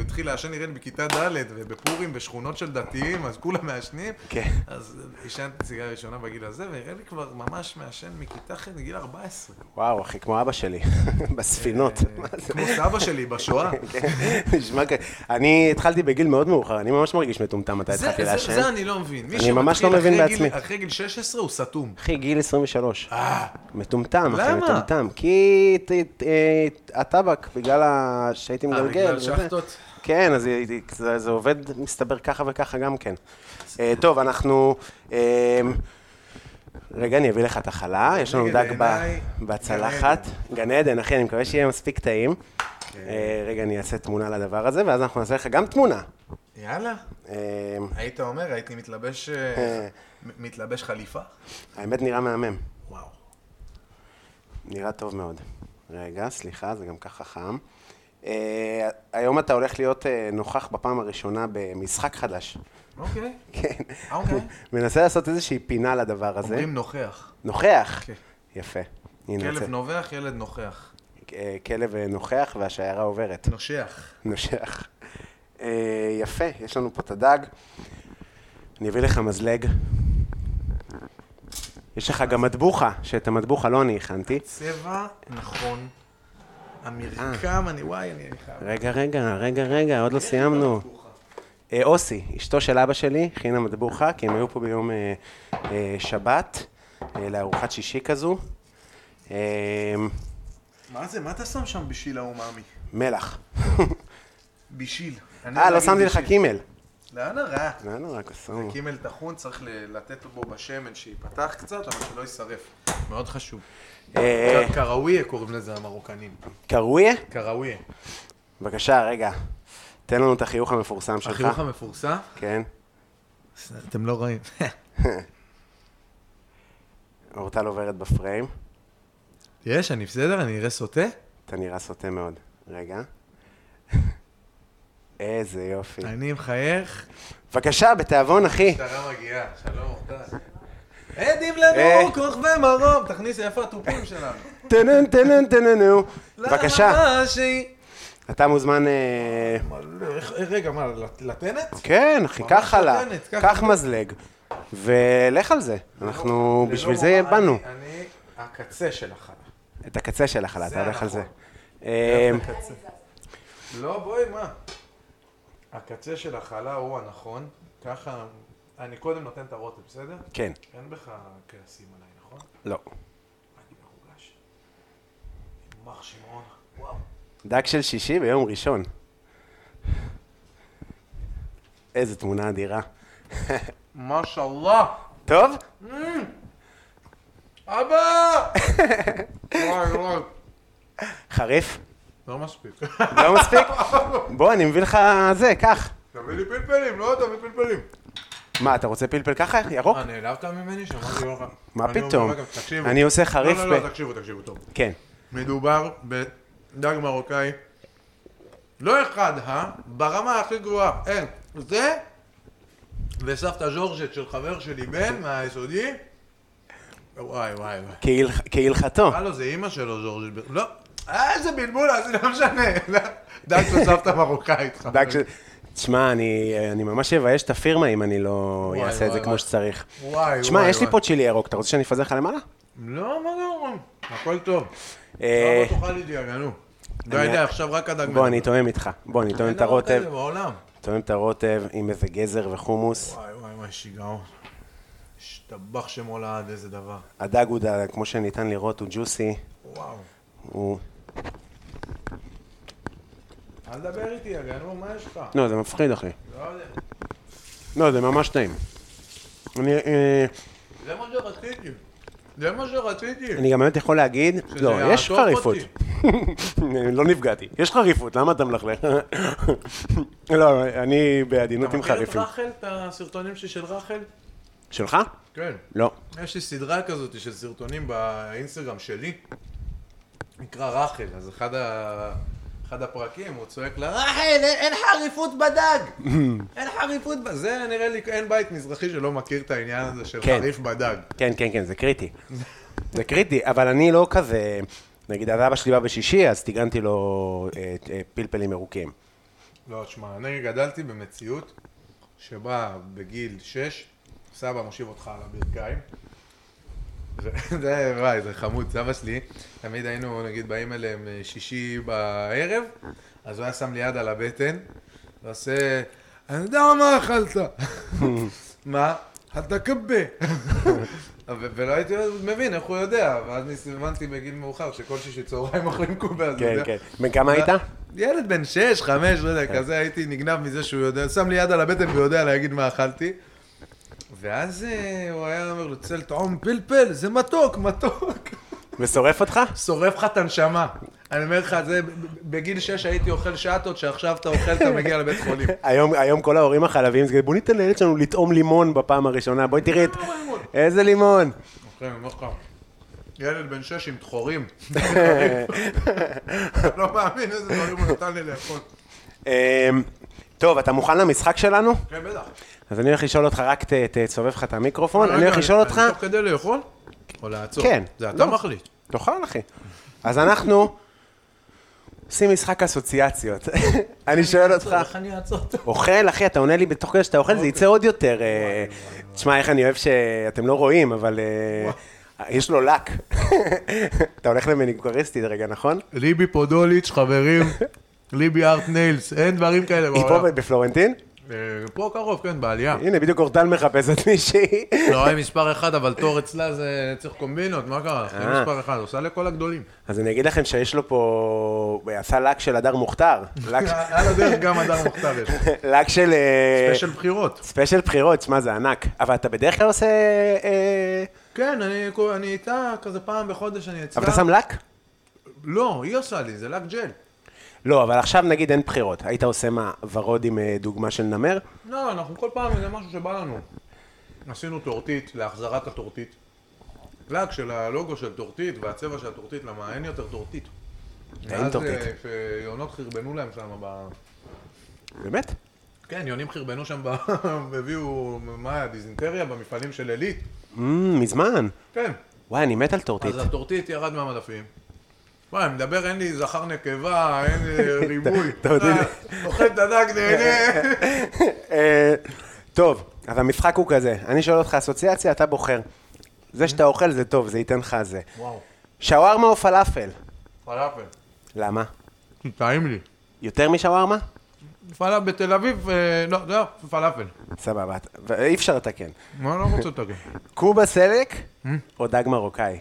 [SPEAKER 2] התחיל לעשן נראה לי בכיתה ד' ובפורים בשכונות של דתיים, אז כולם מעשנים.
[SPEAKER 3] כן.
[SPEAKER 2] אז עישנתי סיגריה ראשונה בגיל הזה, ונראה לי כבר ממש מעשן מכיתה ח' מגיל 14.
[SPEAKER 3] וואו, אחי, כמו אבא שלי, בספינות. מה
[SPEAKER 2] אה,
[SPEAKER 3] זה? כן.
[SPEAKER 2] כמו סבא שלי בשואה.
[SPEAKER 3] נשמע כ... אני התחלתי בגיל מאוד מאוחר, אני ממש מרגיש מטומטם מתי
[SPEAKER 2] זה,
[SPEAKER 3] התחלתי
[SPEAKER 2] זה,
[SPEAKER 3] לעשן.
[SPEAKER 2] זה אני לא מבין. מי
[SPEAKER 3] אני
[SPEAKER 2] שמתחיל
[SPEAKER 3] ממש לא מבין
[SPEAKER 2] אחרי
[SPEAKER 3] בעצמי.
[SPEAKER 2] גיל, אחרי גיל 16 הוא סתום.
[SPEAKER 3] אחי, גיל 23.
[SPEAKER 2] אה,
[SPEAKER 3] מטומטם, אחי,
[SPEAKER 2] למה?
[SPEAKER 3] מטומטם. כי ת- ת- אה, הטבק, בגלל ה- שהייתי
[SPEAKER 2] אה,
[SPEAKER 3] מגלגל.
[SPEAKER 2] בגלל
[SPEAKER 3] וזה.
[SPEAKER 2] שחטות.
[SPEAKER 3] כן, אז היא- היא- זה זה עובד, מסתבר ככה וככה גם כן. אה, טוב, אנחנו... אה, רגע, אני אביא לך את החלה, יש לנו
[SPEAKER 2] רגע,
[SPEAKER 3] דג ב-
[SPEAKER 2] בעיניי,
[SPEAKER 3] בצלחת. גן עדן, אחי, אני מקווה שיהיה מספיק טעים.
[SPEAKER 2] כן.
[SPEAKER 3] אה, רגע, אני אעשה תמונה לדבר הזה, ואז אנחנו נעשה לך גם תמונה.
[SPEAKER 2] יאללה.
[SPEAKER 3] אה,
[SPEAKER 2] היית אומר, הייתי מתלבש, אה,
[SPEAKER 3] אה.
[SPEAKER 2] מ- מתלבש חליפה?
[SPEAKER 3] האמת נראה מהמם,
[SPEAKER 2] וואו.
[SPEAKER 3] נראה טוב מאוד. רגע, סליחה, זה גם ככה חם. אה, היום אתה הולך להיות אה, נוכח בפעם הראשונה במשחק חדש.
[SPEAKER 2] אוקיי.
[SPEAKER 3] כן.
[SPEAKER 2] אוקיי.
[SPEAKER 3] מנסה לעשות איזושהי פינה לדבר הזה.
[SPEAKER 2] אומרים נוכח.
[SPEAKER 3] נוכח.
[SPEAKER 2] כן.
[SPEAKER 3] יפה. הנה,
[SPEAKER 2] כלב
[SPEAKER 3] זה-
[SPEAKER 2] נובח, ילד נוכח.
[SPEAKER 3] אה, כלב אה, נוכח והשיירה עוברת.
[SPEAKER 2] נושח.
[SPEAKER 3] נושך. אה, יפה, יש לנו פה את הדג. אני אביא לך מזלג. יש לך גם מטבוחה, שאת המטבוחה לא אני הכנתי.
[SPEAKER 2] צבע נכון. המרקם, אני וואי, אני אני חייב.
[SPEAKER 3] רגע, רגע, רגע, רגע, עוד לא סיימנו. אה, אוסי, אשתו של אבא שלי, הכינה מטבוחה, כי הם היו פה ביום אה, אה, שבת, אה, לארוחת שישי כזו. אה,
[SPEAKER 2] מה זה? מה אתה שם שם בישיל האומאמי?
[SPEAKER 3] מלח.
[SPEAKER 2] בישיל. אני
[SPEAKER 3] אה, לא
[SPEAKER 2] רגיל
[SPEAKER 3] שמתי לך
[SPEAKER 2] בישיל.
[SPEAKER 3] קימל.
[SPEAKER 2] לא נורא.
[SPEAKER 3] לא נורא, קסום.
[SPEAKER 2] קימל טחון, צריך ל- לתת בו בשמן שייפתח קצת, אבל שלא יישרף. מאוד חשוב.
[SPEAKER 3] אה,
[SPEAKER 2] ק- קראוויה קוראים לזה המרוקנים.
[SPEAKER 3] קרויה?
[SPEAKER 2] קראוויה.
[SPEAKER 3] בבקשה, רגע. תן לנו את החיוך המפורסם שלך.
[SPEAKER 2] החיוך המפורסם?
[SPEAKER 3] כן.
[SPEAKER 2] אתם לא רואים.
[SPEAKER 3] אורטל עוברת בפריים.
[SPEAKER 2] יש, אני בסדר? אני אראה סוטה?
[SPEAKER 3] אתה נראה סוטה מאוד. רגע. איזה יופי.
[SPEAKER 2] אני מחייך.
[SPEAKER 3] בבקשה, בתיאבון, אחי.
[SPEAKER 2] המשטרה מגיעה, שלום, אורטל. עדים לנו,
[SPEAKER 3] אה.
[SPEAKER 2] כוכבי מרום, תכניס איפה התופים שלנו.
[SPEAKER 3] טנן, טנן, טננו.
[SPEAKER 2] לא,
[SPEAKER 3] בבקשה.
[SPEAKER 2] למה שהיא... לא.
[SPEAKER 3] אתה מוזמן... אה,
[SPEAKER 2] רגע, מה, לטנט?
[SPEAKER 3] כן, אחי,
[SPEAKER 2] ממש
[SPEAKER 3] קח חלה.
[SPEAKER 2] נותנת, קח
[SPEAKER 3] קח מזלג. ולך על זה. אנחנו,
[SPEAKER 2] ללא
[SPEAKER 3] בשביל
[SPEAKER 2] לא, מורא,
[SPEAKER 3] זה באנו.
[SPEAKER 2] אני- אני הקצה של החלה.
[SPEAKER 3] את הקצה של החלה, אתה הולך על זה.
[SPEAKER 2] נכון.
[SPEAKER 3] אה,
[SPEAKER 2] הקצה. לא, בואי, מה? הקצה של החלה הוא הנכון, ככה... אני קודם נותן את הרוטב, בסדר?
[SPEAKER 3] כן.
[SPEAKER 2] אין בך כעסים עליי, נכון?
[SPEAKER 3] לא.
[SPEAKER 2] אני מרוגש. מר שמעון, וואו.
[SPEAKER 3] דג של שישי ביום ראשון. איזה תמונה אדירה.
[SPEAKER 2] משאללה!
[SPEAKER 3] טוב?
[SPEAKER 2] אבא! וואי, וואי.
[SPEAKER 3] חריף?
[SPEAKER 2] לא מספיק.
[SPEAKER 3] לא מספיק? בוא, אני מביא לך זה, קח.
[SPEAKER 2] תביא לי פלפלים, לא תביא פלפלים.
[SPEAKER 3] מה, אתה רוצה פלפל ככה? ירוק?
[SPEAKER 2] אה, נעלבת ממני? שמעתי לך.
[SPEAKER 3] מה
[SPEAKER 2] אני אומר
[SPEAKER 3] פתאום?
[SPEAKER 2] לכם, תקשיבו.
[SPEAKER 3] אני עושה חריף
[SPEAKER 2] לא, לא,
[SPEAKER 3] ב-
[SPEAKER 2] לא, תקשיבו, תקשיבו טוב.
[SPEAKER 3] כן.
[SPEAKER 2] מדובר בדג מרוקאי, לא אחד, אה? ברמה הכי גרועה, אין. זה וסבתא ז'ורג'ט של חבר שלי, בן, מהיסודי. וואי, וואי, וואי.
[SPEAKER 3] כהלכ- כהלכתו.
[SPEAKER 2] הלו, זה אימא שלו, ז'ורג'ט. בר- לא, אה, איזה בלבול, אז לא משנה. דג של סבתא מרוקאית. חבר.
[SPEAKER 3] דג של... תשמע, אני אני ממש אבייש את הפירמה אם אני לא
[SPEAKER 2] וואי,
[SPEAKER 3] אעשה את זה
[SPEAKER 2] וואי,
[SPEAKER 3] כמו
[SPEAKER 2] וואי.
[SPEAKER 3] שצריך.
[SPEAKER 2] וואי,
[SPEAKER 3] תשמע,
[SPEAKER 2] וואי,
[SPEAKER 3] יש לי
[SPEAKER 2] וואי.
[SPEAKER 3] פה צ'ילי ירוק, אתה רוצה שאני אפזר לך למעלה?
[SPEAKER 2] לא, מה זה אומרים? הכל טוב.
[SPEAKER 3] אה,
[SPEAKER 2] למה תאכל איתי, יגענו? די, די, עכשיו רק הדג.
[SPEAKER 3] בוא, אני תואם איתך. בוא, אני תואם
[SPEAKER 2] אין
[SPEAKER 3] את
[SPEAKER 2] דבר
[SPEAKER 3] הרוטב.
[SPEAKER 2] לא כזה בעולם.
[SPEAKER 3] תואם את הרוטב עם איזה גזר וחומוס.
[SPEAKER 2] וואי וואי וואי, שיגעון. השתבח שמו לעד, איזה דבר.
[SPEAKER 3] הדג הוא, דג, כמו שניתן לראות, הוא ג'וסי.
[SPEAKER 2] וואו.
[SPEAKER 3] הוא...
[SPEAKER 2] אל תדבר איתי, יגענו, מה יש לך?
[SPEAKER 3] לא, זה מפחיד, אחי.
[SPEAKER 2] לא יודע.
[SPEAKER 3] לא, זה ממש טעים. אני, אה,
[SPEAKER 2] זה מה שרציתי. זה מה שרציתי.
[SPEAKER 3] אני גם באמת יכול להגיד,
[SPEAKER 2] שזה
[SPEAKER 3] לא,
[SPEAKER 2] יעטוף
[SPEAKER 3] יש חריפות.
[SPEAKER 2] אותי.
[SPEAKER 3] לא נפגעתי. יש חריפות, למה אתה מלכלך? לא, אני בעדינות
[SPEAKER 2] אתה
[SPEAKER 3] עם
[SPEAKER 2] מכיר את
[SPEAKER 3] חריפים.
[SPEAKER 2] רחל, את הסרטונים שלי של רחל?
[SPEAKER 3] שלך?
[SPEAKER 2] כן.
[SPEAKER 3] לא.
[SPEAKER 2] יש לי סדרה כזאת של סרטונים באינסטגרם שלי, נקרא רחל, אז אחד, ה... אחד הפרקים הוא צועק לה, רחל, אין, אין חריפות בדג! אין חריפות בדג! זה נראה לי, אין בית מזרחי שלא מכיר את העניין הזה של
[SPEAKER 3] כן.
[SPEAKER 2] חריף בדג.
[SPEAKER 3] כן, כן, כן, זה קריטי. זה קריטי, אבל אני לא כזה... נגיד, אז אבא שלי בא בשישי, אז טיגנתי לו אה, אה, פלפלים ירוקים.
[SPEAKER 2] לא, תשמע, אני גדלתי במציאות שבה בגיל 6, סבא מושיב אותך על הברכיים. זה- זה, וואי, זה חמוד, סבא שלי, תמיד היינו, נגיד, באים אליהם אה, שישי בערב, אז הוא היה שם לי יד על הבטן, ועושה, אני יודע מה אכלת. מה? אתה קבה. ו- ולא הייתי מבין איך הוא יודע, ואז ניסימנתי בגיל מאוחר שכל שישי צהריים אוכלים קובה. אז הוא
[SPEAKER 3] כן,
[SPEAKER 2] יודע.
[SPEAKER 3] כן. בן כמה היית?
[SPEAKER 2] ילד בן 6, 5, לא יודע, כזה הייתי נגנב מזה שהוא יודע, שם לי יד על הבטן ויודע להגיד מה אכלתי. ואז אה, הוא היה אומר לו, צא לטעום פלפל, זה מתוק, מתוק.
[SPEAKER 3] ושורף אותך?
[SPEAKER 2] שורף לך את הנשמה. אני אומר לך, זה, בגיל 6 הייתי אוכל שעטות, שעכשיו אתה אוכל, אתה מגיע לבית חולים.
[SPEAKER 3] היום, היום כל ההורים החלביים, זה כזה, בוא ניתן לילד שלנו לטעום לימון בפעם הראשונה, בואי תראי את... איזה לימון.
[SPEAKER 2] אוכל, אני אומר אוקיי, לך, ילד בן שש עם דחורים. לא מאמין איזה דברים הוא נתן לי לאכול.
[SPEAKER 3] אמ, טוב, אתה מוכן למשחק שלנו?
[SPEAKER 2] כן, בטח.
[SPEAKER 3] אז אני הולך לשאול אותך, רק ת- תסובב לך את המיקרופון, נכון, אני
[SPEAKER 2] רגע,
[SPEAKER 3] הולך לשאול אותך...
[SPEAKER 2] תוך כדי לאכול? או לעצור?
[SPEAKER 3] כן.
[SPEAKER 2] זה
[SPEAKER 3] לא.
[SPEAKER 2] אתה מחליט.
[SPEAKER 3] תאכל, אחי. אז אנחנו עושים משחק אסוציאציות. אני שואל אותך...
[SPEAKER 4] איך אני אעצור אותו?
[SPEAKER 3] אוכל, אחי, אתה עונה לי בתוך כדי שאתה אוכל, זה יצא עוד יותר. אה, תשמע, איך אני אוהב שאתם לא רואים, אבל אה, יש לו לק. אתה הולך למניקוריסטית רגע, נכון?
[SPEAKER 2] ליבי פודוליץ', חברים, ליבי ארט ניילס, אין דברים כאלה
[SPEAKER 3] היא פה
[SPEAKER 2] בעולם.
[SPEAKER 3] בפלורנטין?
[SPEAKER 2] אה, פה קרוב, כן, בעלייה.
[SPEAKER 3] הנה, בדיוק אורטל מחפשת מישהי.
[SPEAKER 2] לא, היא מספר אחד, אבל תור אצלה זה צריך קומבינות, מה קרה לך? היא
[SPEAKER 3] אה.
[SPEAKER 2] מספר אחד, עושה לכל הגדולים.
[SPEAKER 3] אז אני אגיד לכם שיש לו פה... הוא עשה לק של הדר מוכתר. לק-
[SPEAKER 2] על הדרך גם הדר מוכתב יש.
[SPEAKER 3] לק של... אה,
[SPEAKER 2] ספיישל בחירות.
[SPEAKER 3] ספיישל בחירות, תשמע, זה ענק. אבל אתה בדרך כלל עושה... אה,
[SPEAKER 2] כן, אני- אני איתה כזה פעם בחודש, אני אצלה.
[SPEAKER 3] אבל אתה שם לק?
[SPEAKER 2] לא, היא עושה לי, זה לק ג'ל.
[SPEAKER 3] לא, אבל עכשיו נגיד אין בחירות. היית עושה מה, ורוד עם אה, דוגמה של נמר?
[SPEAKER 2] לא, אנחנו כל פעם, זה משהו שבא לנו. עשינו טורטית להחזרת הטורטית. לק של הלוגו של טורטית והצבע של הטורטית, למה אין יותר טורטית.
[SPEAKER 3] אין טורטית.
[SPEAKER 2] ואז אה, שיונות חרבנו להם שם ב...
[SPEAKER 3] באמת?
[SPEAKER 2] כן, יונים חרבנו שם, ב... הביאו, מה היה, דיזנטריה במפעלים של עילית.
[SPEAKER 3] אמ, מזמן.
[SPEAKER 2] כן.
[SPEAKER 3] וואי, אני מת על טורטית.
[SPEAKER 2] אז הטורטית ירד מהמדפים. וואי, אני מדבר, אין לי זכר נקבה, אין לי ריבוי.
[SPEAKER 3] טורטית.
[SPEAKER 2] אה, אוכל את הדג, נהנה.
[SPEAKER 3] אה, טוב, אז המשחק הוא כזה. אני שואל אותך אסוציאציה, אתה בוחר. זה שאתה אוכל זה טוב, זה ייתן לך זה.
[SPEAKER 2] וואו,
[SPEAKER 3] שווארמה או פלאפל?
[SPEAKER 2] פלאפל.
[SPEAKER 3] למה?
[SPEAKER 2] טעים לי.
[SPEAKER 3] יותר משווארמה?
[SPEAKER 2] פלאפל בתל אביב, אה, לא, לא, פלאפל.
[SPEAKER 3] סבבה, אתה- ואי אפשר לתקן.
[SPEAKER 2] מה לא רוצה לתקן?
[SPEAKER 3] קובה סלק או דג מרוקאי?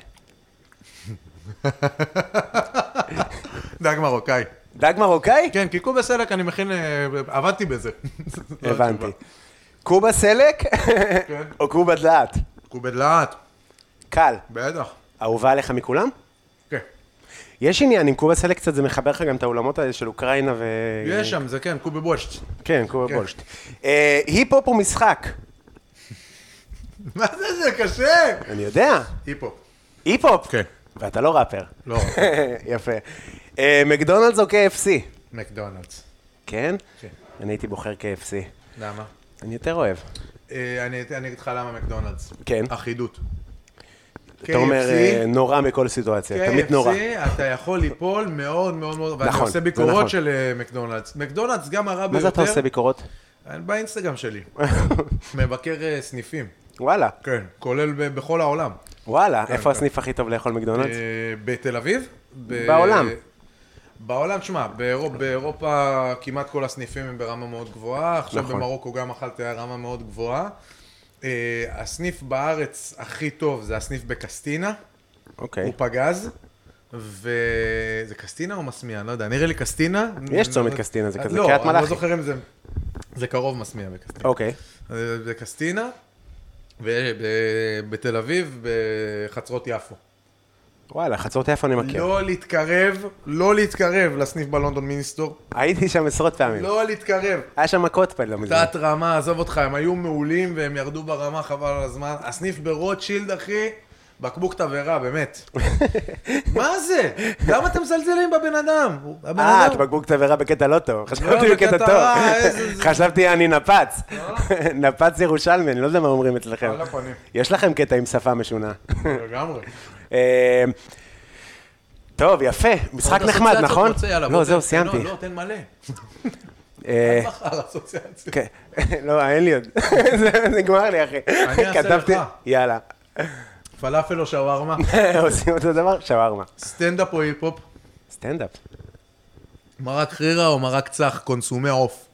[SPEAKER 2] דג מרוקאי.
[SPEAKER 3] דג מרוקאי?
[SPEAKER 2] אוקיי. כן, כי קובה סלק אני מכין, אה, עבדתי בזה. זו
[SPEAKER 3] הבנתי.
[SPEAKER 2] התשובה. כן.
[SPEAKER 3] קובה סלק או קובה דלעת?
[SPEAKER 2] קובה דלעת,
[SPEAKER 3] קל.
[SPEAKER 2] בטח.
[SPEAKER 3] אהובה עליך מכולם?
[SPEAKER 2] כן.
[SPEAKER 3] יש עניין, עם קובה סלק קצת זה מחבר לך גם את האולמות האלה של אוקראינה ו...
[SPEAKER 2] יש שם, זה כן, קובה בושט.
[SPEAKER 3] כן, קובה
[SPEAKER 2] כן.
[SPEAKER 3] בולשט. אה, היפ-הופ הוא משחק,
[SPEAKER 2] מה זה, זה קשה!
[SPEAKER 3] אני יודע.
[SPEAKER 2] היפו.
[SPEAKER 3] היפ-הופ.
[SPEAKER 2] כן.
[SPEAKER 3] ואתה לא ראפר.
[SPEAKER 2] לא.
[SPEAKER 3] יפה. אה, מקדונלדס או KFC?
[SPEAKER 2] מקדונלדס.
[SPEAKER 3] כן?
[SPEAKER 2] כן.
[SPEAKER 3] אני הייתי בוחר KFC.
[SPEAKER 2] למה?
[SPEAKER 3] אני יותר אוהב.
[SPEAKER 2] אה, אני אני אגיד לך למה מקדונלדס.
[SPEAKER 3] כן.
[SPEAKER 2] אחידות.
[SPEAKER 3] אתה אומר
[SPEAKER 2] KFC,
[SPEAKER 3] אה, נורא מכל סיטואציה, תמיד נורא.
[SPEAKER 2] KFC, אתה יכול ליפול מאוד מאוד מאוד, ואני
[SPEAKER 3] נכון,
[SPEAKER 2] עושה
[SPEAKER 3] זה נכון.
[SPEAKER 2] ביקורות של אה, מקדונלדס. מקדונלדס גם הרע ביותר.
[SPEAKER 3] מה זה אתה עושה ביקורות?
[SPEAKER 2] אני באינסטגרם שלי. מבקר אה, סניפים.
[SPEAKER 3] וואלה,
[SPEAKER 2] כן. כולל ב- בכל העולם.
[SPEAKER 3] וואלה,
[SPEAKER 2] כן.
[SPEAKER 3] איפה הסניף הכי טוב לאכול מקדונלדס?
[SPEAKER 2] אה, בתל אביב? ב-
[SPEAKER 3] בעולם.
[SPEAKER 2] בעולם, שמע, באירופ, באירופה כמעט כל הסניפים הם ברמה מאוד גבוהה, עכשיו
[SPEAKER 3] נכון.
[SPEAKER 2] נכון. במרוקו גם אכלתי היה רמה מאוד גבוהה. אה, הסניף בארץ הכי טוב זה הסניף בקסטינה,
[SPEAKER 3] אוקיי.
[SPEAKER 2] הוא פגז, וזה קסטינה או מסמיה? לא יודע, נראה לי קסטינה.
[SPEAKER 3] יש צומת קסטינה, זה כזה
[SPEAKER 2] לא,
[SPEAKER 3] קריית
[SPEAKER 2] אני
[SPEAKER 3] מלאכי.
[SPEAKER 2] לא זוכר אם זה... זה קרוב מסמיה בקסטינה.
[SPEAKER 3] אוקיי.
[SPEAKER 2] זה זה קסטינה, ובתל אביב, בחצרות יפו.
[SPEAKER 3] וואלה, חצרות יפו אני מכיר.
[SPEAKER 2] לא להתקרב, לא להתקרב לסניף בלונדון מיניסטור.
[SPEAKER 3] הייתי שם עשרות פעמים.
[SPEAKER 2] לא להתקרב.
[SPEAKER 3] היה שם מכות פעם לא מזמן.
[SPEAKER 2] תת רמה, עזוב אותך, הם היו מעולים והם ירדו ברמה, חבל על הזמן. הסניף ברוטשילד, אחי, בקבוק תבערה, באמת. מה זה? למה אתם מזלזלים בבן אדם? הוא- הבן
[SPEAKER 3] אה,
[SPEAKER 2] אדם...
[SPEAKER 3] את בקבוק תבערה בקטע לא טוב. חשבתי
[SPEAKER 2] לא,
[SPEAKER 3] בקטע
[SPEAKER 2] בקטע
[SPEAKER 3] טוב.
[SPEAKER 2] רע, איזה זה. לא.
[SPEAKER 3] חשבתי אני נפץ. נפץ ירושלמי, אני לא יודע מה אומרים אצלכם.
[SPEAKER 2] על הפנים.
[SPEAKER 3] יש לכם קטע עם שפה משונה.
[SPEAKER 2] לגמרי.
[SPEAKER 3] אה, טוב, יפה. משחק
[SPEAKER 2] עוד
[SPEAKER 3] נחמד,
[SPEAKER 2] אסוציאציות
[SPEAKER 3] נכון?
[SPEAKER 2] רוצה, יאללה, בוא,
[SPEAKER 3] לא, זהו,
[SPEAKER 2] תן-
[SPEAKER 3] סיימתי.
[SPEAKER 2] לא, לא, תן מלא.
[SPEAKER 3] אה,
[SPEAKER 2] מחר אסוציאציות.
[SPEAKER 3] כן. לא, אין לי עוד. זה נגמר לי, אחי.
[SPEAKER 2] אני אעשה
[SPEAKER 3] כתבתי-
[SPEAKER 2] לך.
[SPEAKER 3] יאללה.
[SPEAKER 2] פלאפל או שווארמה?
[SPEAKER 3] עושים אותו דבר? שווארמה.
[SPEAKER 2] סטנדאפ או היפ-הופ?
[SPEAKER 3] סטנדאפ.
[SPEAKER 2] מרק חירה או מרק צח? קונסומי עוף.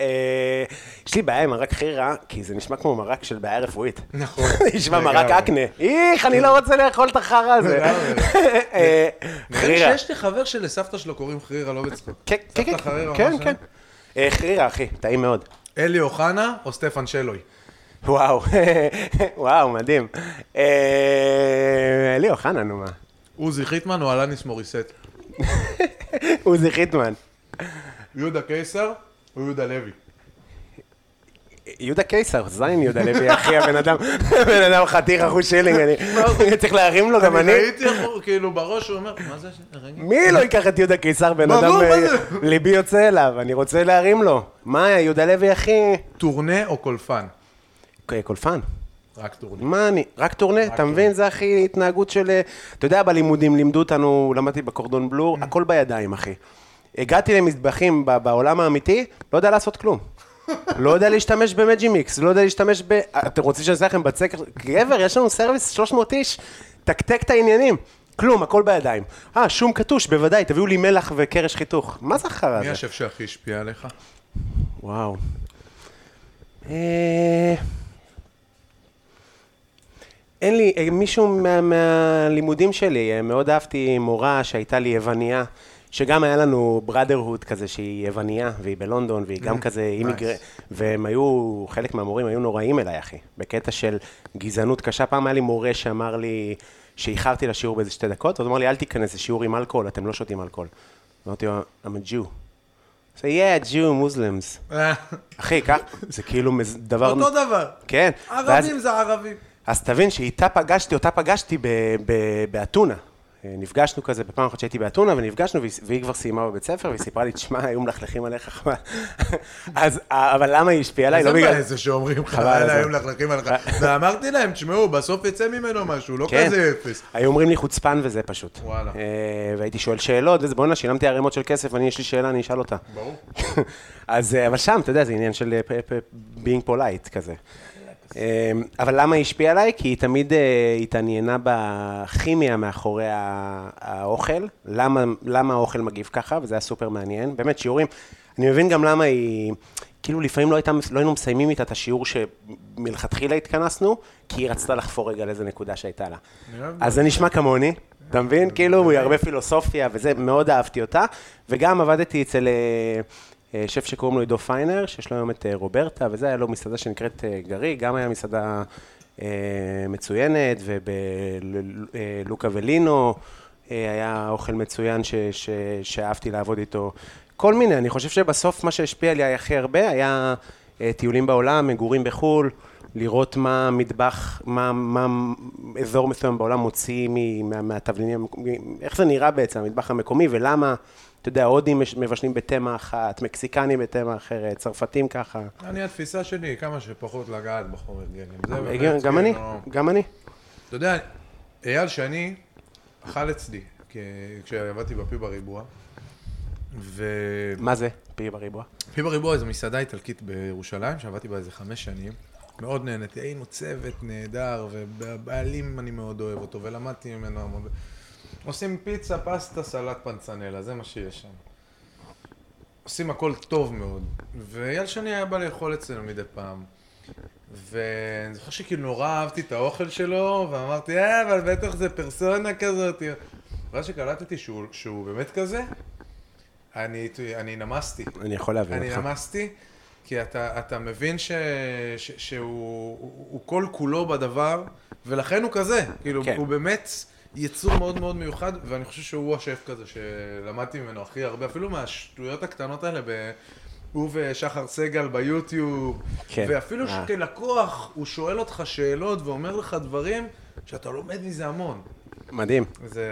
[SPEAKER 3] אה, יש לי בעיה עם מרק חירה, כי זה נשמע כמו מרק של בעיה רפואית.
[SPEAKER 2] נכון.
[SPEAKER 3] נשמע מרק
[SPEAKER 2] לגמרי.
[SPEAKER 3] אקנה. איך, אני לא רוצה לאכול את החרא הזה.
[SPEAKER 2] לגמרי.
[SPEAKER 3] אה,
[SPEAKER 2] נראה לי
[SPEAKER 3] חרירה.
[SPEAKER 2] כן, שיש לי חבר שלסבתא שלו קוראים חרירה, לא בצחוק.
[SPEAKER 3] כן, כן,
[SPEAKER 2] סבתא חרירה,
[SPEAKER 3] כן,
[SPEAKER 2] משהו?
[SPEAKER 3] כן. אה, חרירה, אחי, טעים מאוד.
[SPEAKER 2] אלי אוחנה או סטפן שלוי?
[SPEAKER 3] וואו, וואו, מדהים. אה, אלי אוחנה, נו מה.
[SPEAKER 2] עוזי חיטמן או אלניס מוריסט?
[SPEAKER 3] עוזי חיטמן.
[SPEAKER 2] יהודה קיסר או יהודה לוי?
[SPEAKER 3] יהודה קיסר, זין יהודה לוי, אחי, הבן אדם, הבן אדם חתיך אחוז שילינג, אני צריך להרים לו גם אני.
[SPEAKER 2] אני ראיתי איך הוא, כאילו, בראש הוא אומר, מה זה? ש- רגע.
[SPEAKER 3] מי לא ייקח את יהודה קיסר, בן
[SPEAKER 2] ברור,
[SPEAKER 3] אדם,
[SPEAKER 2] מה
[SPEAKER 3] אה,
[SPEAKER 2] זה?
[SPEAKER 3] ליבי יוצא אליו, אני רוצה להרים לו. מה, יהודה לוי, אחי?
[SPEAKER 2] טורנה או קולפן?
[SPEAKER 3] אוקיי, קולפן.
[SPEAKER 2] רק טורנה.
[SPEAKER 3] מה אני, רק טורנה, אתה מבין? זה הכי התנהגות של... אה, אתה יודע, בלימודים לימדו אותנו, למדתי בקורדון בלור, הכל בידיים, אחי. הגעתי למטבחים ב- בעולם האמיתי, לא יודע לעשות כלום. לא יודע להשתמש במג'י מיקס, לא יודע להשתמש ב... אתם רוצים שאני אעשה לכם בצק? גבר, יש לנו סרוויס 300 איש, תקתק את העניינים. כלום, הכל בידיים. אה, שום קטוש, בוודאי, תביאו לי מלח וקרש חיתוך. מה זה החרא
[SPEAKER 2] מי
[SPEAKER 3] הזה?
[SPEAKER 2] השף שהכי השפיע עליך?
[SPEAKER 3] וואו. אה, אין לי, אה, מישהו מה, מהלימודים שלי, אה, מאוד אהבתי מורה שהייתה לי יווניה, שגם היה לנו בראדרהוד כזה שהיא יווניה, והיא בלונדון, והיא גם כזה אימיגר... והם היו, חלק מהמורים היו נוראים אליי, אחי, בקטע של גזענות קשה. פעם היה לי מורה שאמר לי, שאיחרתי לשיעור באיזה שתי דקות, אז הוא אמר לי, אל תיכנס לשיעור עם אלכוהול, אתם לא שותים אלכוהול. אמרתי לו, I'm a Jew. So yeah, Jew, Muslims.
[SPEAKER 2] אה,
[SPEAKER 3] אחי, כך, זה כאילו מז- דבר...
[SPEAKER 2] אותו דבר.
[SPEAKER 3] כן. ואז-
[SPEAKER 2] ערבים זה ערבים.
[SPEAKER 3] אז תבין שאיתה פגשתי, אותה פגשתי ב- ב- באתונה. אה, נפגשנו כזה בפעם אחת שהייתי באתונה, ונפגשנו, והיא, והיא כבר סיימה בבית ספר, והיא סיפרה לי, תשמע, היו מלכלכים עליך חבל. אז, אה, אבל למה היא השפיעה עליי?
[SPEAKER 2] זה
[SPEAKER 3] לא בגלל...
[SPEAKER 2] בעיה זה שאומרים לך,
[SPEAKER 3] חבל על
[SPEAKER 2] יאללה,
[SPEAKER 3] הזמן.
[SPEAKER 2] היו מלכלכים עליך. ואמרתי להם, תשמעו, בסוף יצא ממנו משהו, לא
[SPEAKER 3] כן.
[SPEAKER 2] כזה אפס.
[SPEAKER 3] היו אומרים לי חוצפן וזה פשוט.
[SPEAKER 2] וואלה.
[SPEAKER 3] אה, והייתי שואל שאלות, וזה, בואנה, שילמתי ערימות של כסף, אני, יש לי שאלה, אני אשאל אותה.
[SPEAKER 2] ברור.
[SPEAKER 3] אז, אה, אבל שם, אתה יודע, זה עניין של אה, פ- פ- being polite כזה. אה, אבל למה היא השפיעה עליי? כי היא תמיד אה, התעניינה בכימיה מאחורי ה- האוכל, למה, למה האוכל מגיב ככה, וזה היה סופר מעניין. באמת, שיעורים, אני מבין גם למה היא, כאילו לפעמים לא, הייתה, לא היינו מסיימים איתה את השיעור שמלכתחילה התכנסנו, כי היא רצתה לחפור רגע לאיזה נקודה שהייתה לה.
[SPEAKER 2] אני אוהב
[SPEAKER 3] אז זה נשמע כמוני, אתה מבין? כאילו, היא הרבה פילוסופיה וזה, מאוד אהבתי אותה. וגם עבדתי אצל אה, אה, שף שקוראים לו עידו פיינר, שיש לו היום את אה, רוברטה, וזה, היה לו מסעדה שנקראת אה, גרי, גם היה מסעדה אה, מצוינת, ובלוקה ולינו אה, היה אוכל מצוין ש, ש, שאהבתי לעבוד איתו. כל מיני, אני חושב שבסוף מה שהשפיע עליי הכי הרבה היה אה, טיולים בעולם, מגורים בחו"ל. לראות מה מטבח, מה, מה אזור מסוים בעולם מוציא מ- מה, מהתבלינים, המקומיים, איך זה נראה בעצם, המטבח המקומי, ולמה, אתה יודע, הודים מש- מבשלים בתמה אחת, מקסיקנים בתמה אחרת, צרפתים ככה.
[SPEAKER 2] אני, התפיסה שלי, כמה שפחות לגעת בחומר גלם. זה באמת,
[SPEAKER 3] הגיע- אה, גם אני,
[SPEAKER 2] כאילו,
[SPEAKER 3] גם אני.
[SPEAKER 2] אתה יודע, אייל שני אכל אצלי, כ- כשעבדתי בפי בריבוע, ו...
[SPEAKER 3] מה זה? פי בריבוע.
[SPEAKER 2] פי בריבוע זו מסעדה איטלקית בירושלים, שעבדתי בה איזה חמש שנים. מאוד נהניתי, היינו צוות נהדר, ובעלים אני מאוד אוהב אותו, ולמדתי ממנו המון. עושים פיצה, פסטה, סלט, פנצנלה, זה מה שיש שם. עושים הכל טוב מאוד. ואייל שני היה בא לאכול אצלנו מדי פעם. ואני זוכר שכאילו נורא אהבתי את האוכל שלו, ואמרתי, אה, אבל בטח זה פרסונה כזאת. ואז שקלטתי שהוא, שהוא באמת כזה, אני, אני נמסתי.
[SPEAKER 3] אני יכול להבין
[SPEAKER 2] אני
[SPEAKER 3] אותך.
[SPEAKER 2] נמסתי, כי אתה, אתה מבין ש, ש, שהוא הוא, הוא כל כולו בדבר, ולכן הוא כזה. כאילו,
[SPEAKER 3] כן.
[SPEAKER 2] כן. הוא באמת יצור מאוד מאוד מיוחד, ואני חושב שהוא השף כזה שלמדתי ממנו הכי הרבה, אפילו מהשטויות הקטנות האלה ב... הוא ושחר סגל ביוטיוב,
[SPEAKER 3] כן.
[SPEAKER 2] ואפילו
[SPEAKER 3] אה.
[SPEAKER 2] כלקוח הוא שואל אותך שאלות ואומר לך דברים שאתה לומד מזה המון.
[SPEAKER 3] מדהים.
[SPEAKER 2] זה,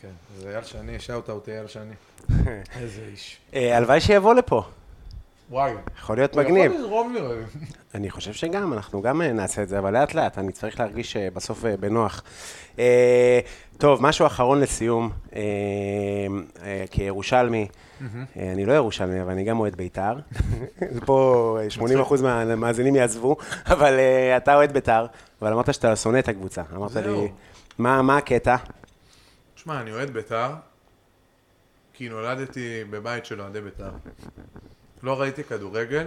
[SPEAKER 2] כן, זה אייל שני, שאוט אאוט אייל שני. איזה איש.
[SPEAKER 3] אה, הלוואי שיבוא לפה,
[SPEAKER 2] וואי.
[SPEAKER 3] יכול להיות
[SPEAKER 2] הוא יכול
[SPEAKER 3] מגניב.
[SPEAKER 2] לזרום נראה לי.
[SPEAKER 3] אני חושב שגם, אנחנו גם אה, נעשה את זה, אבל לאט לאט, אני צריך להרגיש אה, בסוף אה, בנוח. אה, טוב, משהו אחרון לסיום, אה, אה, כירושלמי, אה, אני לא ירושלמי, אבל אני גם אוהד בית"ר. פה אה, 80% מהמאזינים יעזבו, אבל אה, אתה אוהד בית"ר, אבל אמרת שאתה שונא את הקבוצה. אמרת לי,
[SPEAKER 2] זהו.
[SPEAKER 3] מה מה הקטע?
[SPEAKER 2] תשמע, אני אוהד בית"ר, כי נולדתי בבית של אוהדי בית"ר. לא ראיתי כדורגל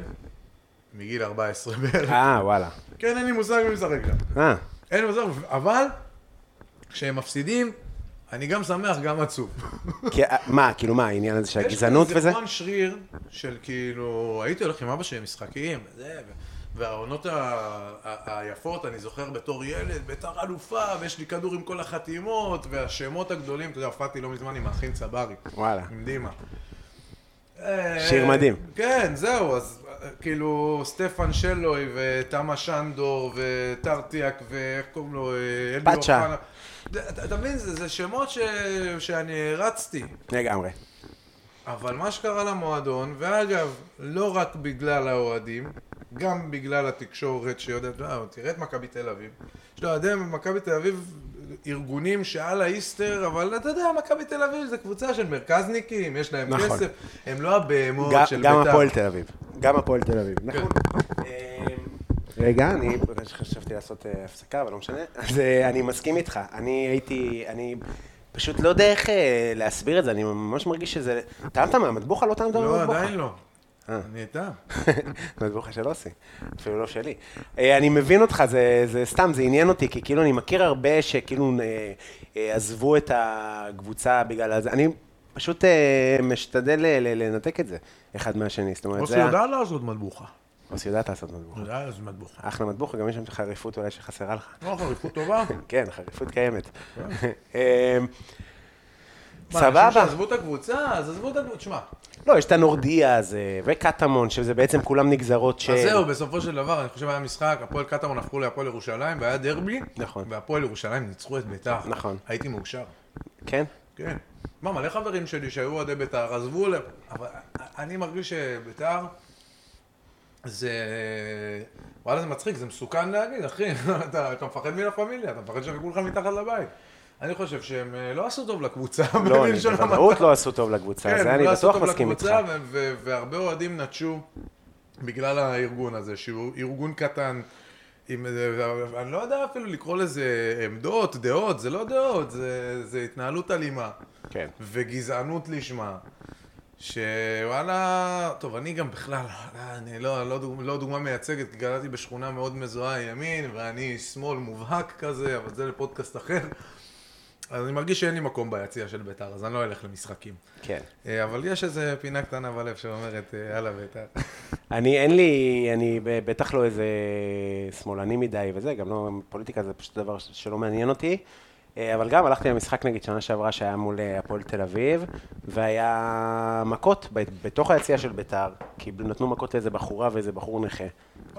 [SPEAKER 2] מגיל 14 בערך.
[SPEAKER 3] אה, וואלה.
[SPEAKER 2] כן, אין לי מושג מי משחק שם.
[SPEAKER 3] אה,
[SPEAKER 2] אין לי מושג, אבל כשהם מפסידים, אני גם שמח, גם עצוב.
[SPEAKER 3] כי- אה, מה, כאילו מה, העניין הזה של
[SPEAKER 2] יש לי
[SPEAKER 3] הגזענות
[SPEAKER 2] איזה
[SPEAKER 3] וזה?
[SPEAKER 2] פרן שריר של כאילו, הייתי הולך עם אבא שלי למשחקים, וזה, ו- והעונות ה- ה- היפות, אני זוכר בתור ילד, ביתר אלופה, ויש לי כדור עם כל החתימות, והשמות הגדולים, אתה יודע, הופעתי לא מזמן עם האחים צברי.
[SPEAKER 3] וואלה.
[SPEAKER 2] עם דימה. אה,
[SPEAKER 3] שיר מדהים.
[SPEAKER 2] כן, זהו, אז כאילו, סטפן שלוי ותמה שנדור וטרטיאק ואיך קוראים לו? אה, אלמי
[SPEAKER 3] פאצ'ה.
[SPEAKER 2] אוחנה. אתה- אתה מבין, זה זה שמות ש- שאני הרצתי.
[SPEAKER 3] לגמרי.
[SPEAKER 2] אבל מה שקרה למועדון, ואגב, לא רק בגלל האוהדים, גם בגלל התקשורת שיודעת, לא, תראה את מכבי תל אביב. יש לו אוהדי מכבי תל אביב ארגונים שעל האיסטר, אבל אתה יודע, מכבי תל אביב זה קבוצה של מרכזניקים, יש להם
[SPEAKER 3] נכון.
[SPEAKER 2] כסף, הם לא הבהמות
[SPEAKER 3] גם-
[SPEAKER 2] של בית"ר. כן.
[SPEAKER 3] גם הפועל תל אביב. גם הפועל תל אביב. נכון. רגע, אני חשבתי לעשות אה, הפסקה, אבל לא משנה. אז אה, אני מסכים איתך. אני הייתי, אני פשוט לא יודע איך אה, להסביר את זה, אני ממש מרגיש שזה... טעמת מהמטבוחה? לא טעמת
[SPEAKER 2] לא,
[SPEAKER 3] מהמטבוחה?
[SPEAKER 2] עדיין לא.
[SPEAKER 3] אה.
[SPEAKER 2] אני איתה.
[SPEAKER 3] מטבוחה של אוסי, אפילו לא שלי. אה, אני מבין אותך, זה, זה סתם, זה עניין אותי, כי כאילו אני מכיר הרבה שכאילו אה, אה, עזבו את הקבוצה בגלל זה. אני פשוט אה, משתדל ל- ל- לנתק את זה אחד מהשני. זאת אומרת,
[SPEAKER 2] אוסי
[SPEAKER 3] זה... ה-
[SPEAKER 2] יודע לעשות מטבוחה.
[SPEAKER 3] אוסי יודעת לעשות מטבוחה.
[SPEAKER 2] הוא יודע לעשות מטבוחה.
[SPEAKER 3] אחלה מטבוחה, גם יש שם חריפות אולי שחסרה לך.
[SPEAKER 2] לא, חריפות טובה. מה,
[SPEAKER 3] כן, חריפות קיימת. אה,
[SPEAKER 2] כן. אנשים
[SPEAKER 3] סבבה.
[SPEAKER 2] שעזבו את הקבוצה, אז עזבו את הקבוצה. תשמע,
[SPEAKER 3] לא, יש את הנורדיה הזה, וקטמון, שזה בעצם כולם נגזרות של...
[SPEAKER 2] אז זהו, בסופו של דבר, אני חושב היה משחק, הפועל קטמון הפכו להפועל ירושלים, והיה דרבי,
[SPEAKER 3] נכון.
[SPEAKER 2] והפועל ירושלים ניצחו את ביתר.
[SPEAKER 3] נכון.
[SPEAKER 2] הייתי מאושר.
[SPEAKER 3] כן?
[SPEAKER 2] כן. מה, מלא חברים שלי שהיו אוהדי ביתר, עזבו, ל- אבל אני מרגיש שביתר זה... וואלה, זה מצחיק, זה מסוכן להגיד, אחי. אתה, אתה מפחד מלה פמיליה, אתה מפחד שיחקו לך מתחת לבית. אני חושב שהם אה, לא עשו טוב לקבוצה.
[SPEAKER 3] לא,
[SPEAKER 2] בלשון
[SPEAKER 3] אני
[SPEAKER 2] המעטה.
[SPEAKER 3] בוודאות לא עשו טוב לקבוצה,
[SPEAKER 2] כן,
[SPEAKER 3] זה
[SPEAKER 2] הם
[SPEAKER 3] אני
[SPEAKER 2] לא עשו
[SPEAKER 3] בטוח
[SPEAKER 2] טוב
[SPEAKER 3] מסכים איתך.
[SPEAKER 2] לקבוצה, ו- ו- והרבה אוהדים נטשו בגלל הארגון הזה, שהוא ארגון קטן. עם, איזה- אני לא יודע אפילו לקרוא לזה עמדות, דעות, זה לא דעות, זה, זה התנהלות אלימה.
[SPEAKER 3] כן.
[SPEAKER 2] וגזענות לשמה. שוואלה, טוב, אני גם בכלל, אני לא, לא, דוג, לא דוגמה מייצגת, כי גדלתי בשכונה מאוד מזוהה עם ימין, ואני איש שמאל מובהק כזה, אבל זה לפודקאסט אחר. אז אני מרגיש שאין לי מקום ביציע של בית"ר, אז אני לא אלך למשחקים.
[SPEAKER 3] כן.
[SPEAKER 2] אה, אבל יש איזה פינה קטנה בלב שאומרת, אה, יאללה בית"ר.
[SPEAKER 3] אני, אין לי, אני ב- בטח לא איזה שמאלני מדי וזה, גם לא, פוליטיקה זה פשוט דבר ש- שלא מעניין אותי. אה, אבל גם הלכתי למשחק נגיד שנה שעברה שהיה מול אה, הפועל תל אביב, והיה מכות ב- בתוך היציאה של ביתר, כי נתנו מכות לאיזה בחורה ואיזה בחור נכה.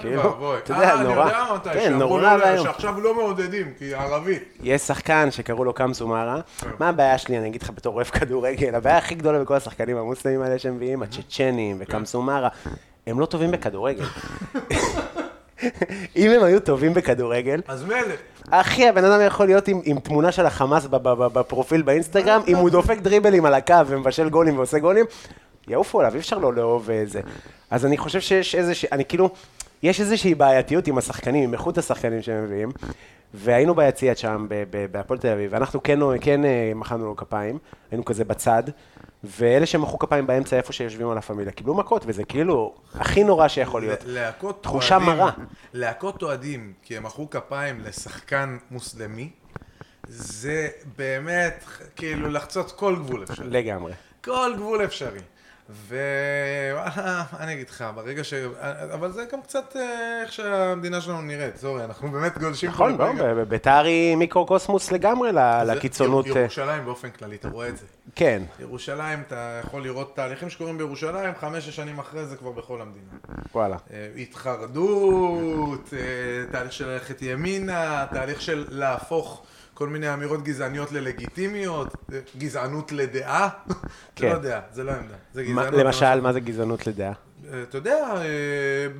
[SPEAKER 2] ואבוי.
[SPEAKER 3] כאילו, אתה יודע,
[SPEAKER 2] אה,
[SPEAKER 3] נורא,
[SPEAKER 2] אני יודע מתי,
[SPEAKER 3] כן,
[SPEAKER 2] שאמרו
[SPEAKER 3] נורא
[SPEAKER 2] לו
[SPEAKER 3] ואיום.
[SPEAKER 2] שעכשיו לא מעודדים, כי ערבי.
[SPEAKER 3] יש שחקן שקראו לו קאם סומארה, מה הבעיה שלי, אני אגיד לך בתור אוהב כדורגל, הבעיה הכי גדולה בכל השחקנים המוסלמים האלה שהם מביאים, הצ'צ'נים וקאם סומארה, הם לא טובים בכדורגל. אם הם היו טובים בכדורגל,
[SPEAKER 2] אז מילא.
[SPEAKER 3] אחי, הבן אדם יכול להיות עם, עם תמונה של החמאס ב- ב- ב- בפרופיל באינסטגרם, אם הוא דופק דריבלים על הקו ומבשל גולים ועושה גולים, יעופו עליו, אי אפשר לא לאהוב את זה. אז אני חושב שיש איזושהי, אני כאילו, יש איזושהי בעייתיות עם השחקנים, עם איכות השחקנים שהם מביאים, והיינו ביציע שם, ב- ב- בהפועל תל אביב, ואנחנו כן, כן אה, מחאנו לו כפיים, היינו כזה בצד. ואלה שמחאו כפיים באמצע איפה שיושבים על הפמיליה, קיבלו מכות, וזה כאילו הכי נורא שיכול להיות.
[SPEAKER 2] להקות
[SPEAKER 3] תחושה
[SPEAKER 2] אוהדים-
[SPEAKER 3] מרה.
[SPEAKER 2] להקות אוהדים, כי הם מחאו כפיים לשחקן מוסלמי, זה באמת כאילו לחצות כל גבול אפשרי.
[SPEAKER 3] לגמרי.
[SPEAKER 2] כל גבול אפשרי. ווואלה, אני אגיד לך, ברגע ש... אבל זה גם קצת אה, איך שהמדינה שלנו נראית, סורי, אנחנו באמת גולשים.
[SPEAKER 3] נכון,
[SPEAKER 2] פה
[SPEAKER 3] לא,
[SPEAKER 2] לפרגע.
[SPEAKER 3] ב- ביתר היא מיקרוקוסמוס לגמרי ל-
[SPEAKER 2] זה-
[SPEAKER 3] לקיצונות.
[SPEAKER 2] יר- ירושלים באופן כללי, אתה רואה את זה.
[SPEAKER 3] אה, כן,
[SPEAKER 2] ירושלים, אתה יכול לראות תהליכים שקורים בירושלים, חמש-שש שנים אחרי זה כבר בכל המדינה.
[SPEAKER 3] וואלה.
[SPEAKER 2] אה, התחרדות, אה, תהליך של ללכת ימינה, תהליך של להפוך כל מיני אמירות גזעניות ללגיטימיות, אה, גזענות לדעה,
[SPEAKER 3] כן.
[SPEAKER 2] כן. לא יודע, זה לא עמדה, זה
[SPEAKER 3] מה-
[SPEAKER 2] גזענות.
[SPEAKER 3] למשל, מה זה גזענות לדעה?
[SPEAKER 2] אה, אתה יודע, אה,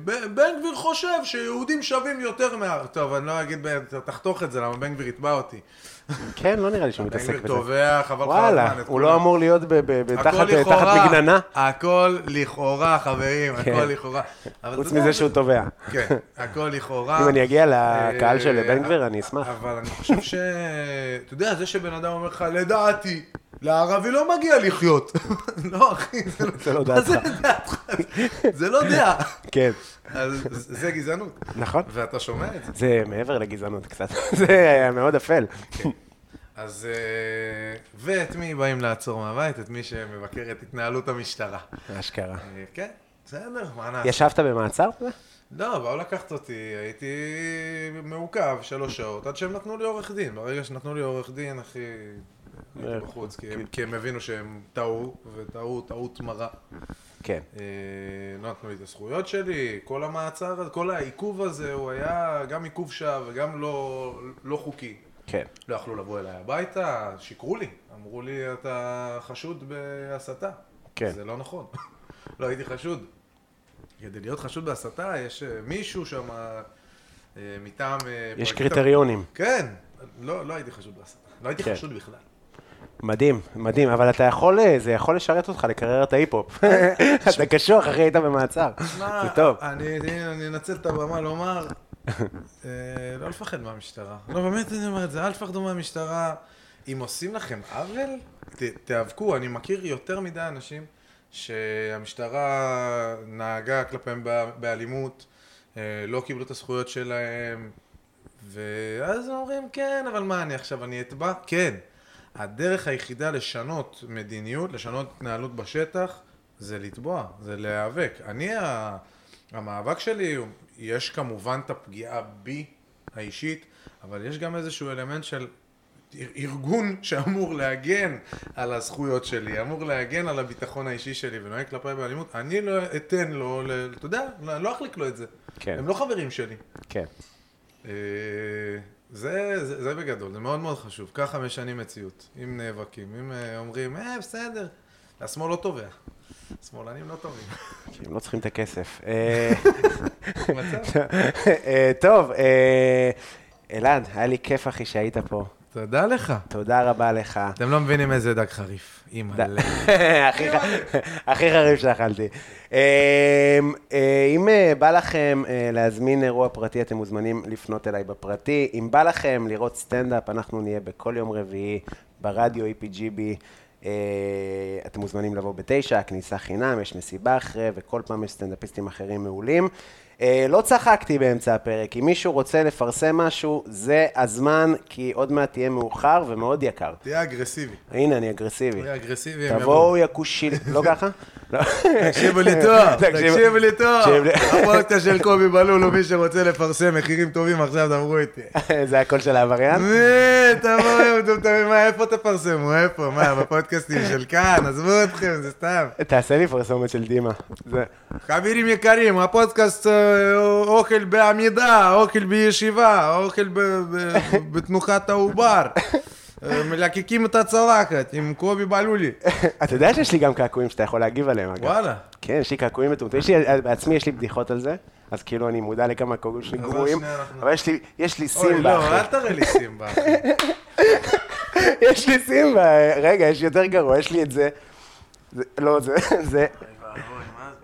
[SPEAKER 2] ב- בן גביר חושב שיהודים שווים יותר מה... טוב, אני לא אגיד, ב- תחתוך את זה, למה בן גביר יתבע אותי.
[SPEAKER 3] כן, לא נראה לי שהוא
[SPEAKER 2] בן
[SPEAKER 3] מתעסק
[SPEAKER 2] גביר
[SPEAKER 3] בזה.
[SPEAKER 2] טובע, חבל לך על הזמן.
[SPEAKER 3] וואלה,
[SPEAKER 2] את
[SPEAKER 3] הוא לא
[SPEAKER 2] כולם.
[SPEAKER 3] אמור להיות ב- ב- ב-
[SPEAKER 2] הכל
[SPEAKER 3] תחת תחת
[SPEAKER 2] לכאורה,
[SPEAKER 3] מגננה,
[SPEAKER 2] הכל לכאורה, חברים, הכל
[SPEAKER 3] כן.
[SPEAKER 2] לכאורה. אבל
[SPEAKER 3] חוץ
[SPEAKER 2] אתה יודע,
[SPEAKER 3] מזה שהוא תובע.
[SPEAKER 2] כן, הכל לכאורה.
[SPEAKER 3] אם אני אגיע לקהל
[SPEAKER 2] אה,
[SPEAKER 3] של בן גביר,
[SPEAKER 2] אה,
[SPEAKER 3] אני אשמח.
[SPEAKER 2] אבל אני חושב ש... אתה יודע, זה שבן אדם אומר לך, לדעתי, לערבי לא מגיע לחיות. לא, אחי,
[SPEAKER 3] זה לא
[SPEAKER 2] מה זה
[SPEAKER 3] דעתך.
[SPEAKER 2] לדעתך? זה לא דעה.
[SPEAKER 3] כן,
[SPEAKER 2] אז זה גזענות.
[SPEAKER 3] נכון.
[SPEAKER 2] ואתה שומע את זה.
[SPEAKER 3] זה מעבר לגזענות קצת, זה היה מאוד אפל.
[SPEAKER 2] אז... אה, ואת מי באים לעצור מהבית? את מי שמבקר את התנהלות המשטרה.
[SPEAKER 3] אשכרה.
[SPEAKER 2] אה, כן, בסדר, מה נעשה?
[SPEAKER 3] ישבת במעצר?
[SPEAKER 2] לא, באו לקחת אותי, הייתי מעוכב שלוש שעות, עד שהם נתנו לי עורך דין. ברגע שנתנו לי עורך דין, אחי, הייתי בחוץ, כי הם, כי הם הבינו שהם טעו, וטעו טעות מרה.
[SPEAKER 3] כן.
[SPEAKER 2] אה, לא נתנו לי את הזכויות שלי, כל המעצר, הזה, כל העיכוב הזה, הוא היה גם עיכוב שווא וגם לא, לא חוקי.
[SPEAKER 3] כן.
[SPEAKER 2] לא יכלו לבוא אליי הביתה, שיקרו לי, אמרו לי אתה חשוד בהסתה.
[SPEAKER 3] כן.
[SPEAKER 2] זה לא נכון, לא הייתי חשוד. כדי להיות חשוד בהסתה יש אה, מישהו שם אה, מטעם... אה,
[SPEAKER 3] יש
[SPEAKER 2] פרקליט-
[SPEAKER 3] קריטריונים.
[SPEAKER 2] כן, לא, לא הייתי חשוד בהסתה, לא הייתי
[SPEAKER 3] כן.
[SPEAKER 2] חשוד בכלל.
[SPEAKER 3] מדהים, מדהים, אבל אתה יכול, אה, זה יכול לשרת אותך לקרר את ההיפ-הופ. אתה קשוח, אחי, היית במעצר.
[SPEAKER 2] מה,
[SPEAKER 3] זה טוב.
[SPEAKER 2] אני אני- אני אנצל את הבמה לומר, אה, לא לפחד מהמשטרה. לא, באמת אני אומר את זה, אל תפחדו מהמשטרה. אם עושים לכם עוול, ת- תיאבקו. אני מכיר יותר מדי אנשים שהמשטרה נהגה כלפיהם בא- באלימות, אה, לא קיבלו את הזכויות שלהם, ואז הם אומרים, כן, אבל מה, אני עכשיו, אני אתבע? כן. הדרך היחידה לשנות מדיניות, לשנות התנהלות בשטח, זה לתבוע, זה להיאבק. אני, ה- המאבק שלי, הוא- יש כמובן את הפגיעה בי האישית, אבל יש גם איזשהו אלמנט של אר- ארגון שאמור להגן על הזכויות שלי, אמור להגן על הביטחון האישי שלי ונוהג כלפיי באלימות, אני לא אתן לו, ל- אתה יודע, לא לא אחליק לו את זה.
[SPEAKER 3] כן.
[SPEAKER 2] הם לא חברים שלי.
[SPEAKER 3] כן.
[SPEAKER 2] אה, זה, זה, זה בגדול, זה מאוד מאוד חשוב. ככה משנים מציאות, אם נאבקים, אם אה, אומרים, אה, בסדר, השמאל לא תובע. השמאלנים לא טובים.
[SPEAKER 3] הם לא צריכים את הכסף. אה,
[SPEAKER 2] מצב.
[SPEAKER 3] אה, טוב, אה, אלעד, היה לי כיף, אחי, שהיית פה.
[SPEAKER 2] תודה לך.
[SPEAKER 3] תודה רבה לך.
[SPEAKER 2] אתם לא מבינים איזה דג חריף. אימא, ל-
[SPEAKER 3] הכי ח- הכי חריף שאכלתי. אמ, אה, אם אה, בא לכם אה, להזמין אירוע פרטי, אתם מוזמנים לפנות אליי בפרטי. אם בא לכם לראות סטנדאפ, אנחנו נהיה בכל יום רביעי ברדיו EPGB. אה, אתם מוזמנים לבוא בתשע, הכניסה חינם, יש מסיבה אחרי, וכל פעם יש סטנדאפיסטים אחרים מעולים. אה, לא צחקתי באמצע הפרק, אם מישהו רוצה לפרסם משהו, זה הזמן, כי עוד מעט תהיה מאוחר ומאוד יקר.
[SPEAKER 2] תהיה אגרסיבי.
[SPEAKER 3] הנה, אני אגרסיבי.
[SPEAKER 2] תהיה אגרסיבי. הם יבואו.
[SPEAKER 3] תבואו יקושיל, לא ככה? לא.
[SPEAKER 2] תקשיבו לי טוב,
[SPEAKER 3] תקשיב-
[SPEAKER 2] תקשיבו לי טוב.
[SPEAKER 3] תקשיב לי.
[SPEAKER 2] הפרויקט של קובי בלול, ומי שרוצה לפרסם מחירים טובים עכשיו, דברו איתי.
[SPEAKER 3] זה הקול של העבריין?
[SPEAKER 2] מי, תבואו, מטומטמים, מה, איפה תפרסמו, איפה, מה, בפודקאסטים של כאן, עזבו אתכם, זה סתם.
[SPEAKER 3] תעשה לי פרסומת של דימה. זה-
[SPEAKER 2] חברים יקרים, הפודקאסט אה, אוכל בעמידה, אוכל בישיבה, אוכל ב- ב- בתנוחת העובר. אה, מלקקים את הצלחת עם קובי בלולי.
[SPEAKER 3] אתה יודע שיש לי גם קעקועים שאתה יכול להגיב עליהם, אגב.
[SPEAKER 2] וואלה.
[SPEAKER 3] כן, יש לי קעקועים מטומטמים. יש לי, בעצמי יש לי בדיחות על זה, אז כאילו אני מודע לכמה קעקועים שלי
[SPEAKER 2] אז עוד
[SPEAKER 3] גרועים,
[SPEAKER 2] שנייה אנחנו-
[SPEAKER 3] אבל יש לי- יש לי
[SPEAKER 2] אוי, לא,
[SPEAKER 3] סימבה,
[SPEAKER 2] אל
[SPEAKER 3] אחי.
[SPEAKER 2] תראה לי סימבה. אחי.
[SPEAKER 3] יש לי סימבה, רגע, יש יותר גרוע, יש לי את זה. זה- לא, זה, זה,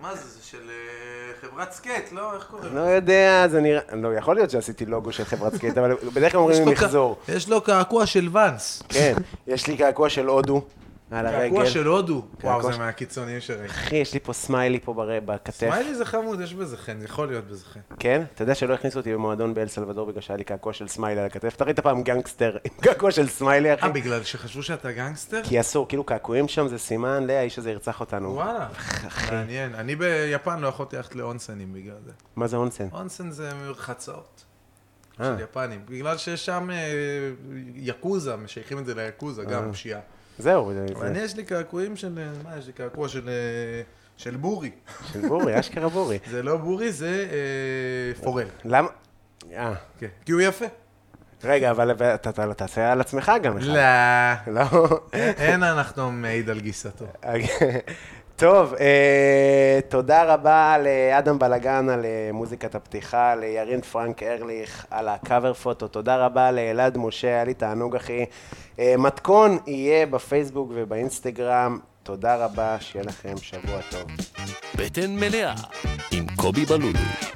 [SPEAKER 2] מה זה? זה של אה, חברת סקייט, לא? איך קוראים?
[SPEAKER 3] לא יודע, זה נראה, לא, יכול להיות שעשיתי לוגו של חברת סקייט, אבל בדרך כלל אומרים לי מחזור.
[SPEAKER 2] יש לו קעקוע של ואנס.
[SPEAKER 3] כן, יש לי קעקוע של הודו על הרגל.
[SPEAKER 2] קעקוע של הודו. וואו,
[SPEAKER 3] קעקוע
[SPEAKER 2] זה
[SPEAKER 3] של-
[SPEAKER 2] מהקיצוניים שראיתי.
[SPEAKER 3] אחי, יש לי פה סמיילי פה בר... בכתף.
[SPEAKER 2] מה לי זה חמוד, יש בזה חן, זה יכול להיות בזה חן.
[SPEAKER 3] כן? אתה יודע שלא הכניסו אותי במועדון באל סלבדור בגלל שהיה לי קעקוע של סמיילי על הכתף? אתה ראית פעם גנגסטר עם קעקוע של סמיילי, אחי?
[SPEAKER 2] אה, בגלל שחשבו שאתה גנגסטר?
[SPEAKER 3] כי אסור, כאילו קעקועים שם זה סימן, לה, האיש הזה ירצח אותנו.
[SPEAKER 2] וואלה, מעניין. אני ביפן לא יכולתי ללכת לאונסנים בגלל זה.
[SPEAKER 3] מה זה אונסן?
[SPEAKER 2] אונסן זה מרחצאות
[SPEAKER 3] אה.
[SPEAKER 2] של יפנים. בגלל שיש שם אה, יקוזה, משייכים את זה ליקוזה, גם פשיעה.
[SPEAKER 3] זהו, זה-
[SPEAKER 2] אבל אני
[SPEAKER 3] זה
[SPEAKER 2] יש לי קעקועים של, אה, מה, יש לי קעקוע של... אה, של בורי.
[SPEAKER 3] של בורי, אשכרה בורי.
[SPEAKER 2] זה לא בורי, זה אה, פורל.
[SPEAKER 3] למה? אה,
[SPEAKER 2] כן. כי הוא יפה.
[SPEAKER 3] רגע, אבל אבל אתה אתה- אתה תעשה על עצמך גם. אחד.
[SPEAKER 2] לא.
[SPEAKER 3] לא.
[SPEAKER 2] אין אנחנו מעיד על גיסתו.
[SPEAKER 3] טוב, אה, תודה רבה לאדם בלגן על אה, מוזיקת הפתיחה, לירין פרנק ארליך על הקאבר פוטו, תודה רבה לאלעד משה, היה לי תענוג אחי. אה, מתכון יהיה בפייסבוק ובאינסטגרם, תודה רבה, שיהיה לכם שבוע טוב.
[SPEAKER 1] בטן מלאה עם קובי בלולו.